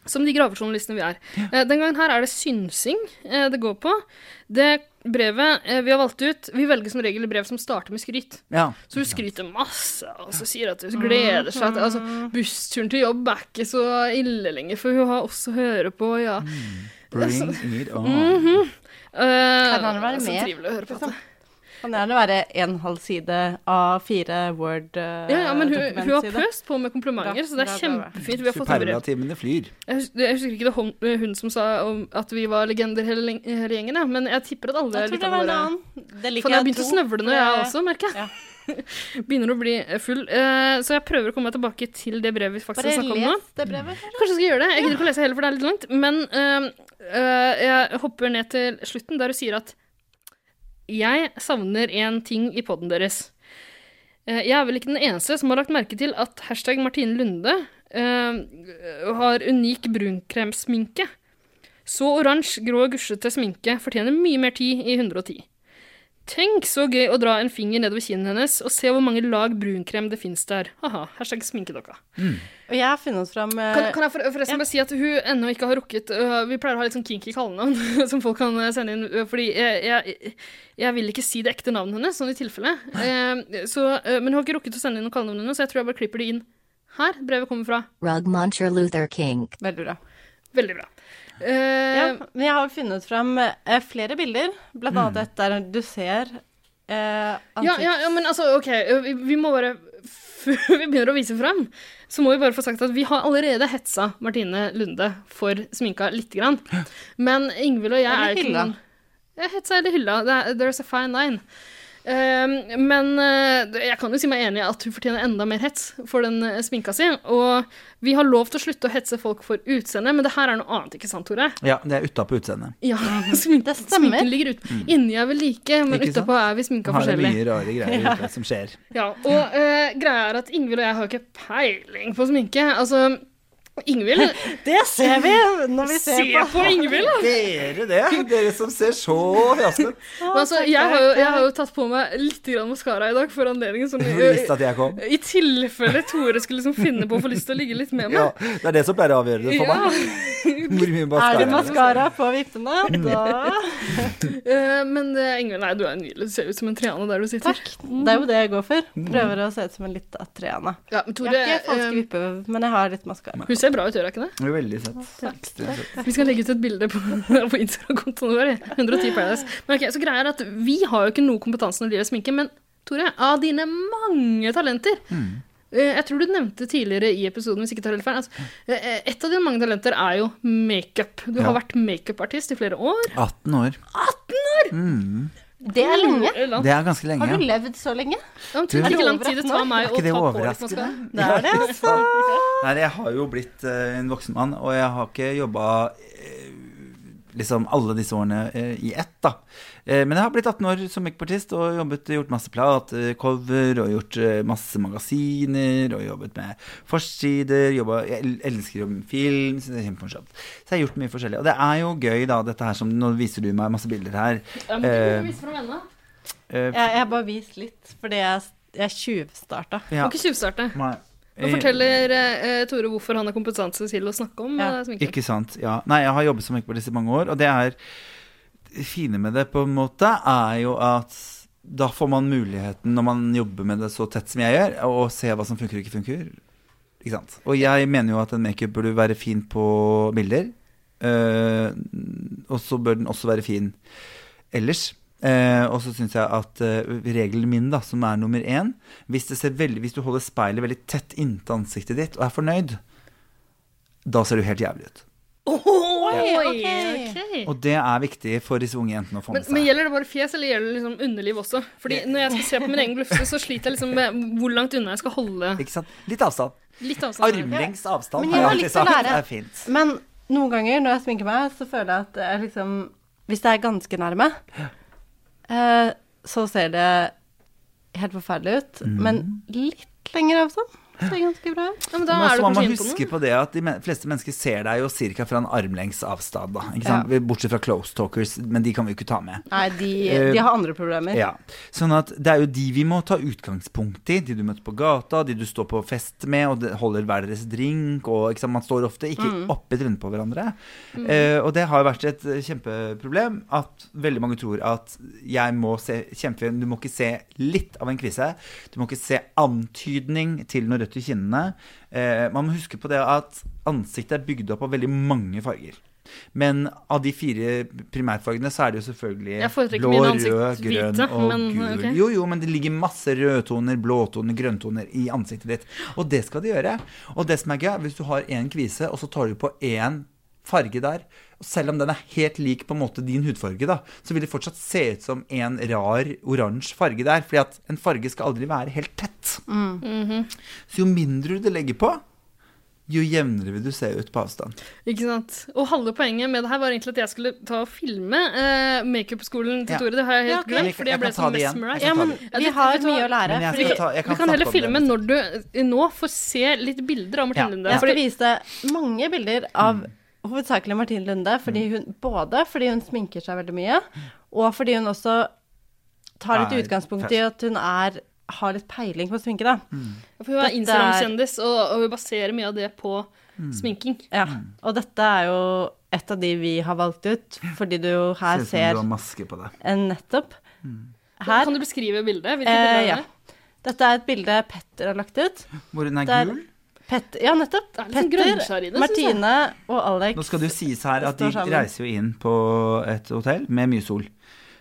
Speaker 1: Som de gravejournalistene vi er. Eh, Den gangen her er det synsing eh, det går på. Det brevet eh, vi har valgt ut Vi velger som regel brev som starter med skryt.
Speaker 2: Ja.
Speaker 1: Så hun skryter masse, og så sier at hun gleder seg til altså,
Speaker 3: Mm.
Speaker 1: Bussturen til jobb er ikke så ille lenger, for hun har også høre på, ja.
Speaker 2: Bring it on.
Speaker 1: Mhm. Eh,
Speaker 3: Kan han være
Speaker 1: Så
Speaker 3: med?
Speaker 1: trivelig å høre på.
Speaker 3: Liksom. Kan gjerne være en halv side av fire Word uh,
Speaker 1: Ja, ja, men hun, hun har pøst på med komplimenter, så det er kjempefint. Vi har fått brev.
Speaker 2: Superlativene flyr.
Speaker 1: Jeg hus- jeg husker ikke det hun, hun som sa om at vi var legender hele, leng- hele gjengen, jeg, men jeg tipper at alle
Speaker 3: Jeg tror det
Speaker 1: lytterne
Speaker 3: var en
Speaker 1: våre-
Speaker 3: annen. Det liker
Speaker 1: Faen, jeg
Speaker 3: jeg
Speaker 1: begynte å
Speaker 3: tro,
Speaker 1: snøvle
Speaker 3: for
Speaker 1: når jeg
Speaker 3: det-
Speaker 1: også, merker jeg. Begynner å bli full. Eh, så jeg prøver å komme meg tilbake til det brevet vi faktisk
Speaker 12: Bare
Speaker 1: snakka om nå.
Speaker 12: les det brevet. kanskje?
Speaker 1: Kanskje jeg skal gjøre det. Jeg gidder ikke å lese heller, for det er litt langt. Men eh, eh, jeg hopper ned til slutten, der du sier at jeg savner én ting i poden deres. Eh, jeg er vel ikke den eneste som har lagt merke til at hashtag Martine Lunde eh, har unik brunkremsminke. Så oransje, grå, gusjete sminke fortjener mye mer tid i 110. Tenk så gøy å dra en finger nedover kinnet hennes og se hvor mange lag brunkrem det fins der. Haha, hashtag sminkedokka.
Speaker 3: Og jeg har funnet fram eh,
Speaker 1: Kan, kan jeg for, forresten bare si at hun ennå ikke har rukket øh, Vi pleier å ha litt sånn kinky kallenavn som folk kan øh, sende inn. øh, fordi jeg, jeg, jeg vil ikke si det ekte navnet hennes, sånn i tilfelle. Eh, så, øh, men hun har ikke rukket å sende inn noen kallenavn ennå, så jeg tror jeg bare klipper de inn her. Brevet kommer fra.
Speaker 13: Rug Muncher Luther King.
Speaker 3: Veldig bra.
Speaker 1: Veldig bra. Eh,
Speaker 3: ja, men jeg har funnet fram eh, flere bilder, blant annet et der du ser eh,
Speaker 1: Ja, ja, ja, men altså, OK. øh, Vi, vi må bare Før vi begynner å vise fram, så må vi bare få sagt at vi har allerede hetsa Martine Lunde for sminka lite grann. Men Ingvild og jeg
Speaker 3: Eller
Speaker 1: er ikke
Speaker 3: hylla.
Speaker 1: noen Jeg hetsa eller hylla. Det er, there's a fine line. Ehm, men eh, jeg kan jo si meg enig i at hun fortjener enda mer hets for den eh, sminka si. Og vi har lov til å slutte å hetse folk for utseendet, men det her er noe annet, ikke sant, Tore?
Speaker 2: Ja, det er utapå utseendet.
Speaker 1: Ja, smink, sminken ligger ut.
Speaker 2: Mm.
Speaker 1: Inni er vi like, men
Speaker 2: Ikke sant?
Speaker 1: utapå er vi sminka
Speaker 2: Har det
Speaker 1: forskjellig.
Speaker 2: mye rare greier
Speaker 1: Ja.
Speaker 2: ute som skjer.
Speaker 1: Ja, og eh, greia er at Ingvild og jeg har jo ikke peiling på sminke. Altså, Ingvild
Speaker 3: Det ser vi når vi ser
Speaker 1: Se
Speaker 3: på-
Speaker 1: på Ingvild, da!
Speaker 2: Dere det? Dere som ser så fjasket.
Speaker 1: Men altså, jeg har, jo, jeg har jo tatt på meg litt maskara i dag for anledningen. Sånn,
Speaker 2: Du visste at jeg kom.
Speaker 1: I tilfelle Tore skulle liksom finne på å få lyst til å ligge litt med
Speaker 2: Ja,
Speaker 1: meg.
Speaker 2: det er det som pleier å avgjøre det for meg. Hvor mye
Speaker 3: Er det
Speaker 2: maskara
Speaker 3: maskara på vippene? Da
Speaker 1: Eh, men eh, Ingvild, nei, du er nydelig. Du ser ut som en triane der du sitter.
Speaker 3: Det er jo det jeg går for. Prøver å se ut som en litt atreana.
Speaker 1: Ja, men Tore,
Speaker 3: jeg har ikke falske
Speaker 1: eh,
Speaker 3: vipper, men jeg har litt maskara.
Speaker 1: Hun ser bra ut, gjør hun ikke det?
Speaker 2: Det er veldig søtt. Ekstremt søtt.
Speaker 1: Vi skal legge ut et bilde på, på Instagram-kontoen vår. 110 Paradise. Men ok, så greia er at Vi har jo ikke noe kompetanse når det gjelder sminke, men Tore, av dine mange talenter
Speaker 2: Mm.
Speaker 1: eh, Jeg tror du nevnte tidligere i episoden, hvis ikke tar helt feil altså, eh, Et av dine mange talenter er jo makeup. Du
Speaker 2: Ja.
Speaker 1: har vært makeup-artist i flere år.
Speaker 2: 18 år.
Speaker 1: 18 år!
Speaker 2: Mm.
Speaker 3: Det er lenge.
Speaker 2: Det er ganske lenge.
Speaker 3: Sånn. Har du levd så lenge?
Speaker 2: Du-
Speaker 1: ikke lang tid det tar meg
Speaker 2: Er ikke det overraskende?
Speaker 3: Det er det, altså.
Speaker 2: Nei, jeg har jo blitt eh, en voksen mann, og jeg har ikke jobba liksom alle disse årene eh, i ett, da. Eh, men jeg har blitt 18 år som makeupartist og jobbet, gjort masse platecover og gjort eh, masse magasiner og jobbet med forsider. Jobba, jeg el- elsker å jobbe med film, så det er kjempemorsomt. Så jeg har gjort mye forskjellig. Og det er jo gøy, da, dette her som Nå viser du meg masse bilder her.
Speaker 3: Ja, men du kunne vise fram ennå.
Speaker 2: eh,
Speaker 3: Jeg, jeg har bare vist litt, fordi jeg, jeg tjuvstarta.
Speaker 2: Ja.
Speaker 1: Må ikke tjuvstarte.
Speaker 2: Nei.
Speaker 1: Nå forteller eh, Tore hvorfor han har kompetanse til å snakke om eh, sminke.
Speaker 2: Ikke sant, ja. Nei, jeg har jobbet som makeupartist i mange år, og det er det fine med det på en måte er jo at da får man muligheten, når man jobber med det så tett som jeg gjør, å se hva som funker og ikke funker. Ikke sant? Og jeg mener jo at en makeup burde være fin på bilder, eh, og så bør den også være fin ellers. Eh, og så syns jeg at eh, regelen min, da, som er nummer én hvis, det ser veldig, hvis du holder speilet veldig tett inntil ansiktet ditt og er fornøyd, da ser du helt jævlig ut.
Speaker 1: Oi,
Speaker 12: ok.
Speaker 1: ok.
Speaker 2: Og det er viktig for disse unge jentene å få
Speaker 1: Men,
Speaker 2: med seg.
Speaker 1: men gjelder det bare fjes, eller gjelder det liksom underliv også? Fordi når jeg skal se på min egen glufse, så sliter jeg liksom med hvor langt unna jeg skal holde
Speaker 2: Ikke sant? Litt avstand.
Speaker 1: litt avstand. her.
Speaker 2: Armlengs avstand
Speaker 3: Men
Speaker 2: har
Speaker 3: jeg
Speaker 2: jeg
Speaker 3: har
Speaker 2: alltid
Speaker 3: lyst til å
Speaker 2: sagt.
Speaker 3: lære.
Speaker 2: Det er fint.
Speaker 3: Men noen ganger når jeg sminker meg, så føler jeg at det er liksom Hvis det er ganske nærme, eh, så ser det helt forferdelig ut. Men litt lenger avstand ser det ganske bra ut.
Speaker 1: men
Speaker 2: Men også må man huske på det at de men- fleste mennesker ser deg jo cirka fra en armlengs avstand, da. Ikke sant? Bortsett fra close talkers, men de kan vi jo ikke ta med.
Speaker 3: Nei, de,
Speaker 2: Eh,
Speaker 3: de har andre problemer.
Speaker 2: Ja. Sånn at det er jo de vi må ta utgangspunkt i. De du møter på gata, de du står på fest med, og det- holder hver deres drink. Og, ikke sant? Man står ofte ikke
Speaker 11: Mm.
Speaker 2: oppe i trynet på hverandre.
Speaker 11: Mm.
Speaker 2: Eh, og det har jo vært et eh, kjempeproblem at veldig mange tror at jeg må se kjempefin Du må ikke se litt av en kvise. Du må ikke se antydning til noe rødt i kinnene. Eh, man må huske på det at ansiktet er bygd opp av veldig mange farger. Men av de fire primærfargene så er det jo selvfølgelig
Speaker 1: Jeg foretrekker
Speaker 2: blå,
Speaker 1: mine
Speaker 2: rød, grønn
Speaker 1: ansiktsvite,
Speaker 2: og
Speaker 1: men,
Speaker 2: gul.
Speaker 1: ok.
Speaker 2: Jo, jo, men det ligger masse rødtoner, blåtoner, grønntoner i ansiktet ditt. Og det skal det gjøre. Og det som er gøy, er hvis du har én kvise, og så tar du på én farge der. Og selv om den er helt lik på en måte din hudfarge, da, så vil det fortsatt se ut som en rar oransje farge der. Fordi at en farge skal aldri være helt tett.
Speaker 3: Mm.
Speaker 2: Så jo mindre du legger på, jo jevnere vil du se ut på avstand.
Speaker 1: Ikke sant? Og halve poenget med det her var egentlig at jeg skulle ta og filme eh, makeup-skolen til
Speaker 2: Ja.
Speaker 1: Tore. Det har jeg
Speaker 2: Ja,
Speaker 1: helt
Speaker 2: ok.
Speaker 1: glemt,
Speaker 2: Jeg kan-
Speaker 1: fordi jeg
Speaker 2: jeg
Speaker 1: ble
Speaker 2: kan ta
Speaker 1: så
Speaker 2: det igjen.
Speaker 1: mesmerized.
Speaker 2: Jeg kan ta det.
Speaker 3: Ja, men vi har mye
Speaker 1: vet
Speaker 3: å lære,
Speaker 1: du hva?
Speaker 3: Men jeg skal ta-
Speaker 1: vi
Speaker 3: jeg kan
Speaker 1: kan
Speaker 3: snakke
Speaker 1: heller
Speaker 3: om det
Speaker 1: filme når du nå får se litt bilder av Martine Lunde.
Speaker 3: Jeg skal
Speaker 1: fordi-
Speaker 3: vise deg mange bilder av hovedsakelig Martine Lunde, fordi hun, både fordi hun sminker seg veldig mye, og fordi hun også tar litt
Speaker 1: Er
Speaker 3: utgangspunkt
Speaker 1: fersk.
Speaker 3: i at hun er, har litt peiling på sminke, da.
Speaker 2: Mm.
Speaker 1: For hun er
Speaker 3: Dette
Speaker 1: Instagram-kjendis, og, og hun baserer mye av det på
Speaker 2: Mm.
Speaker 1: sminking.
Speaker 3: Ja, og dette er jo et av de vi har valgt ut, fordi du jo her
Speaker 2: Ser ut som
Speaker 3: ser
Speaker 2: du har Mm. maske på deg.
Speaker 3: en nettopp. Her.
Speaker 1: Kan du beskrive bildet? Hvilket bilde er
Speaker 3: Eh,
Speaker 1: det?
Speaker 3: ja. Dette er et bilde Petter har lagt ut.
Speaker 2: Hvor hun er
Speaker 3: Der-
Speaker 2: gul.
Speaker 3: Pet- ja, nettopp.
Speaker 1: litt sånn grønnskjær i
Speaker 3: Petter,
Speaker 1: det, synes jeg.
Speaker 3: Martine og Alex.
Speaker 2: Nå skal det jo sies her at de
Speaker 3: står sammen.
Speaker 2: reiser jo inn på et hotell med mye sol.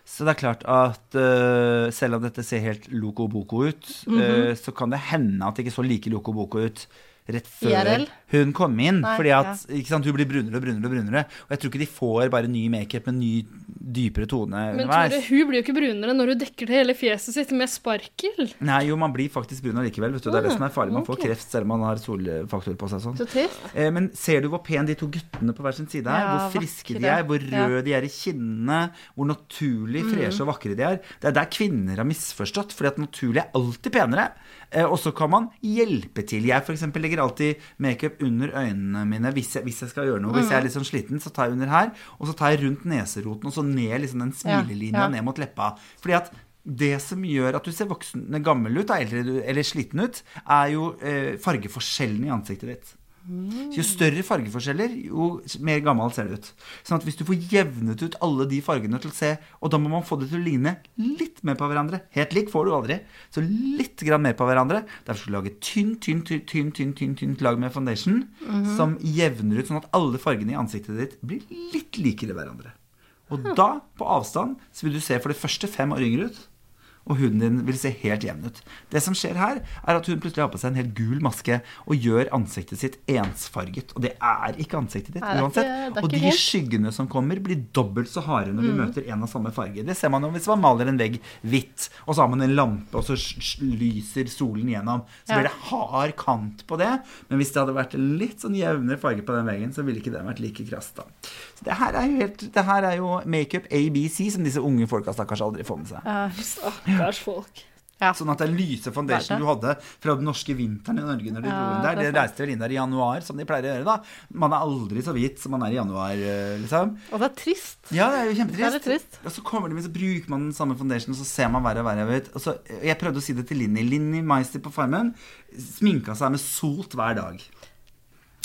Speaker 2: Så det er klart at øh, selv om dette ser helt loco boco ut,
Speaker 3: Mhm.
Speaker 2: øh, så kan det hende at det ikke så like loco boco ut rett før
Speaker 3: IRL?
Speaker 2: hun kom inn.
Speaker 3: Nei,
Speaker 2: fordi at ikke sant, hun blir brunere og brunere og brunere. Og jeg tror ikke de får bare ny makeup med ny, dypere tone
Speaker 1: Men
Speaker 2: underveis.
Speaker 1: Tore, hun blir jo ikke brunere når hun dekker til hele fjeset sitt med sparkel.
Speaker 2: Nei, jo, man blir faktisk brun allikevel. Vet du. Det er det som er farlig. Man får
Speaker 1: Ok.
Speaker 2: kreft selv om man har solfaktor på seg. og Sånn.
Speaker 1: Så trist.
Speaker 2: Eh, Men ser du hvor pen de to guttene på hver sin side er?
Speaker 1: Ja,
Speaker 2: hvor friske de
Speaker 1: vakre.
Speaker 2: er, hvor
Speaker 1: Ja.
Speaker 2: røde de er i kinnene, hvor naturlig
Speaker 1: Mm.
Speaker 2: freshe og vakre de er. Det er der kvinner har misforstått, fordi at naturlig er alltid penere. Eh, Og så kan man hjelpe til. Jeg for eksempel legger alltid makeup under øynene mine hvis jeg, hvis jeg skal gjøre noe. Hvis
Speaker 1: Mm.
Speaker 2: jeg er litt sånn sliten, så tar jeg under her, og så tar jeg rundt neseroten, og så ned liksom den
Speaker 1: Ja,
Speaker 2: smilelinja
Speaker 1: ja.
Speaker 2: ned mot leppa. Fordi at det som gjør at du ser voksen, gammel ut, da, eldre du- eller sliten ut, er jo eh, fargeforskjellen i ansiktet ditt. Så jo større fargeforskjeller, jo mer gammel ser det ut. Sånn at hvis du får jevnet ut alle de fargene til å se, og da må man få det til å ligne litt mer på hverandre. Helt lik får du aldri. Så litt grann mer på hverandre. Derfor skal du lage tynn, tynn, tynn, tynn, tynn, tynn, tynt lag med foundation
Speaker 1: Mhm.
Speaker 2: som jevner ut, sånn at alle fargene i ansiktet ditt blir litt likere hverandre. Og da, på avstand, så vil du se for det første fem år yngre ut. Og huden din vil se helt jevn ut. Det som skjer her, er at hun plutselig har på seg en helt gul maske og gjør ansiktet sitt ensfarget. Og det er ikke ansiktet ditt
Speaker 1: Nei, det er
Speaker 2: uansett.
Speaker 1: ikke- det er
Speaker 2: og
Speaker 1: ikke
Speaker 2: de
Speaker 1: helt.
Speaker 2: skyggene som kommer, blir dobbelt så harde når du
Speaker 1: Mm.
Speaker 2: møter en av samme farge. Det ser man jo hvis man maler en vegg hvitt, og så har man en lampe, og så s- s- lyser solen gjennom. Så
Speaker 1: Ja.
Speaker 2: blir det hard kant på det. Men hvis det hadde vært litt sånn jevnere farge på den veggen, så ville ikke den vært like krass, da. Så det her er jo, helt- det her er jo makeup ABC, som disse unge folka stakkars aldri får med seg.
Speaker 1: Stakkars folk.
Speaker 2: Sånn at den lyse
Speaker 1: Hva er
Speaker 2: foundationen
Speaker 1: det?
Speaker 2: du hadde fra den norske vinteren i Norge når du
Speaker 1: Ja,
Speaker 2: dro inn der,
Speaker 1: det er
Speaker 2: det reiste vel inn der i januar, som de pleier å gjøre da. Man er aldri så hvit som man er i januar, eh, liksom.
Speaker 3: Og det er trist.
Speaker 2: Ja, det er jo
Speaker 3: Det er
Speaker 2: kjempetrist.
Speaker 3: litt trist.
Speaker 2: Og så kommer de med, så bruker man den samme foundationen, og så ser man verre og verre ut. Og så, eh, jeg prøvde å si det til Linni. Linni Meister på Farmen sminka seg med sot hver dag.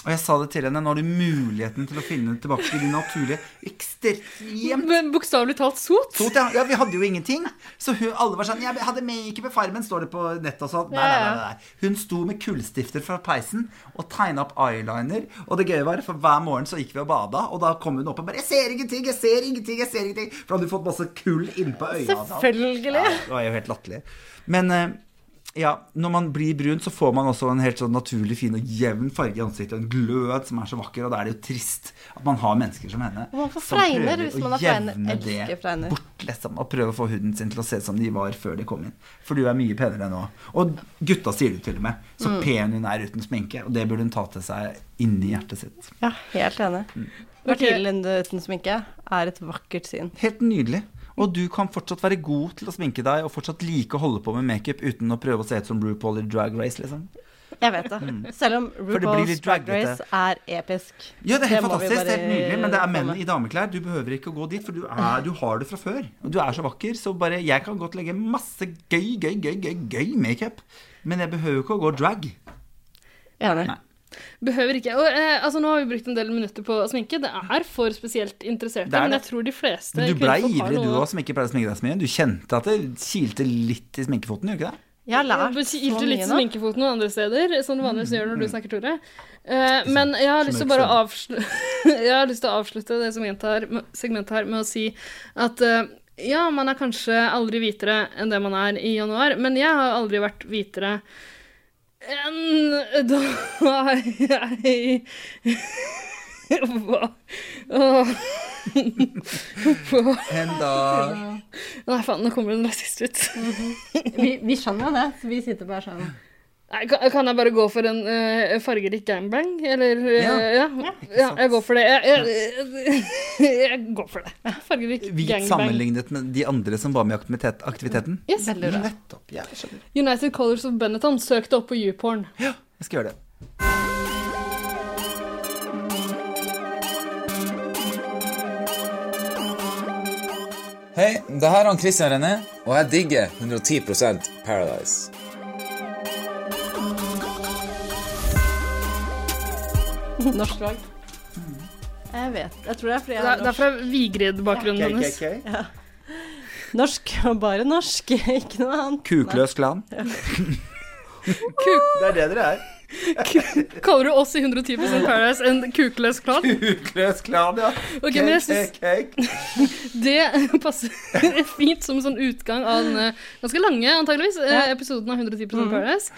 Speaker 2: Og jeg sa det til henne, nå har du muligheten til å finne tilbake til din naturlige ekstremt
Speaker 1: Men bokstavelig talt sot?
Speaker 2: ja. ja, vi hadde jo ingenting. Så hun, alle var sånn Jeg hadde makeup i Farmen, står det på nettet og sånn. Nei, nei, nei, nei, nei. Hun sto med kullstifter fra peisen og tegna opp eyeliner. Og det gøye var, for hver morgen så gikk vi og bada, og da kom hun opp og bare 'Jeg ser ingenting, jeg ser ingenting', jeg ser ingenting. For da hadde hun fått masse kull innpå øynene. og sånn.
Speaker 3: Selvfølgelig.
Speaker 2: Ja, det var jo helt latterlig. Men eh, ja, når man blir brun, så får man også en helt sånn naturlig fin og jevn farge i ansiktet. Og en glød som er så vakker, og da er det jo trist at man har mennesker som henne.
Speaker 3: Og man får
Speaker 2: som
Speaker 3: fregner
Speaker 2: prøver
Speaker 3: hvis
Speaker 2: å
Speaker 3: man har fregner.
Speaker 2: jevne det
Speaker 3: Elsker fregner.
Speaker 2: Bort, liksom, og prøve å få huden sin til å se ut som de var før de kom inn. For du er mye penere nå. Og gutta sier det jo til og med. Så
Speaker 3: Mm.
Speaker 2: pen hun er uten sminke. Og det burde hun ta til seg inni hjertet sitt.
Speaker 3: Ja, helt enig.
Speaker 2: Mm.
Speaker 3: Martine Lunde uten sminke er et vakkert syn.
Speaker 2: Helt nydelig. Og du kan fortsatt være god til å sminke deg, og fortsatt like å holde på med makeup uten å prøve å se ut som RuPaul i Drag Race, liksom.
Speaker 3: Jeg vet det.
Speaker 2: Mm.
Speaker 3: Selv om
Speaker 2: det blir
Speaker 3: RuPaul's
Speaker 2: litt
Speaker 3: Drag
Speaker 2: draggete.
Speaker 3: Race er episk.
Speaker 2: Ja, det er helt
Speaker 3: må
Speaker 2: fantastisk.
Speaker 3: vi
Speaker 2: Det er
Speaker 3: bare
Speaker 2: helt nydelig. Men det er menn
Speaker 3: komme.
Speaker 2: i dameklær. Du behøver ikke å gå dit, for du, er, du har det fra før. Og du er så vakker, så bare Jeg kan godt legge masse gøy, gøy, gøy, gøy, gøy makeup, men jeg behøver ikke å gå drag.
Speaker 3: Enig.
Speaker 1: Behøver ikke. Og, eh, altså, nå har vi brukt en del minutter på sminke. Det er for spesielt interesserte,
Speaker 2: Det er
Speaker 1: men
Speaker 2: det.
Speaker 1: jeg tror de fleste
Speaker 2: Men du blei
Speaker 1: kvinnfolk har
Speaker 2: ivrig, du
Speaker 1: noe-
Speaker 2: òg, som ikke pleier å sminke deg så mye. Du kjente at det kilte litt i sminkefoten, gjorde ikke det?
Speaker 3: Jeg har
Speaker 1: lært så mye litt
Speaker 3: nå.
Speaker 1: sminkefoten noen andre steder, som du vanligvis gjør når du snakker, Tore. Eh, men jeg har lyst til å
Speaker 12: Smør
Speaker 1: bare avslutte, jeg har lyst til å avslutte det segmentet her, med- segmentet her med å si at eh, ja, man er kanskje aldri hvitere enn det man er i januar, men jeg har aldri vært hvitere enn da jeg Hva? Åh. Hva?
Speaker 2: En dag.
Speaker 1: Nei, faen, nå kommer det en rasist ut.
Speaker 3: Vi, vi skjønner jo det, så vi sitter bare sånn.
Speaker 1: Nei, kan, kan jeg bare gå for en eh, fargerik gangbang? Eller eh,
Speaker 3: Ja.
Speaker 1: ja. ja. jeg går for det. Jeg, jeg, jeg, jeg går for det. Fargerik
Speaker 2: Hvit
Speaker 1: gangbang.
Speaker 2: sammenlignet med de andre som var med i aktivitet- aktiviteten.
Speaker 1: Yes. Veldig bra.
Speaker 2: Nettopp. Ja, jeg skjønner.
Speaker 1: United Colors of Benetton søkte opp på YouPorn.
Speaker 2: Jeg skal gjøre det.
Speaker 14: Hei, det her er han Christian René, og jeg digger 110 Paradise.
Speaker 3: Norsk lag. Jeg vet. Jeg tror Mm. det er fordi jeg
Speaker 1: Det
Speaker 3: har
Speaker 1: er- det er fra Vigrid-bakgrunnen
Speaker 3: Ja.
Speaker 1: hennes.
Speaker 3: Ja. Norsk, og bare norsk. Ikke noe annet.
Speaker 2: Kukløs klan.
Speaker 3: Ja.
Speaker 2: Det er det dere er.
Speaker 1: Kaller du oss i 110 Paradise en kukløs klan?
Speaker 2: Kukløs klan, ja.
Speaker 1: Ok, men jeg
Speaker 2: Cake,
Speaker 1: synes-
Speaker 2: cake, cake.
Speaker 1: Det passer fint som sånn utgang av den eh, ganske lange, antageligvis, eh, episoden av 110 Paradise.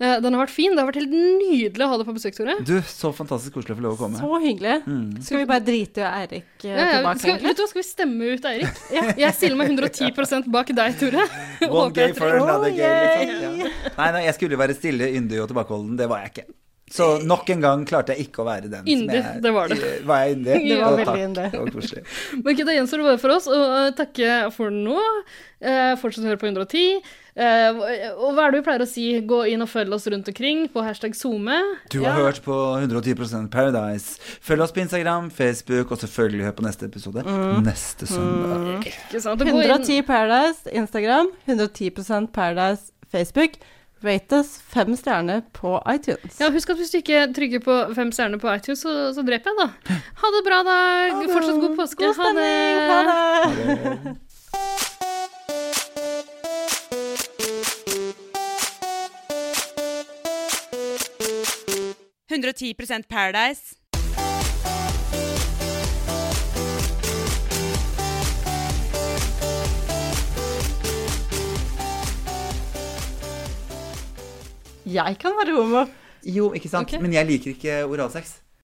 Speaker 1: Eh, Den har vært fin. Det har vært helt nydelig å ha deg på besøk, Tore.
Speaker 2: Du, så fantastisk koselig å få lov å komme.
Speaker 3: Så hyggelig.
Speaker 2: Mm.
Speaker 3: Skal vi bare drite i Eirik eh,
Speaker 1: Ja, ja,
Speaker 3: tilbake,
Speaker 1: skal,
Speaker 3: egentlig?
Speaker 1: vet du hva, skal vi stemme ut Eirik? Jeg stiller meg 110 bak deg, Tore.
Speaker 2: One
Speaker 1: Håper
Speaker 2: day
Speaker 1: jeg
Speaker 2: for
Speaker 1: treffer.
Speaker 2: another game. Liksom. Ja. Nei, nei, jeg skulle være stille, yndig og tilbakeholden. Det var jeg ikke. Så nok en gang klarte jeg ikke å være den som
Speaker 1: Yndig,
Speaker 2: jeg
Speaker 1: det var du.
Speaker 2: Var jeg yndig?
Speaker 1: Det var
Speaker 2: Ja,
Speaker 1: veldig
Speaker 2: takk.
Speaker 1: yndig.
Speaker 2: Det var koselig.
Speaker 1: Men ok, Da gjenstår det bare for oss å eh, takke for nå. Eh, fortsett å høre på 110. Eh, hva- og hva er det vi pleier å si? Gå inn og følg oss rundt omkring på hashtag SoMe.
Speaker 2: Du har hørt på 110 Paradise. Følg oss på Instagram, Facebook, og selvfølgelig hør på neste episode
Speaker 1: Mm.
Speaker 2: neste søndag.
Speaker 1: Ikke sant? Og gå inn-
Speaker 3: 110 Paradise Instagram, 110 Paradise Facebook. Rate oss fem stjerner på iTunes.
Speaker 1: Ja, husk at hvis du ikke trykker på fem stjerner på iTunes, så, så dreper jeg, da. Ha det bra, da. Fortsatt god påske.
Speaker 3: God stemning. Ha det.
Speaker 4: det. 110 Paradise.
Speaker 3: Jeg kan være homo.
Speaker 2: Jo, ikke sant? Men jeg liker ikke oralsex.